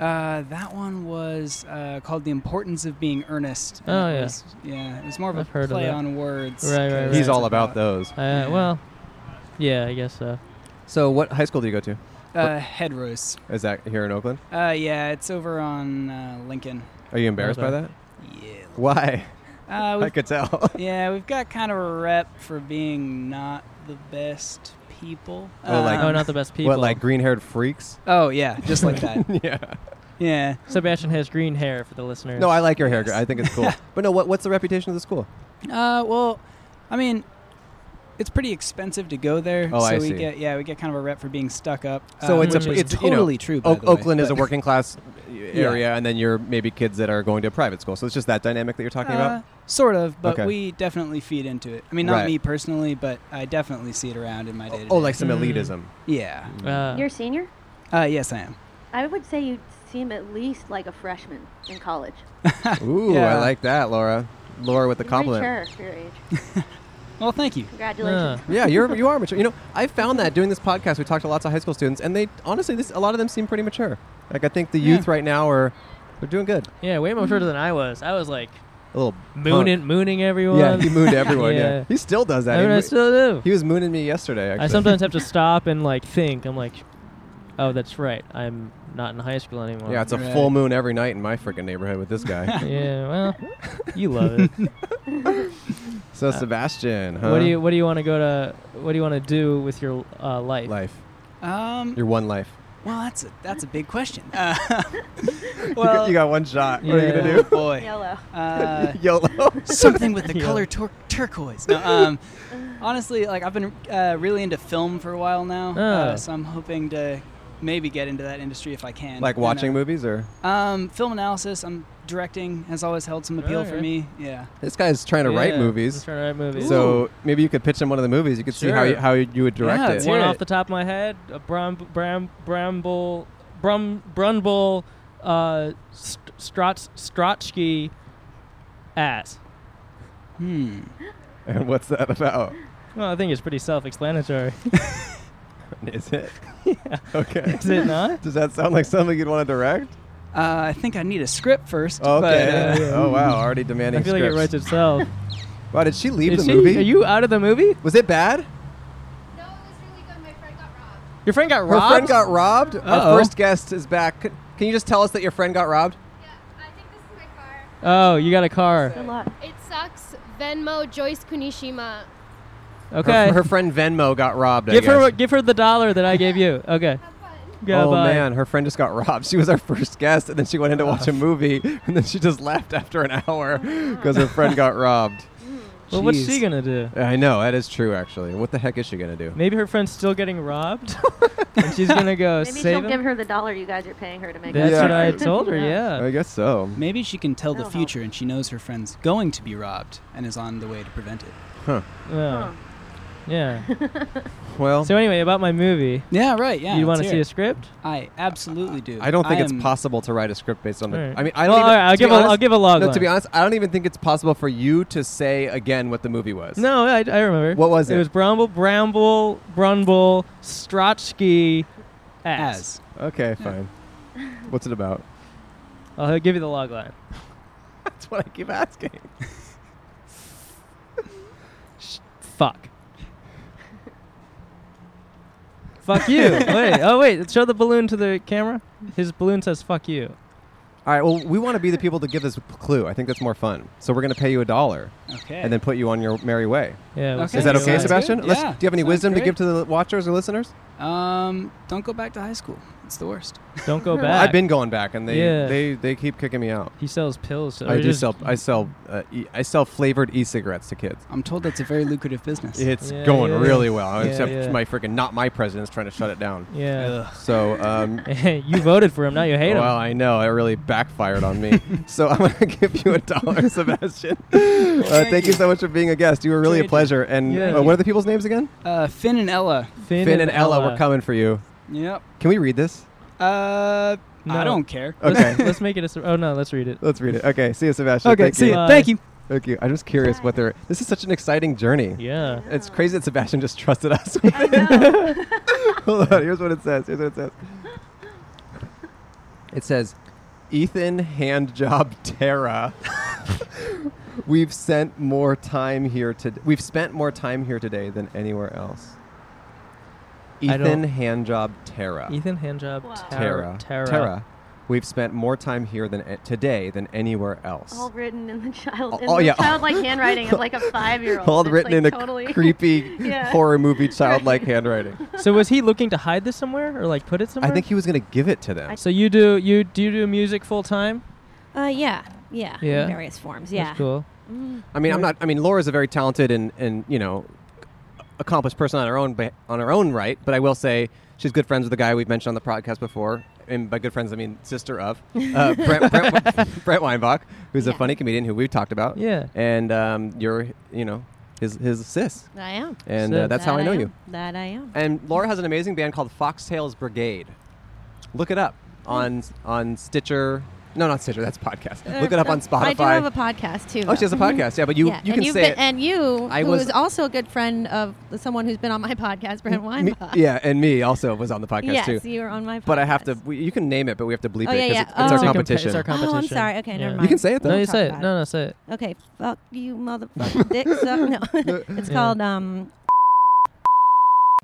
Speaker 16: Uh, that one was uh, called "The Importance of Being Earnest." and
Speaker 4: Oh,
Speaker 16: it
Speaker 4: yeah.
Speaker 16: was- yeah. It was more of
Speaker 4: I've
Speaker 16: a
Speaker 4: heard of
Speaker 16: play
Speaker 4: that.
Speaker 16: on words.
Speaker 4: Right, right, right.
Speaker 5: He's all about those.
Speaker 4: Uh, well, yeah, I guess so.
Speaker 5: So what high school do you go to?
Speaker 16: Uh, Headrose.
Speaker 5: What- Is that here in Oakland?
Speaker 16: Uh, yeah, it's over on uh, Lincoln.
Speaker 5: Are you embarrassed by
Speaker 16: Okay.
Speaker 5: that? Yeah. Why?
Speaker 16: Uh,
Speaker 5: I
Speaker 16: we've-
Speaker 5: could tell.
Speaker 16: yeah, we've got kind of a rep for being not the best people.
Speaker 5: Oh, like-
Speaker 16: Um,
Speaker 4: Oh, not the best people.
Speaker 5: What, like green-haired freaks?
Speaker 16: Oh yeah, just Oh, like that.
Speaker 5: yeah.
Speaker 16: Yeah.
Speaker 4: Sebastian has green hair for the listeners.
Speaker 5: No, I like your haircut. I think it's cool. but no, what, what's the reputation of the school?
Speaker 16: Uh, well, I mean, it's pretty expensive to go there.
Speaker 5: Oh,
Speaker 16: so
Speaker 5: I
Speaker 16: we
Speaker 5: see.
Speaker 16: get yeah, we get kind of a rep for being stuck up.
Speaker 5: So
Speaker 16: um,
Speaker 5: it's
Speaker 16: which
Speaker 5: a,
Speaker 16: is
Speaker 5: it's you know,
Speaker 16: totally true. By
Speaker 5: Oak-
Speaker 16: the way,
Speaker 5: Oakland is a
Speaker 16: but-
Speaker 5: working class
Speaker 16: Yeah.
Speaker 5: area, and then you're maybe kids that are going to a private school. So it's just that dynamic that you're talking
Speaker 16: Uh,
Speaker 5: about.
Speaker 16: sort of, but
Speaker 5: Okay.
Speaker 16: we definitely feed into it. I mean, not
Speaker 5: Right.
Speaker 16: me personally, but I definitely see it around in my day.
Speaker 5: oh, like some
Speaker 4: Mm.
Speaker 5: elitism.
Speaker 16: Yeah.
Speaker 4: Uh.
Speaker 15: You're a senior?
Speaker 16: Uh, yes, I am.
Speaker 15: I would say you seem at least like a freshman in college.
Speaker 5: Ooh,
Speaker 16: Yeah.
Speaker 5: I like that, Laura. Laura with the
Speaker 15: You're
Speaker 5: compliment.
Speaker 15: Mature for your age.
Speaker 16: Well, thank you. Uh.
Speaker 15: Congratulations.
Speaker 5: Yeah, you're you are mature. You know, I found that doing this podcast, we talked to lots of high school students, and they honestly, this a lot of them seem pretty mature. Like I think the youth right now are they're doing good.
Speaker 4: Yeah, way more shorter than I was. I was like
Speaker 5: A little
Speaker 4: mooning,
Speaker 5: punk.
Speaker 4: mooning everyone.
Speaker 5: Yeah, he mooned everyone. yeah.
Speaker 4: Yeah.
Speaker 5: he still does that. He
Speaker 4: I mean, I
Speaker 5: mo-
Speaker 4: still do.
Speaker 5: He was mooning me yesterday. Actually.
Speaker 4: I sometimes have to stop and like think. I'm like, oh, that's right. I'm not in high school anymore.
Speaker 5: Yeah, it's a full moon every night in my freaking neighborhood with this guy.
Speaker 4: yeah, well, you love it. Uh,
Speaker 5: So Sebastian, huh?
Speaker 4: What do you What do you want to go to? What do you want to do with your uh, life?
Speaker 5: Life.
Speaker 16: Um,
Speaker 5: Your one life.
Speaker 16: well, that's a that's a big question. Uh,
Speaker 5: You got-
Speaker 16: well,
Speaker 5: you got one shot. What are you gonna
Speaker 16: yeah.
Speaker 5: do?
Speaker 16: Oh, boy.
Speaker 15: Yellow.
Speaker 16: Uh,
Speaker 5: YOLO.
Speaker 16: something with the
Speaker 5: Yeah.
Speaker 16: color tur- turquoise. No, um, honestly, like I've been uh, really into film for a while now,
Speaker 5: Oh.
Speaker 16: uh, so I'm hoping to maybe get into that industry if I can.
Speaker 5: Like
Speaker 16: you
Speaker 5: watching
Speaker 16: know.
Speaker 5: movies or?
Speaker 16: Um, film analysis. I'm directing has always held some appeal for
Speaker 4: Alright.
Speaker 16: me. Yeah.
Speaker 5: This guy's trying to write
Speaker 4: Yeah,
Speaker 5: movies.
Speaker 4: he's trying to write movies.
Speaker 5: So maybe you could pitch him one of the movies. You could see how
Speaker 4: Sure.
Speaker 5: you, how you would direct
Speaker 4: Yeah,
Speaker 5: it.
Speaker 4: One off the top of my head, a Bram, Bram, Bramble, Brum, Brunbull, uh, St- Strots, Strotsky ass.
Speaker 16: Hmm.
Speaker 5: And what's that about?
Speaker 4: Well, I think it's pretty self-explanatory.
Speaker 5: Is it? yeah. Okay.
Speaker 4: Is it not?
Speaker 5: Does that sound like something you'd want to direct?
Speaker 16: Uh, I think I need a script first.
Speaker 5: Oh, okay.
Speaker 16: But, uh,
Speaker 5: Oh wow, already demanding.
Speaker 4: I feel like it
Speaker 5: scripts.
Speaker 4: writes itself.
Speaker 5: Wow, did she leave
Speaker 4: Is
Speaker 5: the
Speaker 4: she-
Speaker 5: movie?
Speaker 4: are you out of the movie?
Speaker 5: Was it bad?
Speaker 4: Your friend got
Speaker 5: Her
Speaker 4: robbed.
Speaker 5: friend got robbed.
Speaker 4: Uh-oh.
Speaker 5: Our first guest is back. C- Can you just tell us that your friend got robbed?
Speaker 4: Oh, you got a car.
Speaker 10: It sucks. Venmo Joyce Kunishima.
Speaker 4: Okay.
Speaker 5: Her, her friend Venmo got robbed. I
Speaker 4: give her
Speaker 5: guess.
Speaker 4: give her the dollar that I gave you. Okay.
Speaker 5: oh
Speaker 4: Goodbye.
Speaker 5: man, her friend just got robbed. She was our first guest, and then she went in to watch a movie, and then she just left after an hour because her friend got robbed.
Speaker 4: Well, what's she gonna do?
Speaker 5: I know that is true. Actually, what the heck is she gonna do?
Speaker 4: Maybe her friend's still getting robbed, and she's gonna go
Speaker 15: Maybe
Speaker 4: save
Speaker 15: she'll
Speaker 4: him.
Speaker 15: give her the dollar you guys are paying her to make.
Speaker 4: That's
Speaker 15: it.
Speaker 4: what I told her. Yeah.
Speaker 5: I guess so.
Speaker 16: Maybe she can tell the future, and she knows her friend's going to be robbed, and is on the way to prevent it.
Speaker 5: Huh.
Speaker 4: Oh. Yeah.
Speaker 5: Well,
Speaker 4: So anyway, about my movie.
Speaker 16: Yeah, right. Yeah. let's
Speaker 4: You want to
Speaker 16: hear
Speaker 4: see
Speaker 16: it.
Speaker 4: a script?
Speaker 16: I absolutely do.
Speaker 5: I don't think it's
Speaker 16: am-
Speaker 5: possible to write a script based on the.
Speaker 4: Alright.
Speaker 5: I mean, I don't.
Speaker 4: Well,
Speaker 5: even,
Speaker 4: alright, I'll
Speaker 5: to be
Speaker 4: give a-
Speaker 5: honest-
Speaker 4: I'll give a log
Speaker 5: No, to
Speaker 4: line.
Speaker 5: be honest, I don't even think it's possible for you to say again what the movie was.
Speaker 4: No, I, I remember.
Speaker 5: What was it?
Speaker 4: It was Bramble, Bramble, Brumble, Strotsky, ass.
Speaker 5: Okay, fine. What's it about?
Speaker 4: I'll give you the log line.
Speaker 5: That's what I keep asking.
Speaker 4: Fuck. fuck you. wait. Oh wait. Show the balloon to the camera. His balloon says "fuck you."
Speaker 5: All right. Well, we want to be the people to give this p- clue. I think that's more fun. So we're going to pay you a dollar.
Speaker 16: Okay.
Speaker 5: And then put you on your merry way.
Speaker 4: Yeah, we'll Okay.
Speaker 5: Is that
Speaker 4: send you
Speaker 5: okay,
Speaker 4: away.
Speaker 5: Sebastian?
Speaker 16: Sounds good.
Speaker 5: Let's-
Speaker 16: Yeah,
Speaker 5: Do you have any
Speaker 16: sounds
Speaker 5: wisdom to
Speaker 16: great.
Speaker 5: give to the watchers or listeners?
Speaker 16: Um, don't go back to high school. It's the worst.
Speaker 4: Don't go
Speaker 5: Well,
Speaker 4: back.
Speaker 5: I've been going back, and they
Speaker 4: Yeah.
Speaker 5: they, they keep kicking me out.
Speaker 4: He sells pills. So
Speaker 5: I
Speaker 4: we're
Speaker 5: do
Speaker 4: just-
Speaker 5: sell. I sell. Uh, e- I sell flavored e-cigarettes to kids.
Speaker 16: I'm told that's a very lucrative business.
Speaker 5: It's
Speaker 4: Yeah,
Speaker 5: going
Speaker 4: yeah.
Speaker 5: really well,
Speaker 4: Yeah,
Speaker 5: except
Speaker 4: yeah.
Speaker 5: my freaking not my president's trying to shut it down.
Speaker 4: Yeah.
Speaker 5: So, um,
Speaker 4: you voted for him. Now you hate him.
Speaker 5: well, I know it really backfired on me. so I'm gonna give you a dollar, Sebastian. Uh, thank, you so much for being a guest. You were really a pleasure. And
Speaker 16: Yeah.
Speaker 5: uh, what are the people's names again?
Speaker 16: Uh, Finn and Ella.
Speaker 5: Finn, and, Ella. We're coming for you.
Speaker 16: Yep.
Speaker 5: Can we read this?
Speaker 16: Uh,
Speaker 4: No.
Speaker 16: I don't care.
Speaker 5: Okay.
Speaker 4: Let's, let's make it a. sur- Oh no, let's read it.
Speaker 5: Let's read it. Okay. See you, Sebastian.
Speaker 4: Okay,
Speaker 5: Thank
Speaker 4: see
Speaker 5: you.
Speaker 4: ya. Thank you.
Speaker 5: Thank you. I'm just curious what they're. This is such an exciting journey.
Speaker 4: Yeah.
Speaker 5: It's crazy that Sebastian just trusted us. with it. Hold on. Here's what it says. Here's what it says. It says, Ethan Handjob Terra. We've sent more time here to. We've spent more time here today than anywhere else.
Speaker 4: I don't-
Speaker 5: Ethan Handjob Terra.
Speaker 4: Ethan Handjob.
Speaker 5: Terra.
Speaker 4: Terra.
Speaker 5: Terra. We've spent more time here than a- today than anywhere else.
Speaker 15: All written in the child,
Speaker 5: Oh,
Speaker 15: in
Speaker 5: oh,
Speaker 15: the
Speaker 5: yeah.
Speaker 15: childlike handwriting of like a five-year-old.
Speaker 5: All
Speaker 15: It's,
Speaker 5: written
Speaker 15: like,
Speaker 5: in a
Speaker 15: totally
Speaker 5: creepy
Speaker 15: Yeah.
Speaker 5: horror movie childlike handwriting.
Speaker 4: So was he looking to hide this somewhere or like put it
Speaker 5: I
Speaker 4: somewhere?
Speaker 5: think he was gonna give it to them.
Speaker 4: So you do you do you do music full time?
Speaker 14: Uh, yeah, yeah, in
Speaker 5: Yeah.
Speaker 14: various forms.
Speaker 4: That's
Speaker 14: Yeah,
Speaker 4: cool.
Speaker 14: Mm.
Speaker 5: I mean, I'm not. I mean, Laura's a very talented and and you know, accomplished person on her own ba- on her own right. But I will say she's good friends with the guy we've mentioned on the podcast before. And by good friends, I mean sister of uh, Brent, Brent, Brent Weinbach, who's a funny comedian who we've talked about.
Speaker 14: Yeah.
Speaker 5: And um, you're, you know, his his sis.
Speaker 14: I am.
Speaker 5: And uh,
Speaker 14: Sis.
Speaker 5: that's how
Speaker 14: That
Speaker 5: I know
Speaker 14: I am.
Speaker 5: you.
Speaker 14: That I am.
Speaker 5: And Laura has an amazing band called Foxtails Brigade. Look it up on on Stitcher. No, not Stitcher. That's podcast.
Speaker 14: Uh,
Speaker 5: Look it up on Spotify.
Speaker 14: I do have a podcast too.
Speaker 5: Oh, she has a
Speaker 14: though.
Speaker 5: podcast. Yeah, but you- you
Speaker 14: and
Speaker 5: can
Speaker 14: you've
Speaker 5: say
Speaker 14: been,
Speaker 5: it.
Speaker 14: And you,
Speaker 5: I
Speaker 14: who
Speaker 5: was-
Speaker 14: is also a good friend of someone who's been on my podcast, Brent
Speaker 5: Me-
Speaker 14: Weinbach.
Speaker 5: yeah, and me also was on the podcast
Speaker 14: Yes,
Speaker 5: too.
Speaker 14: you were on my
Speaker 5: But I have to. We, you can name it, but we have to bleep
Speaker 14: Oh,
Speaker 5: it
Speaker 14: yeah, yeah.
Speaker 5: it's, it's our
Speaker 14: It's a compa-
Speaker 5: competition.
Speaker 4: it's our Oh, I'm
Speaker 14: Oh, I'm sorry. Okay, never mind.
Speaker 5: You can say it though.
Speaker 4: No, you
Speaker 14: We'll
Speaker 4: say
Speaker 14: talk
Speaker 4: it. No, no, say it.
Speaker 14: Okay, fuck you, motherfucking dick. suck- No, it's
Speaker 4: Yeah.
Speaker 14: called um.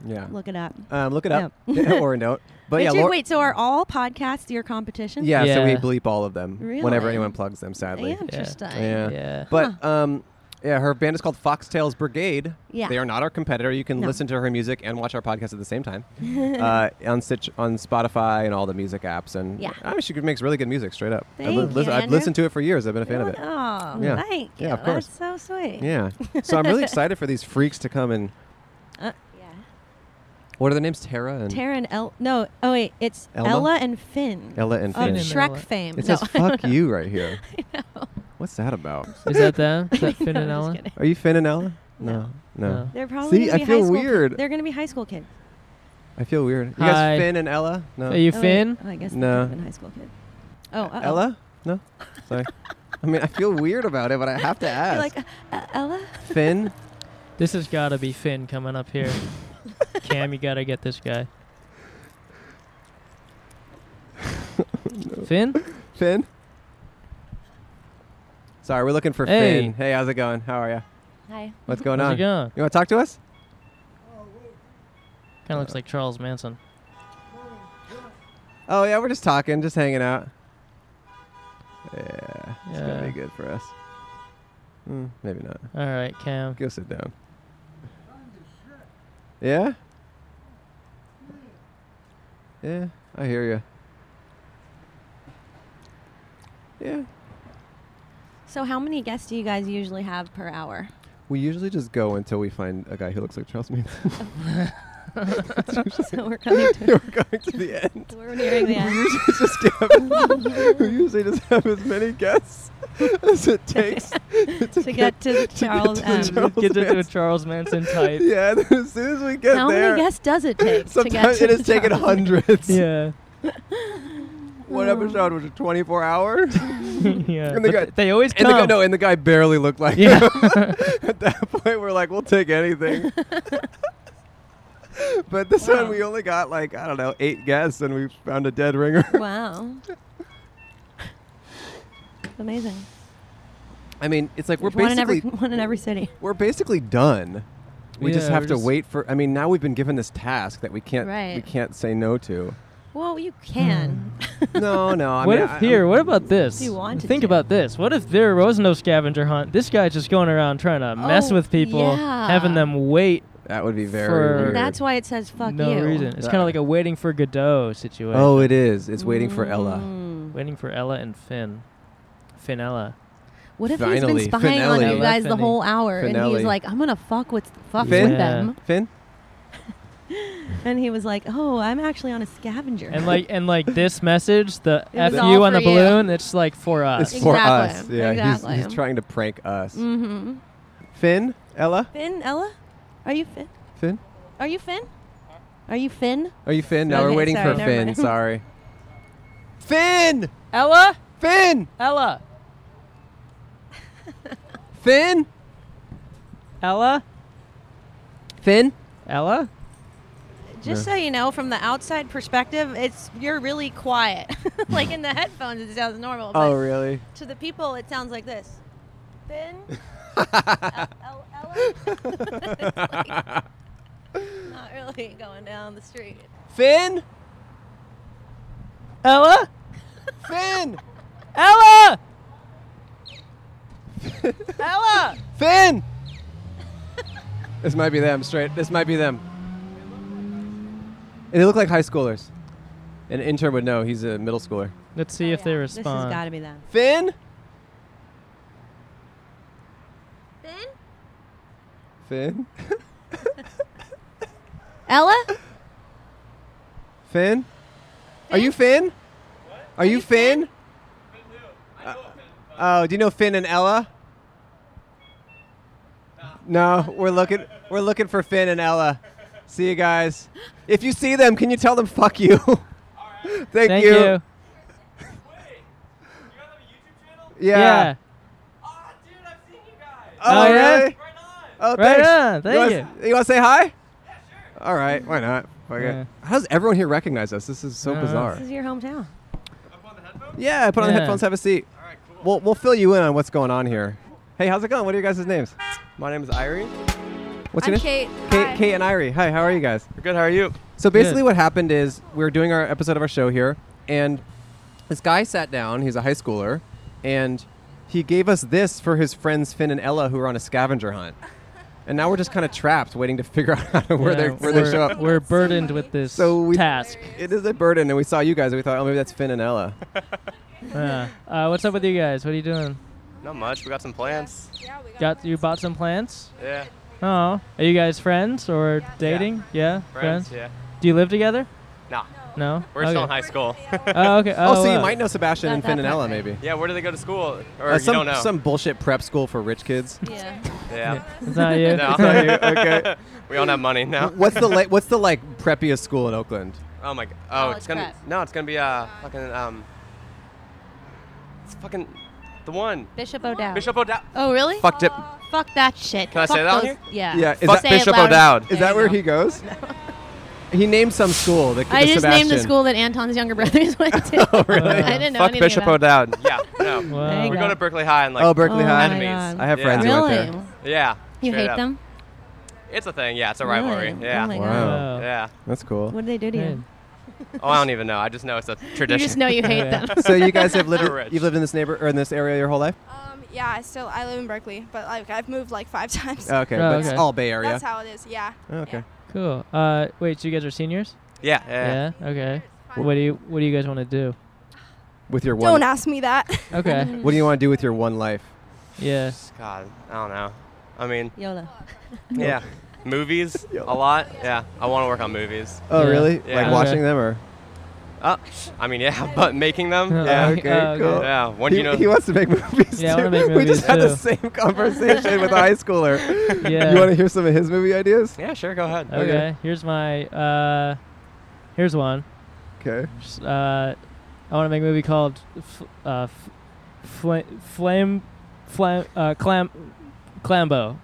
Speaker 5: Yeah.
Speaker 14: Look it up.
Speaker 5: Um, look it up or a note. But yeah,
Speaker 14: Richard,
Speaker 5: Laura,
Speaker 14: wait. So are all podcasts your competition?
Speaker 5: yeah, So we bleep all of them whenever
Speaker 14: Really?
Speaker 5: anyone plugs them. Sadly.
Speaker 14: Yeah. Interesting.
Speaker 5: Yeah.
Speaker 14: Yeah.
Speaker 5: But um, yeah, her band is called Foxtails Brigade.
Speaker 14: Yeah.
Speaker 5: They are not our competitor. You can
Speaker 14: No.
Speaker 5: listen to her music and watch our podcast at the same time uh, on Stitch, on Spotify, and all the music apps. And
Speaker 14: Yeah.
Speaker 5: I mean, she makes really good music. Straight up. I
Speaker 14: Thank you,
Speaker 5: I've
Speaker 14: Andrew.
Speaker 5: listened to it for years. I've been a fan of it.
Speaker 14: Oh,
Speaker 5: yeah.
Speaker 14: thank you.
Speaker 5: Yeah, of course.
Speaker 14: That's so sweet.
Speaker 5: Yeah. So I'm really excited for these freaks to come and
Speaker 14: Uh,
Speaker 5: what are their names? Tara and
Speaker 14: Tara and El. No, oh wait, it's
Speaker 5: Elma?
Speaker 14: Ella and Finn.
Speaker 5: Ella and
Speaker 14: of
Speaker 5: Finn.
Speaker 14: Shrek fame.
Speaker 5: It
Speaker 14: no,
Speaker 5: says
Speaker 14: I don't
Speaker 5: "fuck
Speaker 14: know.
Speaker 5: you" right here. What's that about?
Speaker 4: Is that them? Is that
Speaker 14: No,
Speaker 4: Finn
Speaker 14: I'm
Speaker 4: and
Speaker 14: just
Speaker 4: Ella?
Speaker 14: kidding.
Speaker 5: Are you Finn and Ella? No. No.
Speaker 4: No.
Speaker 14: They're probably.
Speaker 5: See,
Speaker 14: gonna
Speaker 5: I
Speaker 14: be
Speaker 5: feel
Speaker 14: high school kid-
Speaker 5: weird.
Speaker 14: They're gonna be high school kids.
Speaker 5: I feel weird. You
Speaker 4: Hi.
Speaker 5: guys Finn and Ella? No.
Speaker 4: Are you Oh, wait. Finn?
Speaker 14: Oh, I guess they
Speaker 5: no.
Speaker 14: could've been high school kid. Oh, uh-oh.
Speaker 5: Ella? No. Sorry. I mean, I feel weird about it, but I have to
Speaker 14: You're
Speaker 5: ask.
Speaker 14: like uh, uh, Ella.
Speaker 5: Finn?
Speaker 4: This has got to be Finn coming up here. Cam, you got to get this guy. Finn?
Speaker 5: Finn? Sorry, we're looking for
Speaker 4: Hey.
Speaker 5: Finn. Hey, how's it going? How are you?
Speaker 17: Hi.
Speaker 5: What's going
Speaker 4: How's
Speaker 5: on?
Speaker 4: it going?
Speaker 5: You want to talk to us?
Speaker 4: Kind of looks like Charles Manson.
Speaker 5: Oh yeah, we're just talking, just hanging out. Yeah, it's gonna
Speaker 4: Yeah.
Speaker 5: be good for us. Mm, maybe not.
Speaker 4: All right, Cam.
Speaker 5: Go sit down. Yeah. Yeah, I hear you. Yeah.
Speaker 14: So how many guests do you guys usually have per hour?
Speaker 5: We usually just go until we find a guy who looks like Charles Manson.
Speaker 14: so we're coming to.
Speaker 5: we're going to the end.
Speaker 14: We're nearing the
Speaker 5: We
Speaker 14: end.
Speaker 5: usually just get, we usually just have as many guests as it takes to,
Speaker 14: get to the Charles M.
Speaker 4: Get into a Charles Manson type.
Speaker 5: Yeah, as soon as we get
Speaker 14: How
Speaker 5: there,
Speaker 14: many guests does it take?
Speaker 5: sometimes
Speaker 14: to
Speaker 5: it
Speaker 14: get to
Speaker 5: has taken
Speaker 14: Charles?
Speaker 5: hundreds.
Speaker 4: Yeah.
Speaker 5: One episode was a 24 hour.
Speaker 4: yeah.
Speaker 5: And the
Speaker 4: But
Speaker 5: guy,
Speaker 4: th- they always
Speaker 5: and the guy,
Speaker 4: come.
Speaker 5: no, and the guy barely looked like
Speaker 4: Yeah.
Speaker 5: him. At that point, we're like, we'll take anything. but this one, we only got like, I don't know, eight guests, and we found a dead ringer.
Speaker 14: Wow. Amazing.
Speaker 5: I mean, it's like we're
Speaker 14: one in every
Speaker 5: basically
Speaker 14: one in every city.
Speaker 5: we're basically done. We just
Speaker 4: Yeah,
Speaker 5: have
Speaker 4: we're
Speaker 5: to
Speaker 4: just-
Speaker 5: wait for. I mean, now we've been given this task that we can't we
Speaker 14: Right.
Speaker 5: can't say no to.
Speaker 14: Well, you can.
Speaker 5: Hmm. no, Oh, no. I
Speaker 4: what
Speaker 5: mean,
Speaker 4: if
Speaker 5: I-
Speaker 4: here? What about this?
Speaker 14: You wanted
Speaker 4: Think about this. What if there was no scavenger hunt? This guy's just going around trying to mess
Speaker 14: Oh,
Speaker 4: with people, having
Speaker 14: yeah.
Speaker 4: them wait.
Speaker 5: That would be very
Speaker 4: for
Speaker 5: weird.
Speaker 14: That's why it says fuck
Speaker 4: no
Speaker 14: you.
Speaker 4: reason. It's kind of like a waiting for Godot situation.
Speaker 5: Oh, it is. It's waiting for Ella.
Speaker 4: Mm. Waiting for Ella and Finn. Finella.
Speaker 14: What if
Speaker 5: Finally,
Speaker 14: he's been spying on
Speaker 5: finale.
Speaker 14: you guys the
Speaker 4: Finale.
Speaker 14: whole hour and
Speaker 5: Finale.
Speaker 14: he's like, I'm gonna fuck with fuck
Speaker 5: Finn?
Speaker 14: with them,
Speaker 5: Finn.
Speaker 14: and he was like, Oh, I'm actually on a scavenger.
Speaker 4: And like and like this message, the
Speaker 14: It was
Speaker 4: F
Speaker 14: all
Speaker 4: you on
Speaker 14: for
Speaker 4: the
Speaker 14: you.
Speaker 4: balloon, it's like for us.
Speaker 5: It's for us.
Speaker 14: Exactly.
Speaker 5: Yeah, he's, he's
Speaker 14: Exactly.
Speaker 5: trying to prank us.
Speaker 14: mm-hmm.
Speaker 5: Finn, Ella,
Speaker 14: Finn, Ella, are you Finn?
Speaker 5: Finn.
Speaker 14: Are you Finn? Are you Finn?
Speaker 5: Are you Finn? No, we're
Speaker 14: Okay,
Speaker 5: waiting
Speaker 14: sorry,
Speaker 5: for
Speaker 14: never
Speaker 5: Finn.
Speaker 14: mind.
Speaker 5: Sorry. Finn!
Speaker 4: Ella?
Speaker 5: Finn!
Speaker 4: Ella.
Speaker 5: Finn?
Speaker 4: Ella?
Speaker 5: Finn?
Speaker 4: Ella?
Speaker 14: Just so
Speaker 4: Yeah.
Speaker 14: you know, from the outside perspective, it's you're really quiet. like in the headphones, it sounds normal. but
Speaker 5: Oh, really?
Speaker 14: To the people, it sounds like this. Finn. El- Ella? It's like not really going down the street.
Speaker 5: Finn?
Speaker 4: Ella?
Speaker 5: Finn!
Speaker 4: Ella!
Speaker 9: Ella!
Speaker 5: Finn! this might be them straight. This might be them. And they look like high schoolers. An intern would know. He's a middle schooler.
Speaker 4: Let's
Speaker 14: Oh,
Speaker 4: see if they
Speaker 12: This has
Speaker 4: respond.
Speaker 12: got to be them.
Speaker 5: Finn?
Speaker 14: Finn?
Speaker 5: Finn?
Speaker 14: Ella?
Speaker 5: Finn? Are you Finn? Are you Finn? Uh, Oh, do you know Finn and Ella? No, we're looking we're looking for Finn and Ella. See you guys. If you see them, can you tell them fuck you? Thank,
Speaker 4: Thank
Speaker 5: you.
Speaker 4: you.
Speaker 5: Yeah.
Speaker 4: Yeah.
Speaker 5: Oh,
Speaker 4: Oh, yeah?
Speaker 5: really? Oh,
Speaker 4: Right
Speaker 5: thanks.
Speaker 4: on, thank
Speaker 5: wanna s- you want to say hi? Yeah, sure. All right, why not? Fuck it.
Speaker 4: Yeah.
Speaker 5: How does everyone here recognize us? This is so
Speaker 4: Uh-huh.
Speaker 5: bizarre.
Speaker 12: Uh, This is your hometown.
Speaker 5: Yeah, put on the
Speaker 4: Yeah.
Speaker 5: headphones, have a seat. We'll, we'll fill you in on what's going on here. Hey, how's it going? What are your guys' names? My name is Irie. What's your
Speaker 10: I'm
Speaker 5: name?
Speaker 10: Kate.
Speaker 5: Kate,
Speaker 10: Hi.
Speaker 5: Kate and Irie. Hi, how are you guys?
Speaker 17: We're good. How are you?
Speaker 5: So basically,
Speaker 17: Good.
Speaker 5: what happened is we were doing our episode of our show here, and this guy sat down. He's a high schooler, and he gave us this for his friends Finn and Ella, who were on a scavenger hunt. And now we're just kind of trapped, waiting to figure out where they
Speaker 4: Yeah,
Speaker 5: where they
Speaker 4: we're-
Speaker 5: show up.
Speaker 4: We're burdened with this
Speaker 5: So we,
Speaker 4: task.
Speaker 5: It is a burden, and we saw you guys, and we thought, oh, maybe that's Finn and Ella.
Speaker 4: Yeah. Uh, what's up with you guys? What are you doing?
Speaker 17: Not much. We got some plants.
Speaker 4: Got you bought some plants?
Speaker 17: Yeah.
Speaker 4: Oh, are you guys friends or dating? Yeah,
Speaker 17: Friends, yeah.
Speaker 4: Do you live together?
Speaker 17: No.
Speaker 4: No.
Speaker 17: We're still in
Speaker 4: Okay.
Speaker 17: high school.
Speaker 4: Oh, okay.
Speaker 5: Oh, so you
Speaker 4: wow.
Speaker 5: might know Sebastian and Finn and Ella, maybe.
Speaker 17: Yeah, where do they go to school? Or
Speaker 5: Uh,
Speaker 17: you
Speaker 5: some
Speaker 17: don't know?
Speaker 5: some bullshit prep school for rich kids.
Speaker 17: Yeah. Yeah.
Speaker 4: It's not you.
Speaker 17: No.
Speaker 4: It's not you.
Speaker 5: Okay.
Speaker 17: we all have money now.
Speaker 5: What's the la- what's the like preppiest school in Oakland?
Speaker 17: Oh my. g- Oh,
Speaker 5: College
Speaker 17: it's gonna.
Speaker 5: prep.
Speaker 17: Be, no, it's gonna be uh fucking um. It's fucking the one.
Speaker 14: Bishop O'Dowd.
Speaker 17: Bishop O'Dowd.
Speaker 14: Oh, really?
Speaker 5: Fuck dip.
Speaker 14: Fuck that shit.
Speaker 17: Can I
Speaker 14: Fuck
Speaker 17: say that on
Speaker 14: those-
Speaker 17: here?
Speaker 14: Yeah.
Speaker 5: Yeah. Is
Speaker 17: Fuck
Speaker 5: that
Speaker 17: Bishop O'Dowd.
Speaker 5: Is that where he goes? He named some school. The,
Speaker 14: I
Speaker 5: the
Speaker 14: just
Speaker 5: Sebastian.
Speaker 14: named the school that Anton's younger brothers went to.
Speaker 5: Oh, really?
Speaker 14: I didn't know
Speaker 5: Fuck
Speaker 14: anything
Speaker 5: Bishop
Speaker 14: about
Speaker 5: O'Dowd.
Speaker 17: yeah. No.
Speaker 5: Wow.
Speaker 17: We go to Berkeley High and like.
Speaker 5: Oh, Berkeley High.
Speaker 17: Enemies.
Speaker 5: I have
Speaker 17: Yeah.
Speaker 5: friends who went there.
Speaker 14: Really?
Speaker 17: Yeah.
Speaker 14: You
Speaker 17: straight
Speaker 14: hate
Speaker 17: up.
Speaker 14: them?
Speaker 17: It's a thing. Yeah, it's a
Speaker 14: Really?
Speaker 17: rivalry.
Speaker 14: Oh
Speaker 17: Yeah.
Speaker 14: my God.
Speaker 5: Wow.
Speaker 17: Yeah.
Speaker 5: That's cool.
Speaker 14: What did they do to you?
Speaker 17: Oh, I don't even know. I just know it's a tradition.
Speaker 14: know you hate Yeah. them.
Speaker 5: so you guys have lived
Speaker 17: They're rich.
Speaker 5: you've lived in this neighbor or in this area your whole life?
Speaker 10: Um, yeah, I still I live in Berkeley, but like I've moved like five times.
Speaker 5: Okay, Oh, but it's okay. all Bay Area.
Speaker 10: That's how it is. Yeah.
Speaker 5: Oh, okay.
Speaker 4: Cool. Uh, wait, so you guys are seniors?
Speaker 17: Yeah, yeah,
Speaker 4: Yeah. Okay. What do you What do you guys want to do?
Speaker 5: With your one
Speaker 10: Don't ask me that.
Speaker 4: Okay.
Speaker 5: What do you want to do with your one life?
Speaker 4: Yeah.
Speaker 17: God, I don't know. I mean,
Speaker 14: YOLO.
Speaker 17: yeah, movies a lot. Yeah, I want to work on movies.
Speaker 5: Oh, really?
Speaker 17: Yeah.
Speaker 5: Like watching them or
Speaker 17: Uh, I mean, yeah, but making them.
Speaker 5: Oh,
Speaker 17: Yeah.
Speaker 5: okay, Oh, okay. cool.
Speaker 17: Yeah. When
Speaker 5: he,
Speaker 17: you know.
Speaker 5: he wants to make movies
Speaker 4: Uh, Yeah, I
Speaker 5: too.
Speaker 4: wanna make
Speaker 5: we just
Speaker 4: movies,
Speaker 5: had the
Speaker 4: too.
Speaker 5: same conversation with a high schooler.
Speaker 4: Yeah.
Speaker 5: You want to hear some of his movie ideas?
Speaker 17: yeah, sure. Go
Speaker 5: Oh,
Speaker 17: ahead.
Speaker 4: Okay. Here's my. Uh, here's one.
Speaker 5: Okay.
Speaker 4: Uh, I want to make a movie called F- uh, F- Fla- Flame, Flam, uh, Clam, Clambo.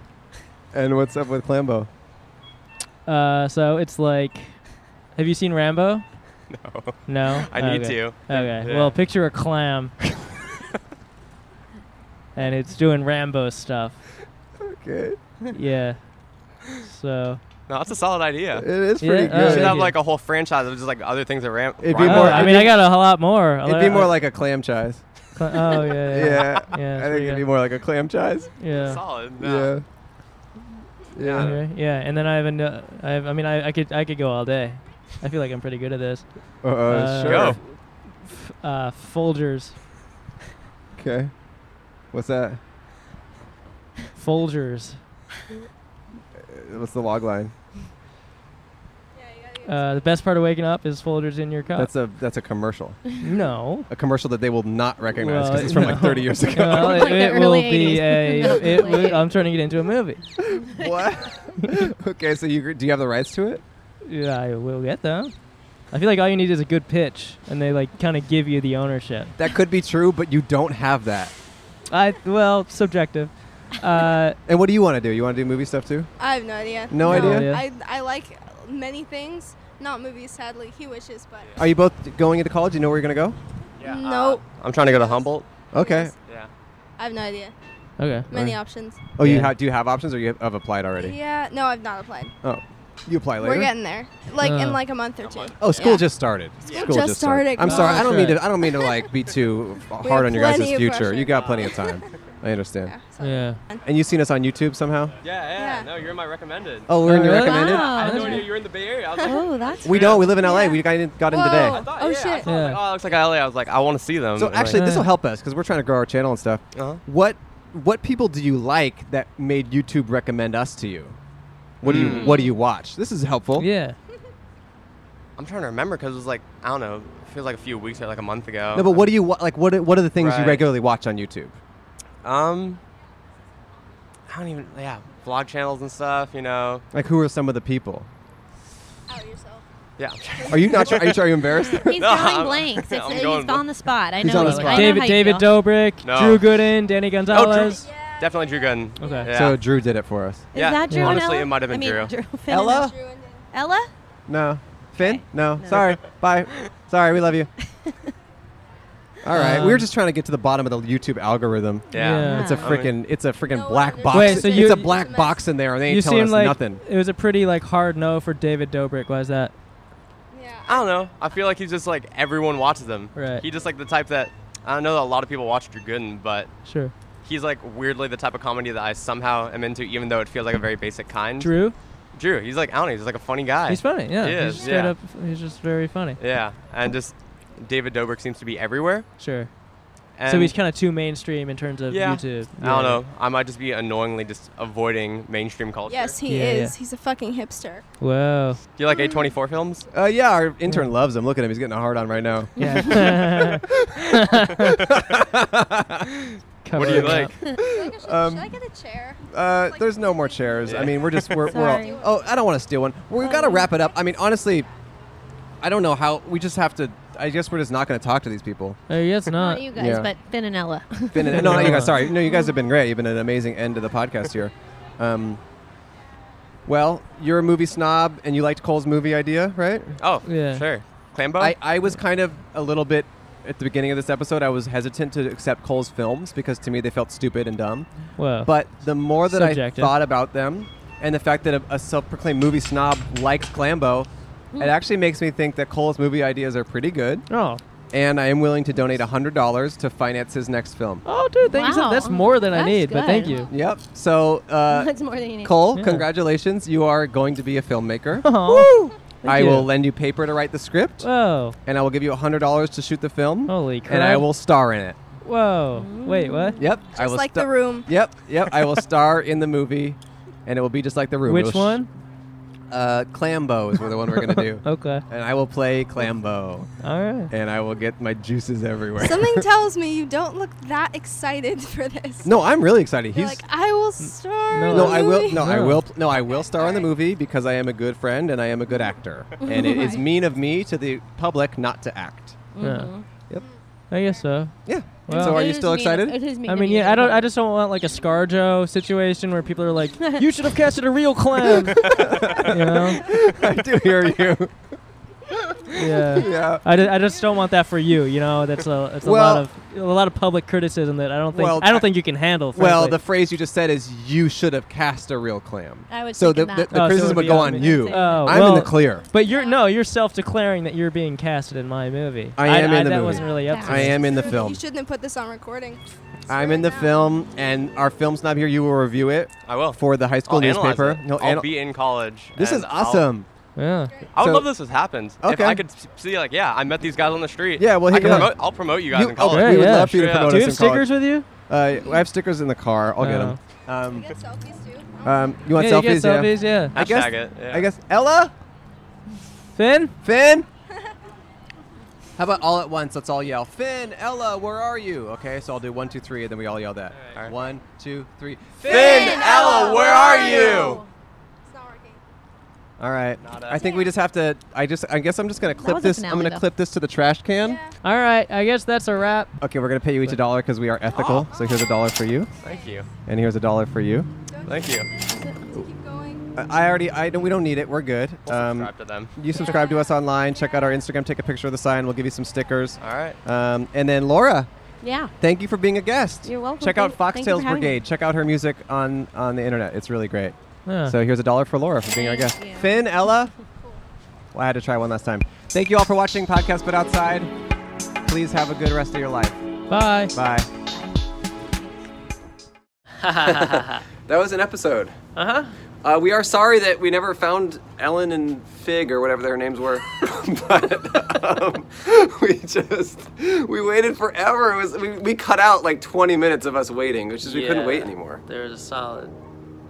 Speaker 5: And what's up with Clambo?
Speaker 4: Uh, so it's like, have you seen Rambo?
Speaker 17: No.
Speaker 4: No.
Speaker 17: I need
Speaker 4: Okay.
Speaker 17: to.
Speaker 4: Okay.
Speaker 17: Yeah.
Speaker 4: Well, picture a clam. and it's doing Rambo stuff.
Speaker 5: Okay.
Speaker 4: Yeah. So.
Speaker 17: No, that's a solid idea.
Speaker 5: It is
Speaker 4: Yeah, pretty oh, good.
Speaker 17: should
Speaker 4: thank
Speaker 17: have
Speaker 4: you.
Speaker 17: like a whole franchise of just like other things that ramp.
Speaker 5: It'd be more-
Speaker 4: I mean, I got a lot more.
Speaker 5: It'd be more like a clam chise.
Speaker 4: Cla- oh, yeah, yeah.
Speaker 5: yeah. I
Speaker 4: Yeah,
Speaker 5: think
Speaker 4: that's pretty
Speaker 5: it'd be
Speaker 4: good.
Speaker 5: more like a clam chise.
Speaker 4: Yeah.
Speaker 17: Solid.
Speaker 5: Yeah.
Speaker 17: Yeah.
Speaker 5: Yeah.
Speaker 4: Okay, yeah, and then I have, an, I have. I mean, I, I could. I could go all day. I feel like I'm pretty good at this.
Speaker 5: Uh, sure. Go.
Speaker 4: F- f- uh, Folgers.
Speaker 5: Okay. What's that?
Speaker 4: Folgers.
Speaker 5: Uh, What's the log line?
Speaker 4: Uh, the best part of waking up is Folgers in your cup.
Speaker 5: That's a that's a commercial.
Speaker 4: No.
Speaker 5: A commercial that they will not recognize because
Speaker 4: Well,
Speaker 5: it's from
Speaker 4: no.
Speaker 5: like 30 years ago.
Speaker 4: Well, it, it will be a. It would- uh, I'm turning it into a movie.
Speaker 5: what? okay, so you do you have the rights to it?
Speaker 4: Yeah, I will get them. I feel like all you need is a good pitch, and they like kind of give you the ownership.
Speaker 5: That could be true, but you don't have that.
Speaker 4: I well, Oh, subjective. Uh,
Speaker 5: and what do you want to do? You want to do movie stuff too?
Speaker 10: I have no idea.
Speaker 5: No idea?
Speaker 10: I I like many things, not movies. Sadly, he wishes, but
Speaker 5: Are you both going into college? You know where you're gonna go?
Speaker 17: Yeah,
Speaker 5: uh,
Speaker 10: no,
Speaker 17: I'm trying to go to Humboldt.
Speaker 5: Okay.
Speaker 17: Yeah.
Speaker 10: I have no idea.
Speaker 4: Okay.
Speaker 10: Many options.
Speaker 5: Oh, you
Speaker 4: Yeah.
Speaker 5: ha- do you have options, or you have, have applied already?
Speaker 10: Yeah. No, I've not applied.
Speaker 5: Oh, You apply later.
Speaker 10: We're getting there, like
Speaker 5: Oh.
Speaker 4: Uh.
Speaker 10: in like a month or two.
Speaker 5: Oh, school
Speaker 10: Yeah.
Speaker 5: just started.
Speaker 10: School just started,
Speaker 5: I'm sorry.
Speaker 10: guys.
Speaker 5: I don't mean
Speaker 10: That's
Speaker 5: to. I don't mean to like be too
Speaker 10: We
Speaker 5: hard
Speaker 10: have
Speaker 5: on your guys'
Speaker 10: plenty of
Speaker 5: future.
Speaker 10: pressure.
Speaker 5: You got plenty of time. I understand.
Speaker 4: Yeah.
Speaker 5: And you've seen us on YouTube somehow.
Speaker 17: Yeah, yeah, No, you're in my recommended.
Speaker 5: Oh, we're in
Speaker 17: the
Speaker 5: your recommended?
Speaker 17: I had
Speaker 5: Wow.
Speaker 17: no idea you were in the Bay Area. I was like,
Speaker 14: Oh, that's
Speaker 5: We don't. We live in LA. We got in, got in
Speaker 17: I
Speaker 5: today.
Speaker 17: thought, oh yeah. shit. I thought, I was like, oh, it looks like LA. I was like, I want to see them.
Speaker 5: So
Speaker 17: And, like-
Speaker 5: actually, this will help us because we're trying to grow our channel and stuff.
Speaker 17: Uh-huh.
Speaker 5: What what people do you like that made YouTube recommend us to you? What do you
Speaker 17: Mm.
Speaker 5: What do you watch? This is helpful.
Speaker 4: Yeah.
Speaker 17: I'm trying to remember because it was like I don't know. It feels like a few weeks or like a month ago.
Speaker 5: No, but what do you wa- like? What are- What are the things you
Speaker 17: Right.
Speaker 5: regularly watch on YouTube?
Speaker 17: Um, I don't even. Yeah, vlog channels and stuff. You know.
Speaker 5: Like, who are some of the people?
Speaker 17: Yeah.
Speaker 5: Are you not? sure- Are you, are you embarrassed?
Speaker 14: He's
Speaker 17: No,
Speaker 14: drawing
Speaker 17: I'm-
Speaker 14: blanks. It's,
Speaker 17: I'm
Speaker 14: he's
Speaker 17: going
Speaker 14: on the spot. I
Speaker 5: He's
Speaker 14: know.
Speaker 5: on the
Speaker 14: he's-
Speaker 5: spot.
Speaker 14: I know
Speaker 4: David
Speaker 14: how you
Speaker 4: David
Speaker 14: feel.
Speaker 4: Dobrik,
Speaker 17: No. Oh,
Speaker 4: Drew Gooden, Danny Gonzalez.
Speaker 17: Definitely Drew Gunn.
Speaker 4: Okay.
Speaker 17: Yeah.
Speaker 5: So Drew did it for us.
Speaker 14: Is that Drew and
Speaker 17: Honestly,
Speaker 14: Ella?
Speaker 17: it might have been
Speaker 14: I mean,
Speaker 17: Drew.
Speaker 14: Finn and
Speaker 5: Ella?
Speaker 14: Ella?
Speaker 5: No. Finn? No. Sorry. Bye. Sorry. We love you. All right. we were
Speaker 4: Um,
Speaker 5: just trying to get to the bottom of the YouTube algorithm.
Speaker 4: Yeah. Yeah.
Speaker 5: It's a
Speaker 4: I mean-
Speaker 5: freaking. It's a freaking black box.
Speaker 4: Wait, so you-
Speaker 5: it's a black box in there, and they
Speaker 4: you
Speaker 5: ain't telling
Speaker 4: seem
Speaker 5: us
Speaker 4: like
Speaker 5: nothing.
Speaker 4: it was a pretty like hard no for David Dobrik. Why is that?
Speaker 17: I don't know. I feel like he's just like everyone watches him.
Speaker 4: Right.
Speaker 17: He just like the type that I know that a lot of people watch Drew Gooden, but
Speaker 4: Sure.
Speaker 17: he's like weirdly the type of comedy that I somehow am into, even though it feels like a very basic kind.
Speaker 4: Drew?
Speaker 17: Drew. He's like I don't know. He's like a funny guy.
Speaker 4: He's funny. Yeah.
Speaker 17: He is.
Speaker 4: he's straight
Speaker 17: yeah.
Speaker 4: up. He's just very funny.
Speaker 17: Yeah. And just David Dobrik seems to be everywhere.
Speaker 4: Sure. so
Speaker 17: And-
Speaker 4: he's kind of too mainstream in terms of YouTube.
Speaker 17: I don't know. I might just be annoyingly just avoiding mainstream culture.
Speaker 10: Yes, he
Speaker 4: Yeah,
Speaker 10: is.
Speaker 4: yeah.
Speaker 10: He's a fucking hipster.
Speaker 4: Whoa.
Speaker 17: Do you like A24 films?
Speaker 5: Uh, yeah, our intern loves him. Look at him. He's getting a hard on right now.
Speaker 4: Yeah.
Speaker 17: what do you like?
Speaker 5: Um,
Speaker 10: Should I get a chair?
Speaker 5: Uh, there's no more chairs. I mean, we're just we're, we're all.
Speaker 10: Sorry. Oh.
Speaker 5: Oh, I don't want to steal one. We've got to wrap it up. I mean, honestly, I don't know how. We just have to. I guess we're just not going to talk to these people.
Speaker 4: I guess
Speaker 14: Not
Speaker 4: not.
Speaker 14: you guys,
Speaker 5: Uh, Yeah.
Speaker 14: but Finn and Ella.
Speaker 5: Been an, no, no, you guys. Sorry, no, you guys have been great. You've been an amazing end to the podcast here. Um, well, you're a movie snob, and you liked Cole's movie idea, right?
Speaker 17: Oh, sure. Clambo?
Speaker 5: I, I was kind of a little bit at the beginning of this episode. I was hesitant to accept Cole's films because to me they felt stupid and dumb.
Speaker 4: Whoa.
Speaker 5: But the more that
Speaker 4: Subjective.
Speaker 5: I thought about them, and the fact that a, a self-proclaimed movie snob likes Clambo,
Speaker 14: Hmm.
Speaker 5: it actually makes me think that Cole's movie ideas are pretty good.
Speaker 4: Oh.
Speaker 5: And I am willing to donate $100 to finance his next film.
Speaker 4: Oh, dude, thank you. So,
Speaker 14: Wow.
Speaker 4: that's more than I
Speaker 14: That's
Speaker 4: need, but thank
Speaker 14: good.
Speaker 4: you.
Speaker 5: Yep. So, uh,
Speaker 14: That's more than you need.
Speaker 5: Cole,
Speaker 14: Yeah.
Speaker 5: congratulations. You are going to be a filmmaker.
Speaker 4: Aw. Thank
Speaker 5: I
Speaker 4: you.
Speaker 5: will lend you paper to write the script.
Speaker 4: Whoa.
Speaker 5: And I will give you $100 to shoot the film.
Speaker 4: Holy
Speaker 5: And I
Speaker 4: crap.
Speaker 5: will star in it.
Speaker 4: Whoa. Wait, what?
Speaker 5: Yep. I
Speaker 4: Just
Speaker 5: will
Speaker 4: like
Speaker 5: sta-
Speaker 4: The Room.
Speaker 5: Yep. Yep. I will star in the movie, and it will be just like the room.
Speaker 4: Which
Speaker 5: It will
Speaker 4: one?
Speaker 5: uh, Clambo is the one we're gonna do.
Speaker 4: Okay.
Speaker 5: And I will play Clambo.
Speaker 4: All right.
Speaker 5: And I will get my juices everywhere.
Speaker 10: Something tells me you don't look that excited for this.
Speaker 5: no, I'm really excited. He's.
Speaker 10: I will star.
Speaker 5: no,
Speaker 10: in the
Speaker 5: I will.
Speaker 10: movie.
Speaker 5: No, I will. No, I will star in the movie because I am a good friend and I am a good actor, and it is
Speaker 4: Right.
Speaker 5: mean of me to the public not to act.
Speaker 4: Yeah.
Speaker 5: Yep.
Speaker 4: I guess so.
Speaker 5: Yeah. So are It you is still mean of- excited? it is mean
Speaker 4: I
Speaker 5: of
Speaker 4: mean,
Speaker 5: you
Speaker 4: yeah.
Speaker 5: to
Speaker 4: I don't. I just don't want like a ScarJo situation where people are like, "You should have casted a real clown." you know?
Speaker 5: I do hear you.
Speaker 4: Yeah.
Speaker 5: Yeah.
Speaker 4: I, ju- I just don't want that for you. You know, that's a that's
Speaker 5: Well-
Speaker 4: a lot of a lot of public criticism that I don't think
Speaker 5: Well,
Speaker 4: I don't
Speaker 5: I-
Speaker 4: think you can handle.
Speaker 5: Well, the
Speaker 4: frankly.
Speaker 5: phrase you just said is you should have cast a real clam.
Speaker 4: I was
Speaker 5: so the,
Speaker 4: thinking
Speaker 5: the,
Speaker 4: that.
Speaker 5: the
Speaker 4: Oh, so it
Speaker 5: criticism
Speaker 4: would
Speaker 5: would
Speaker 4: be
Speaker 5: go
Speaker 4: on
Speaker 5: on
Speaker 4: me.
Speaker 5: you.
Speaker 4: Oh,
Speaker 5: I'm in
Speaker 4: well,
Speaker 5: the clear.
Speaker 4: But you're no, you're self-declaring that you're being casted in my movie.
Speaker 5: I am in the
Speaker 4: that
Speaker 5: movie.
Speaker 4: wasn't really up. To
Speaker 5: I
Speaker 4: me.
Speaker 5: am in the
Speaker 10: You
Speaker 5: film.
Speaker 10: shouldn't have put this on recording.
Speaker 5: I'm in the film, and our film snob here. You will review it.
Speaker 17: I will.
Speaker 5: for the high school
Speaker 17: I'll analyze
Speaker 5: newspaper.
Speaker 17: it.
Speaker 5: He'll
Speaker 17: I'll
Speaker 5: anal-
Speaker 17: be in college.
Speaker 5: This
Speaker 17: and
Speaker 5: is
Speaker 17: I'll-
Speaker 5: awesome.
Speaker 4: Yeah.
Speaker 17: I would
Speaker 5: So-
Speaker 17: love this has happened. If
Speaker 5: Okay.
Speaker 17: I could s- see, like, yeah, I met these guys on the street.
Speaker 5: Yeah, well,
Speaker 17: I
Speaker 5: he
Speaker 17: can
Speaker 5: can-
Speaker 17: promote, I'll promote you guys
Speaker 5: You-
Speaker 17: in college.
Speaker 5: okay, we would love for you to
Speaker 17: Yeah.
Speaker 5: promote
Speaker 4: Do you
Speaker 5: us
Speaker 4: have
Speaker 5: in college.
Speaker 4: stickers with you?
Speaker 5: Uh, I have stickers in the car. I'll get
Speaker 4: Oh.
Speaker 5: 'em. get them. Um, um, you want
Speaker 4: Yeah, Oh. you
Speaker 5: selfies?
Speaker 4: get selfies, yeah.
Speaker 5: I guess.
Speaker 17: Hashtag it, yeah.
Speaker 5: I guess. Ella,
Speaker 4: Finn,
Speaker 5: Finn. How about all at once? Let's all yell, Finn, Ella, where are you? Okay, so I'll do one, two, three, and then we all yell that. One, two, three.
Speaker 17: Finn, Ella, where are you?
Speaker 5: All right.
Speaker 17: Not
Speaker 5: I
Speaker 17: us.
Speaker 5: think we just have to. I just. I guess I'm just gonna clip
Speaker 4: was a
Speaker 5: this. I'm
Speaker 4: finale,
Speaker 5: gonna
Speaker 4: though.
Speaker 5: clip this to the trash can.
Speaker 4: All right. I guess that's a wrap.
Speaker 5: Okay, we're gonna pay you each a dollar because we are ethical. So here's a dollar for you.
Speaker 17: Oh. Thank you.
Speaker 5: And here's a dollar for you.
Speaker 17: Thank you.
Speaker 5: I I already. I don't. We don't need it. We're good. Um,
Speaker 17: subscribe to them.
Speaker 5: You subscribe to us online. Check out our Instagram. Take a picture of the sign. We'll give you some stickers.
Speaker 17: All right.
Speaker 5: Um, and then Laura.
Speaker 14: Yeah.
Speaker 5: Thank you for being a guest.
Speaker 14: You're welcome.
Speaker 5: Check out
Speaker 14: Thank- thank you for
Speaker 5: Foxtails
Speaker 14: having me.
Speaker 5: Brigade. Check out her music on on the internet. It's really great.
Speaker 17: Yeah.
Speaker 18: So here's a dollar for Laura for being our guest. Finn, Ella, well, I had to try one last time. Thank you all for watching Podcast But Outside. Please have a good rest of your life.
Speaker 17: Bye.
Speaker 18: Bye.
Speaker 5: that was an episode.
Speaker 4: Uh-huh.
Speaker 5: Uh, we are sorry that we never found Ellen and Fig or whatever their names were, but um, we just we waited forever. It was we, we cut out like 20 minutes of us waiting, which is we couldn't
Speaker 4: Yeah.
Speaker 5: wait anymore.
Speaker 4: There was a solid,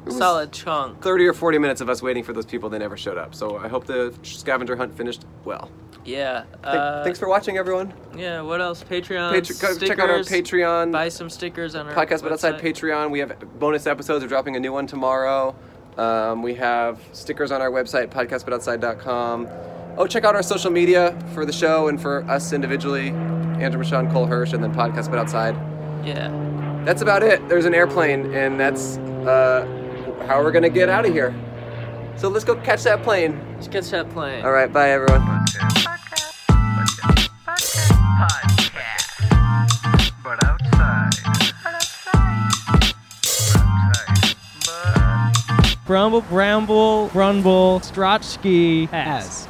Speaker 5: was-
Speaker 4: solid chunk.
Speaker 5: 30 or 40 minutes of us waiting for those people. They never showed up. So I hope the scavenger hunt finished well.
Speaker 4: Yeah.
Speaker 5: Th-
Speaker 4: Uh,
Speaker 5: thanks for watching, everyone.
Speaker 4: Yeah. What else? Patreon.
Speaker 5: Patre- go check out our
Speaker 4: stickers.
Speaker 5: Patreon.
Speaker 4: Buy some stickers on our
Speaker 5: podcast but outside
Speaker 4: website.
Speaker 5: patreon we have bonus episodes we're dropping a new one tomorrow um, we have stickers on our website podcastbutoutside.com oh check out our social media for the show and for us individually andrew Michon, cole hirsch and then podcast but outside
Speaker 4: Yeah.
Speaker 5: that's about it there's an airplane and that's uh, how we're gonna get out of here so let's go catch that plane
Speaker 4: Let's catch that plane.
Speaker 5: all right bye everyone
Speaker 16: Podcast. But outside. But outside. But outside. But.
Speaker 17: Brumble, Bramble, Brumble, Strotsky, ass.